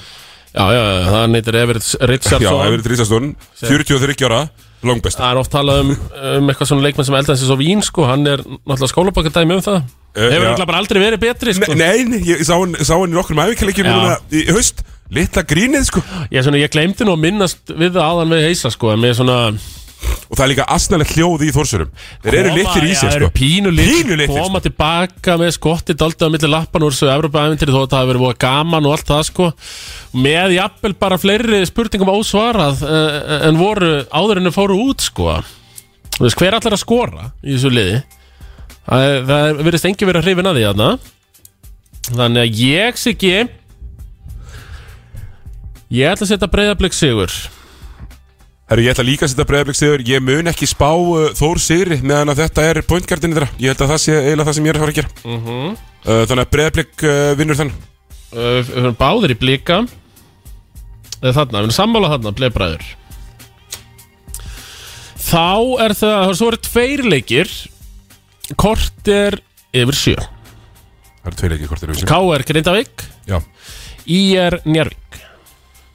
Já, já, já, það neytir Everett Já, Richardson Everett Rísastón, 43 ára langbesta Það er oft talað um, um eitthvað svona leikmenn sem eldast eins og Vín sko, hann er náttúrulega skólabakardæmi um það Hefur já. náttúrulega bara aldrei verið betri sko. Nei, nei, nei, ég sá hann, sá hann í nokkrum æfingarleikjum Já. núna í í haust litla grínið sko Ég, svona, ég glemdi nú að minnast við það áðan við heisa sko, en mér svona og það er líka asnalegt hljóð í þórsurum þeir eru Koma- litlir í Já, sér eru sko pínu litlir, Pínu litlir, sko. Koma tilbaka með skotti daldið á milli lappan úr þessu Evropaævintri þó að það hafi verið búið gaman og allt það sko Með jafnvel bara fleiri spurningum ósvarað eh, en voru áður en þau fóru út sko Þú veist, Hver allar að skora í þessu liði? Það, er- það er- virðist engi verið að hrifin að því þarna Þannig að ég sé ekki Ég ætla að setja breyðablík sigur Herru, ég ætla líka að setja Breiðarbygg sigur ég mun ekki spá uh, Þór sigri meðan að þetta er pointgardinu þeirra ég held að það sé eiginlega það sem ég er að fara að gera uh, Þannig að Breiðarbygg uh, vinnur þann Uh, Við erum báðir í blika Eða þarna, við erum sammála þarna, blebræður Þá er það, svo eru tveir leikir Kort er yfir sjö Það eru tveir leikir hvort þeir eru KR Grindavík Já IR Njárvík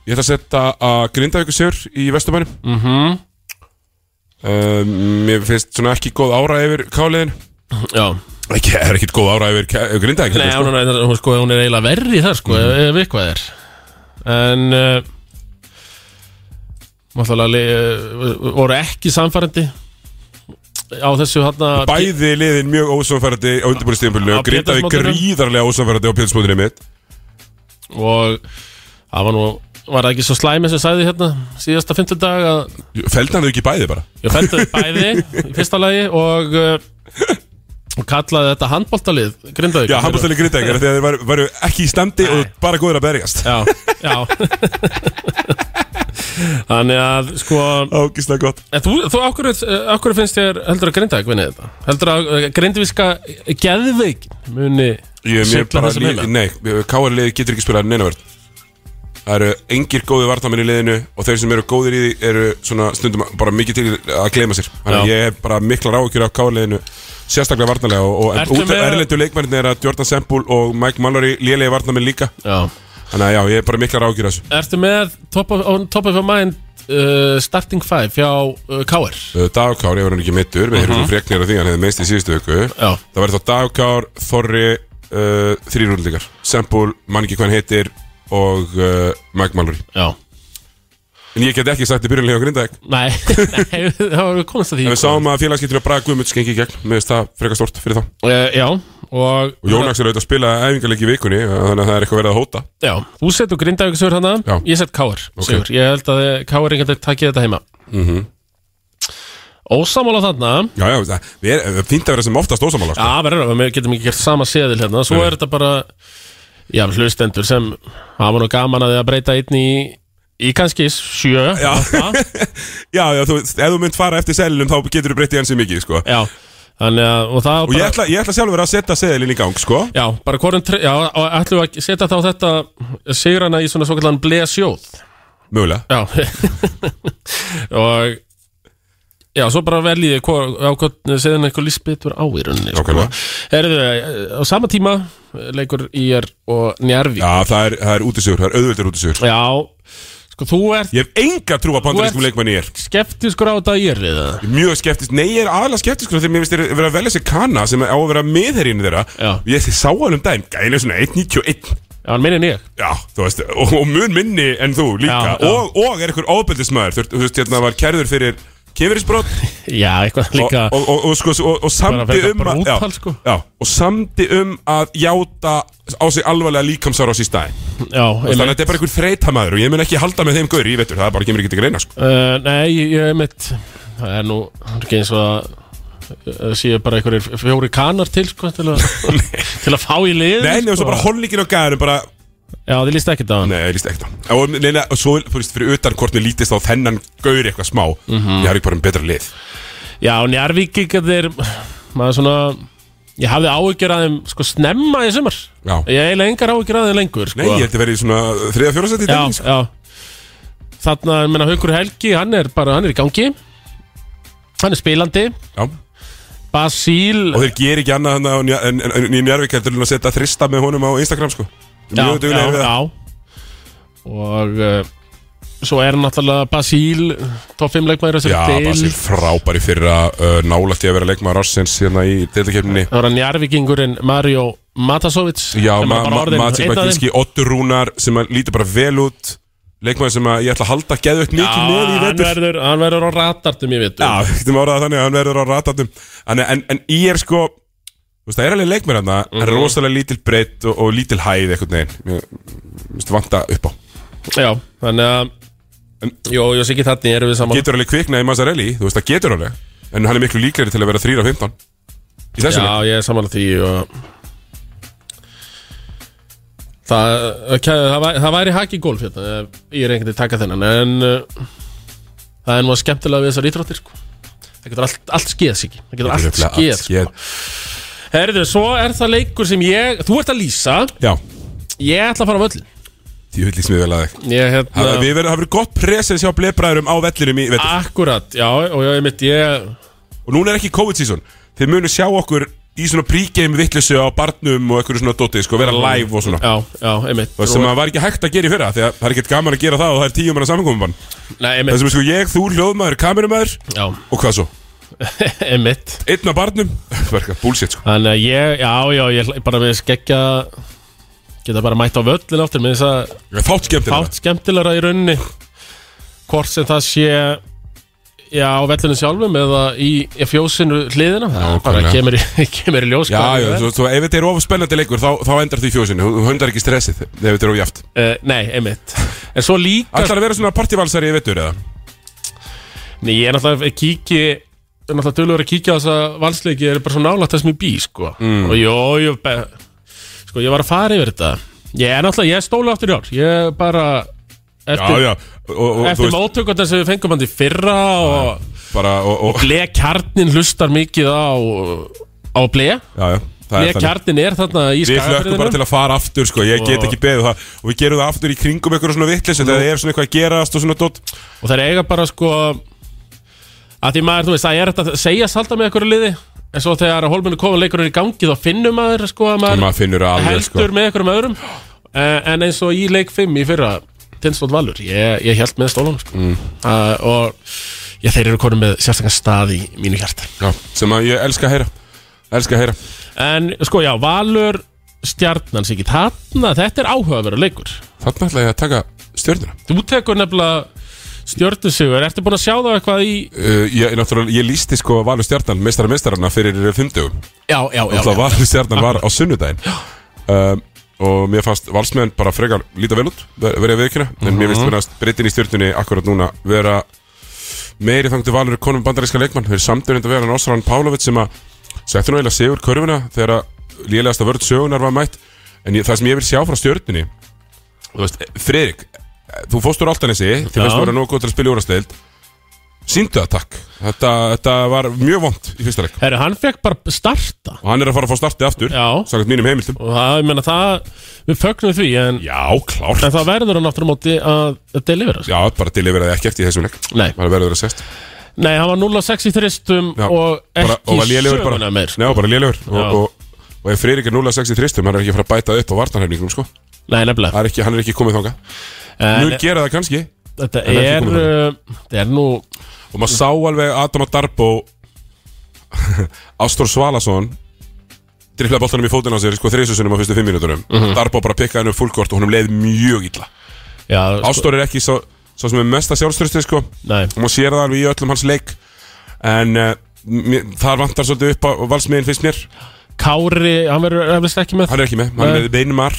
Ég ætla að setja að Grindavíkur sigur í Vesturbænum mm Mhm. -hmm. Mér finnst svona ekki góð ára yfir káliðin Já, Ekki, er ekkit góð ára yfir Ke- Grindavík Nei, heldur, hún, er, hún, sko, hún er eiginlega verri þar sko, ef, ef eitthvað er En uh, Náttúrulega uh, voru ekki samfærandi á þessu hérna sko. Bæði liðin mjög ósamfærandi á undirbúinnstíðanbúlinu og Á Grindavík Pétursmótinu. gríðarlega ósamfærandi á Pétursmótinu mitt og það var nú var það ekki svo slæmi sem sagði hérna síðasta fymtudag að Feldi hann þau ekki bæði bara ég fættu bæði í fyrsta lagi og uh, og kallaði þetta handbóltalið grindaði Já, handbúinnstíðanlega Grindavík er þegar þeir varu, varu ekki í standi og bara góður að berjast já, já. þannig að sko Ágislega gott en þú, þú okkur, okkur finnst þér heldur að grindaði vinni þetta heldur að eh, grindavíska geðveik muni Ég, mér sigla bara þessum líð, heima nei, K.R. liði getur ekki spilað neina verð Það eru engir góði vartamenn í liðinu og þeir sem eru góðir í því eru svona stundum bara mikið til að gleyma sér Þannig að Já. ég hef bara miklar áhyggjur á K.R. liðinu sérstaklega vartanlega og, og en Ertu út af með- erlendu leikmennir er að Jordan Sempul og Mike Mallory lélegi vartamenn líka já Þannig að já, ég hef bara miklar áhyggjur af þessu Ertu með top of, on top of your mind uh, starting five hjá uh, KR? Uh, Dagur Kár, ég var hann ekki mittur, við hefum freknir af því hann hefði meist í síðustu viku Mhm. Já. Það var þá Dagur Kár, Þorri, uh, þrýrúldingar Sempul, mann ekki hvað hann heitir og uh, Mike Mallory Já En ég get ekki sagt í byrjunlega á Grindavík Nei, nei það var við komast að því En við sáum að félagskiptinu að Braga Guðmunds gengi í gegn Mér finnst það frekar stort fyrir þá uh, Já, og, Og Jónaks er auðvitað að spila æfingarleik í vikunni eh, Þannig að það er eitthvað verið að hóta Já, þú setur Grindavík sigur hana Já. Ég set KR sigur Ég held að eh, KR einhvern veginn takkið þetta heima mm Mhm. -hmm. Ósamála þarna Já, já, það við er- það er fínt að vera sem oftast ósamála sko. Já, verður að við getum ekki gert sama seðil hérna Svo Nei. er þetta bara Já, hlustendur sem hafa nú gaman að þið að breyta einn í Í kannski sjö Já. átta. Já, já, þú, ef þú mynd fara eftir selunum þá getur þú breyttið hans í mikið sko. Já, þannig að Og, það Og bara, ég ætla, ég ætla sjálfur að setja seðilinn í gang sko. Já, bara hvorum tre- Já, og ætlum við að setja þá þetta Sigrana í svona svo kallan blesjóð Mögulega Já og Já, svo bara veljið þið hvor- á hvort segðan eitthvað líst betur á í rauninni sko. Nákvæmlega. Herðu, eh, á sama tíma eh, leikur IR og Njarvík Já, það er, það er útisugur, það er auðvöldur útisugur Já, sko þú ert Ég hef enga trú að bandarískum Þú ert- leikmanni ég er skeptiskur á þetta IR liða Ég er Mjög skeptisk, nei ég er aðalega skeptisk Þegar mér finnst þeir vera að velja sér kana sem á að vera miðherjinn þeirra Já. Ég sá hann um daginn, gæðin er svona 1.91 Já, hann minni en ég Já, þú veist, og, og mun minni en þú líka Já, já. Og, og er einhver ofbeldismæður Þú veist, hérna var kærður fyrir kynverisbrot Já, eitthvað og, líka og, og, og, sko, og, og samdi frekar um að, brútal, já, sko. já, Og samdi um að játa á sig alvarlega líkamsára á sér stæði Já, Þannig að einmitt þetta er bara einhver þreytamæður Og ég mun ekki halda með þeim gauri, ég veitur Það bara kemur ekki til greina, sko uh, Nei, ég ég einmitt Það er nú, það er ekki eins og að það séu bara einhverjir fjóri kanar til sko, til, að, til að fá í lið sko. Nei, nefnum svo bara hollingin á gæðinu bara Já, þið líst ekkert á hann Nei, ég líst ekkert á hann. og, nei, nei, og svo, þú veist, fyrir utan hvort niður lítist á þennan gaur eitthvað smá Mhm. Ég har ekki bara um betra lið Já, njárvíkingarnir maður svona ég hafði áhyggjur að þeim sko snemma í sumar Já. ég hef eiginlega engar áhyggjur að þeim lengur sko. Nei, ég held að vera í svona þriða fjóra seti í já, dag sko. já þarna, ég meina, Haukur Helgi, hann er bara hann er í gangi hann er spilandi, Já. Basíl Og þeir ger ekki annað hann á Nja- en- en- en- í Njárvík heldur en að setja þrista með honum á Instagram sko. já, Mjög duglega við það já. og uh, svo er náttúrulega Basíl top 5 leikmæður Já, Basir það frábæri fyrir að uh, nálætti að vera leikmaður ársins hérna í deildakefninni var hann Jarvíkingurinn Mario Matasovic Já, sem er ma bara ma orðinn Mati einn af þeim. Bakinski, Ottur Rúnar sem að lítur bara vel út Leikmaður sem að ég ætla að halda geðveikt mikið með í Já, Ah, hann vetur verður, hann verður á ratartum í vitu Já, við getum orðað það þannig að hann verður á ratatum en, en, en í er sko þú veist, Það er alveg leikmenn hann Það er Mhm. rosalega lítil breytt og, og lítil hæð einhvern veginn Mér mér finnst vanta upp á Já, þannig að Jó, ég sé ekki þannig erum við saman Getur alveg kviknað í Mazzarelli, þú veist það getur alveg En hann er miklu líklegri til að vera 3 af 15 Í Já, þessum leik. ég er saman að því og... Það, okay, það, væri, það væri haki í golf hérna ef Ég er einhvern veginn að taka þennan En uh, það er nú að skemmtilega við þessar íþróttir sko. Það getur allt, allt skeð, Siki Það getur allt Örugglega skeð allt sko. Herðu, svo er það leikur sem ég Þú ert að lýsa, Já, ég ætla að fara á völlin því hull í smiðvelaði Ég hérna Það verður það verður gott presens hjá blebræðurum á vellinum í vetur Akkurat, já, og ég mitt ég Og núna er ekki COVID season Þið munu sjá okkur í svona pregame vittlissu á barnum og einhverju svona dotið sko, vera live og svona Já, já, einmitt Og sem að var ekki hægt að gera í fyrra því að það er ekkert gaman að gera það og það er tíum manna samkomumann Nei, Það einmitt sem er sko ég, þú, hljóðmaður, kamerumæður Já, og hvað svo? einmitt Einn af barnum? Verka, bullshit sko Þannig að ég, já, já, ég hla- bara við skeggja Geta bara mætt á völlin áttur Með þess að Fátt skemmtilega fátt skemmtilegra í rauninni Hvort sem það sé Já, á vellinu sjálfum Eða í, í fjósinu hliðina Það bara nákvæmlega. kemur í, kemur í ljós Já, hvað já, það er. svo, svo ef þetta er of spennandi leikur þá, þá endar því fjósinu, þú hundar ekki stressið ef þetta er of jaft. Eh, Nei, einmitt En svo líka Ætlar að vera svona partívalsari í vettur eða? Nei, ég er náttúrulega að kíki Ég er náttúrulega dölur að kíkja á þessa valsleiki Ég er bara svo nálægt þessum í bí, sko Mm. Og jó, ég be, Sko, ég var að fara yfir þetta Ég er náttúrulega, ég stóla aftur í ár Ég bara Já, Eftir, já, og, og, og þú eftir veist, móttökundar sem við fengum hann til fyrra Og bara, og, og, Blea Kjarnin hlustar mikið á Á Blea já, já, það Blea er þannig. Kjarnin er þarna í Við hlökkum bara til skagafyrðinu að fara aftur sko, ég get Og- ekki beðið það og við gerum það aftur í kringum einhverju svona vittlis þegar það er svona eitthvað að gerast og svona dot. Og það er eiga bara, sko Að því maður, þú veist, það er þetta að segja salta með einhverju liði En svo þegar hólmennu kofa leikurinn í gangi Þá finnum maður, sko, að maður Maður finnur það alveg sko. heldur með einhverjum öðrum uh, en eins og í leik 5 í fyrra Tindstótt Valur, ég, ég held með stólunum sko. mm. og já, þeir eru konum með sérstaklega stað í mínu hjarta Já, sem að ég elska að heyra, elska að heyra. en sko já, Valur stjarnan sig ekki þarna, þetta er áhugaverður leikur Þannig ætla ég að taka stjörnuna þú tekur nefnilega stjörnusigur ertu búin að sjá það eitthvað í uh, ég, náttúrulega, ég lísti sko Valur Stjarnan mestara mestarana fyrir fimmtugum já, já, já, Alltaf Valur Stjarnan var á sunnudaginn um, og mér fannst valsmenn bara frekar líta vel út ver- verið að viðkjöna en mér finnst verðast breytin í stjörnunni akkurat núna vera meiri þangtu Valur konum bandaríska leikmann þeir samdur enda vera en Osran Pálovit sem að settu nú eiginlega sigur körfuna þegar að lélegasta vörð sögunar var mætt en ég, það sem ég vil sjá frá stjörnunni þú veist, Friðrik þú fóstur Altanesi, þið Já. finnst að vera nógu góð til að spila í úrasteild síndu það takk þetta, þetta var mjög vond í fyrsta leik Heru, hann fekk bara starta og hann er að fara að fá startið aftur Já. samkvæmt mínum heimildum og það, ég menna það, við fögnum því en, já, klárt en það verður hann aftur á móti að, að delivera sko. já, bara til yfir að ekki eftir í þessum leik Nei. bara verður að sest Nei, hann var 0-6 í þristum Já, og bara- ekki og var lélegur bara. söguna meir sko. Já, bara lélegur Já. og, og, og ef Friðrik er 0-6 í þristum hann er ekki að fara að bæta upp á vartanhefningum sko. Nei, Það nefnilega er ekki, hann er ekki komið þanga en, Nú gera það kannski Þetta en ekki er, komið uh, þetta er nú og maður sá alveg Adam og Darbo Ástór Svalason driflaði boltanum í fótinn á sér sko þrisusunum á fyrstu fimm mínúturum Darbo bara pikkaði hennu fullkort og honum leið mjög illa Já, sko, Ástór er ekki svo, svo sem er mesta sjálfstyrsti sko og nei maður sér það alveg í öllum hans leik en uh, mér, þar vantar svolítið upp á valsmiðin finnst mér Kári, hann verður eflust ekki með hann er ekki með, hann er Nei. með Beinmar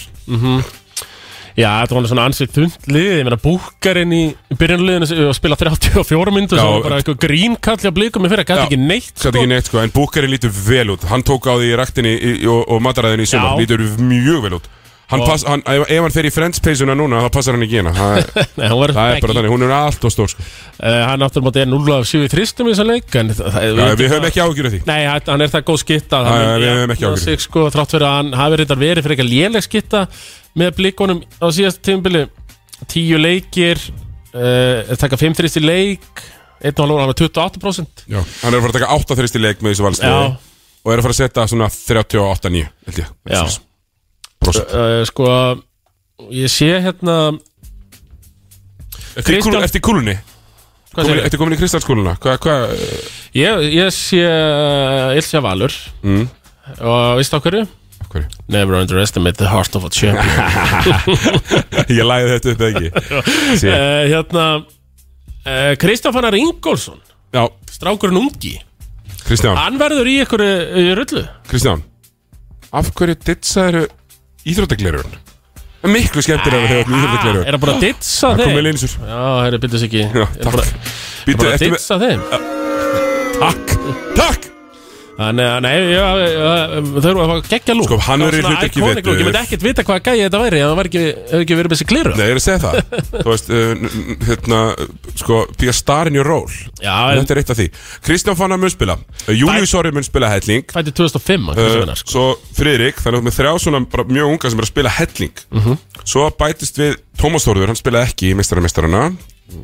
Já, þetta var svona ansið þund liðið, ég meina búkarinn í byrjanliðinu sem- og spila 34 myndu Já, sem var bara eitthvað grínkallja blikum í fyrra, gæti Já, ekki neitt Sætti ekki neitt sko, en Búkarinn lítur vel út Hann tók á því í raktinni í, í, og, og mataræðinni í sumar Já. Lítur mjög vel út hann Og- pass, hann, ef, ef hann fer í frendspeysunna núna þá passar hann ekki í hana Það, Nei, hann verður það er bara ekki þannig, hún er allt og stór sko. uh, Hann aftur mátti er 0 af 7 í þristum í þessa leik en það, það, Já, Við höfum ekki ágjur af því Nei, hann hann er það góð skitta Já, já, við höfum ekki áhyggjur. sig, sko, Þrátt fyrir að hann hafi reyndar verið fyrir eitthvað léleg skitta með blikunum á síðast tímbili Tíu leikir uh, taka 5 þrist í leik 1,5 hann var 28% Já. Hann er að fara að taka 8 þrist í leik með þessu valstöðu Já. og er að fara að setja svona 38-9 held ég Já. Svona Prósent. uh, Sko, ég sé hérna Eftir, kúl, Kristján- eftir kúlunni Hvað komin, segir Eftir komin í kristalskúluna Hvað, hvað, Ég, ég sé uh, Ilsja Valur Mm. Og veistu á hverju? af hverju? Never underestimate the heart of a champion Ég læði þetta upp eða ekki Sé. uh, Hérna uh, Kristofanar Ingolson Já, Strákurinn ungi Kristján Hann verður í ykkur í rullu Kristján Af hverju ditsaðiru íþróttaglerun? Miklu skemmtilega þegar þú Ah, íþróttaglerun Er það bara að ditsa Það kom þeim? vel eins úr Já, herri, byrðu sig ekki Já, Er það takk bara, er Býtu, bara að ertu með ditsa þeim? Takk Takk Þannig að, nei, já, já, þau eru að fá geggja lúk Sko, hann Það er í var svona hlutverki iconic vetur. look. Ég myndi ekkert vita hvað gæði þetta væri ef það var ekki, hefur ekki verið með þessi kliru Nei, ég er að segja það Þú veist, uh, n- n- hérna uh, Sko, be a star in your role Já, en Þetta er eitt af því Kristján Fannar mun spila uh, Július Orri mun spila helling fætti 2005 hann, Uh, hversu vinnar, sko. svo Friðrik, þannig að með þrjá svona bara mjög unga sem er að spila helling Mhm. Svo bætist við Tómas Þórður, hann spilaði ekki í meistararmeistarana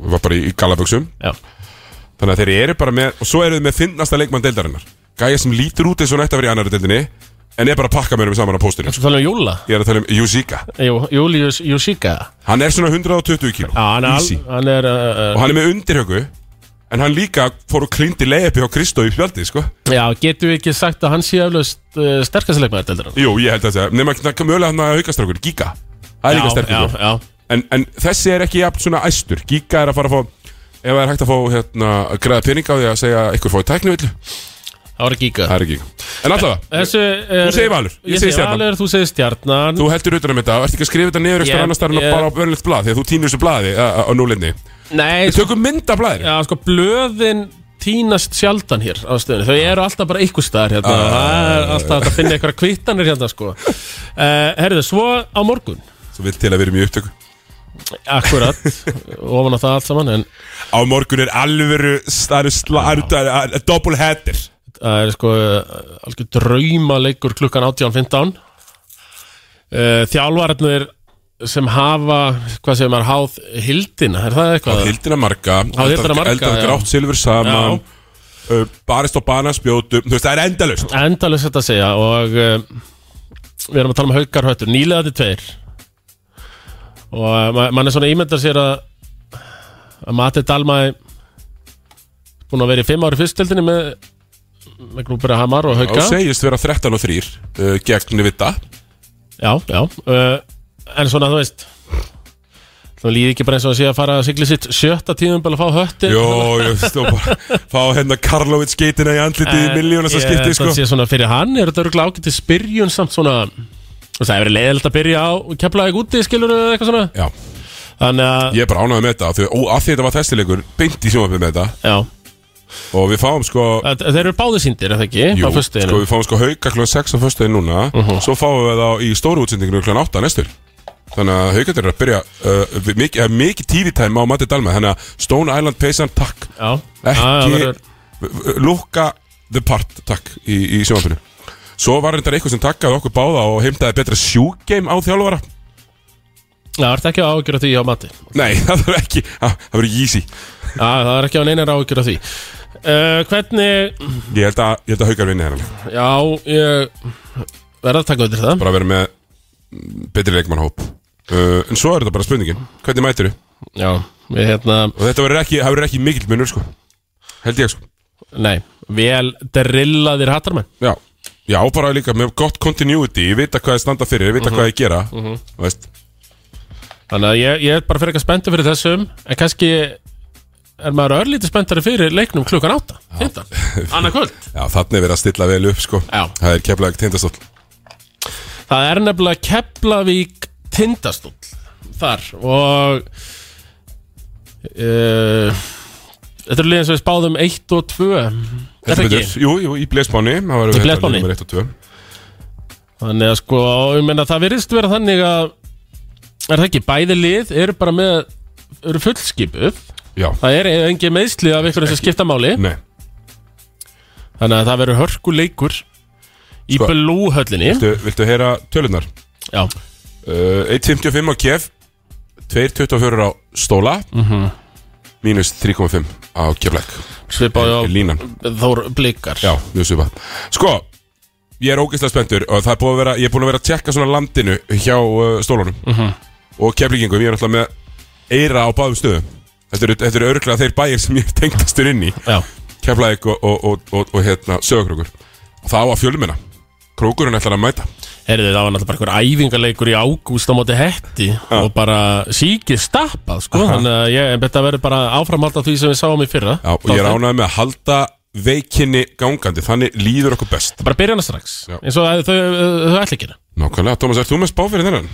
Var bara í, í galaböksum Já. Þannig að þeir eru bara með, og svo eru þið með finnasta leikmann deildarinnar. Gæja sem lítur út eins og nætti að vera í annari deildinni, en er bara að pakka mörgum saman á póstinu. Svo talaðum við um Júla Ég er að tala um Júsika. Jú, Július Júsika Hann er svona 120 kíló. Já, hann er, Easy. al- hann er uh, Og hann er með undirhögu, en hann líka fór og klindi leiðupi hjá Kristó í spjaldi, sko. Já, getum við ekki sagt að hann sé eflaust uh, sterkast leikmaður deildar Jú, ég held að það. Nefnum að það mögulega hann að haukastrákur, Giga. Það er líka Já, sterkur. sko. já, En, en þessi er ekki jafn svona æstur. Giga er að fara að fá, ef það er hægt að fá, hérna, að græða pening á því að segja ykkur fóði tæknivillu, það var ekki það er ekki. En allavega, Þessu er, Þú segir Valur, ég Ég segi segi Stjarnan. Valur, þú segir Stjarnan Þú heldur utan um þetta og ert ekki að skrifa þetta niður Ég- eitthvað annars þar en ég- bara á börnlegt blað því að þú týnir þessu blaði á á núlinni Nei, Við sko, tökum mynd af blaðir já, sko, blöðin týnast sjaldan hér á stöðinu Þau eru alltaf bara ykkur staðar hérna Ah. Það er alltaf hægt að finna eitthvað kvittanir hérna, sko uh, Herðu, svo á morgun Svo vill til að við erum í upptöku Akkurat, ofan á það allt saman En Á morgun er alvöru, það eru sla- það eru double header það er sko eh, algjör draumaleikur klukkan 18.15 uh, Þjálfararnir sem hafa, hvað segir maður, háð hildina, er það eitthvað? Hildina marga, Hildina marga, eldað já. grátt silfur saman uh, Barist og bana spjótum, þú veist það er endalaust endalus þetta að segja og uh, við erum að tala um haukar höttur nýlega til tveir og uh, ma- mann er svona ímyndar sér að að Mati Dalmæ búin að vera í fimm ári fyrstöldinni með, með grúpur að Hamar og Og hauka segist vera 13 og 3 uh, gegn Vita já, já uh, en svona þú veist þú líði ekki bara eins og að sé að fara að sigli sitt sjötta tíðum bara að fá höttin Jó, ég veist þú bara Fá hérna Karlovits geitina í andlitið í Eh, miljónast að skipti sko. Það sé svona fyrir hann er þetta örgulega ágætið spyrjun samt svona þú veist, Það er verið leiðilegt að byrja á Keflaðið úti skilur eitthvað svona Já, Þannig að, ég er bara ánaði með þetta af því- Og af því þetta var testilegur, beint í sjónvarpið með þetta já Og við fáum sko Að- Þeir eru báði síndir, er það ekki? Jú, Á Mhm. sko föstudeginu. við fáum sko hauka kl. 6 á föstudaginn núna Svo fáum við þá í stóru útsendinginu kl. 8 næstur Þannig að haukandir eru að byrja uh, við mikið, eh, mikið TV time á Matti Dalma Þannig að Stone Island peysan, takk Já Ekki Já, það verður- Lukka the part, takk Í, í sjónvarpinu Svo var reyndar eitthvað sem takkaði okkur báða og heimtaði betra sjúkgeim á þjálfara Það ert ekki á ágjur af því á mati Nei, það verður ekki Það það verður easy Já, það er ekki á neinar ágjur af því uh, Hvernig, Ég held að, ég held að haukar vinni þennan já, ég verða að taka undir það Bara að vera með mm, betri leikmannhóp uh, En svo er þetta bara spurningin Hvernig mætir þú? Já, ég hérna, Og þetta verður ekki, það verður ekki mikill munur sko Held ég sko nei, vel drillaðir hattarmenn Já, já bara líka með gott continuity Ég vita hvað ég standa fyrir, ég vita hvað Mhm. ég gera mm Veist, Þannig að ég, ég er bara fyrir eitthvað spenntur fyrir þessum En kannski er maður örlítið spenntari fyrir leiknum klukkan átta 15, annað kvöld já þannig er verið að stilla vel upp sko Já. Það er keflaðið tindastóll Það er nefnilega Keflavík tindastóll Þar og uh, Þetta er liðin sem við spáðum 1 og 2 Er það ekki? Jú, jú, í Blesbáni hérna Í Blesbáni? Þannig að sko, ég meina það virðist vera þannig að Er það ekki, bæði lið eru bara með Eru fullskipuð Já, Það er engin meðslið af einhverjum sem skipta máli nei Þannig að það verður hörkuleikur Í Sko. sko, blúhöllinni Viltu, viltu heyra tölunar? Já, Uh, 1.55 á KF 2.24 á Stóla Mhm. Mínus 3.5 á Keflæk svipaði á Línan Þór Blikar Já, mjög svipað Sko, ég er ógeðslega spenntur og það er búið að vera, ég er búin að vera að tjekka svona landinu hjá uh, Stólunum og Keflíkingum, ég er alltaf með eira á báðum stöðum Þetta eru, þetta eru örglega þeir bæir sem ég er tengdastur inn í Já. Keflæk og, og, og, og, og hérna, sögurkrókur og það á að fjölmina Krókurinn ætlar að mæta Heyrðu, það var náttúrulega bara einhver æfingarleikur í ágúst á móti hetti og bara síkið stappað sko. þannig að ég, þetta verður bara áframhald af því sem við sáum í fyrra Já, og ég er ánægð með að halda veikinni gangandi, þannig líður okkur best Bara byrja hana strax, Já. eins og að þau, þau, þau ætla ekki hérna. hana Nákvæmlega, Tómas, ert þú með spá fyrir þennan?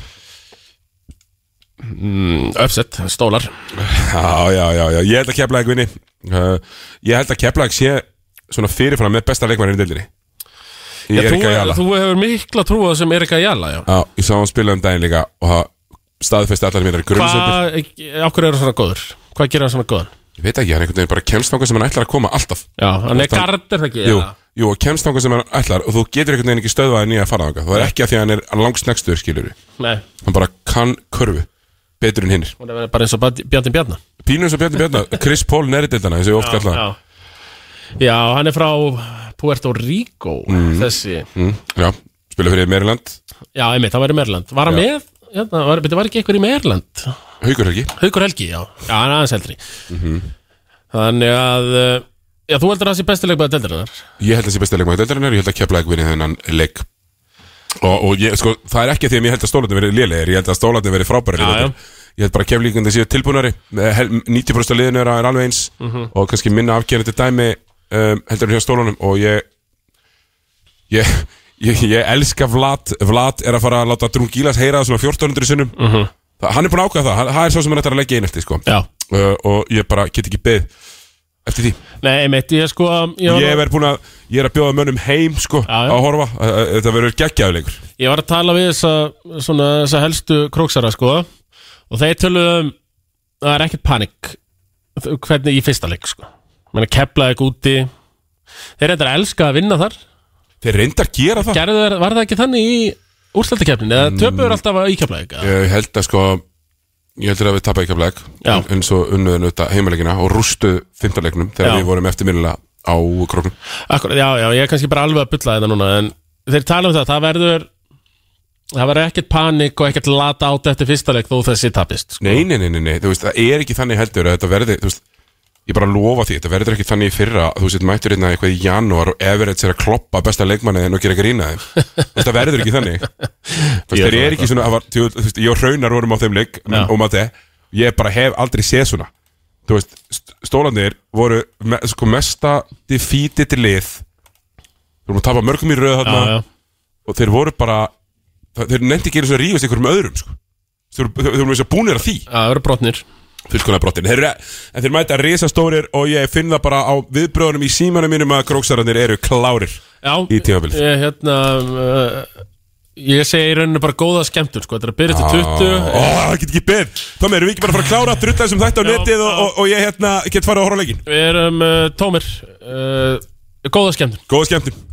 Mm. Uppsett, stólar Já, já, já, já, ég held að Keflæk vinni uh, Ég held að Keflæk sé svona fyrirfram með besta leikmærin í deildinni Í þú, Erika Jala þú hefur mikla trú á þessum Erika Jala já. Já, ég sá hann spila um daginn líka og það staðfesti allar mér grunnsöndir Hvað, okkur er hann svona góður? Hvað gerir hann svona góðan? Ég veit ekki, hann einhvern veginn bara kemst þangað sem hann ætlar að koma alltaf Já, hann er Hvort hann- gardir það ekki Jú, eða? jú, og kemst þangað sem hann ætlar og þú getur einhvern veginn ekki stöðvaði nýja að fara þangað Það er ekki að því að hann er langsnegstur, skilur Nei, Hann bara kann körfu, betur en hinnir hún er bara eins og Bjarni Bjarnar Pínus og Bjarni Bjarnar, Chris Paul næri dildana eins og ég oft kalla hann. já. já, hann er frá Puerto Rico þessi mm, Já, spila fyrir Maryland Já, einmitt, hann var í Merland Var hann með, hérna, var, beti, var ekki eitthvað í Merland Haukur Helgi Haukur Helgi, já, já, hann er aðeins eldri Mhm. Þannig að uh, Já, þú heldur að það sé bestileg bara deldarinnar Ég held að sé besta leikmaður deildarinnar, ég held að kepla ekki vinni þennan leik Og, og ég, sko, það er ekki því að ég held að stólandin verið lélegir Ég held að stólandin verið frábæri Já, já. Ég held bara að keflíkandi séu tilbúnari Með hel- 90% af liðinu er er alveg eins Mhm. Og kannski minna afgerandi dæmi um, Heldur en hjá stólunum Og ég Ég, ég, ég elska Vlad Vlad er að fara að láta Drungilas heyra það svona 1400 sinnum Mhm. Þa, Hann er búin að ákveða það, hann, hann er svo sem hann ætlar að leggja einn eftir sko. Já, uh, Og ég bara get ekki beð Eftir því nei, einmitt, ég sko Ég var, Ég er búin að, ég er að bjóða mönnum heim sko Já, já. að horfa, Ö, ö, þetta verður geggjaðuleikur ég var að tala við þessa, svona, þessa helstu króksara sko Og þeir töluðum Það er ekkert panik Hvernig í fyrsta leik sko Menni keplaði ekki úti Þeir reyndar að elska að vinna þar Þeir reyndar að gera það Gerðu, þeir- Var það ekki þannig í úrslættakefnin Eða töpuður alltaf að íkeflaði ekki Ég held að sko, ég heldur að við tappa ekki að blæk Já. En svo unnuðinu þetta heimaleikina og rústu fimmtaleiknum þegar Já. við vorum eftirminnilega á króknum Akkur, já, já, ég er kannski bara alveg að bulla þetta núna en þeir tala um það, það verður það verður ekkert panik og ekkert lata át eftir fyrsta leik þó þessi tapist sko. Nei, nei, nei, nei, nei, þú veist, það er ekki þannig heldur að þetta verði, þú veist, ég bara lofa því, þetta verður ekki þannig í fyrra að þú sett mættur hérna eitthvað í janúar og Everett sér að kloppa besta leikmanniðin og gera grínaði. Þú veist, það verður ekki þannig. Þú veist, Ég þeir þarf eru ekki svona, það var, þú þú veist, ég og Raunar vorum á þeim leik Já. og mati, ég bara hef aldrei séð svona. Þú veist, st- stólandir voru me, sko mesta defeated lið, þú vorum að tapa mörgum í röð já, þarna já. og þeir voru bara, það- þeir nefndi ekki einu sinni að rífast í einhverjum öðrum, sko. Þeir voru- þeir- þeir voru meira að segja búnir að því Já, það verður brotnir fullkona brottin þeir, eru- En þeir mæta risastórir og ég finn það bara á viðbröðunum í símanum mínum að króksararnir eru klárir já, Í tímabilið. ég, hérna, uh, ég segi í rauninu bara góða skemmtur sko. þetta er að byrja til 20 Ó, það get ekki beð Tómi, erum við ekki bara að fara að klára aftur út þessum þætt á Já, netið og, já. og, og ég hérna get farið að horfa á leikinn við erum uh, tómir uh, góða skemmtur Góða skemmtum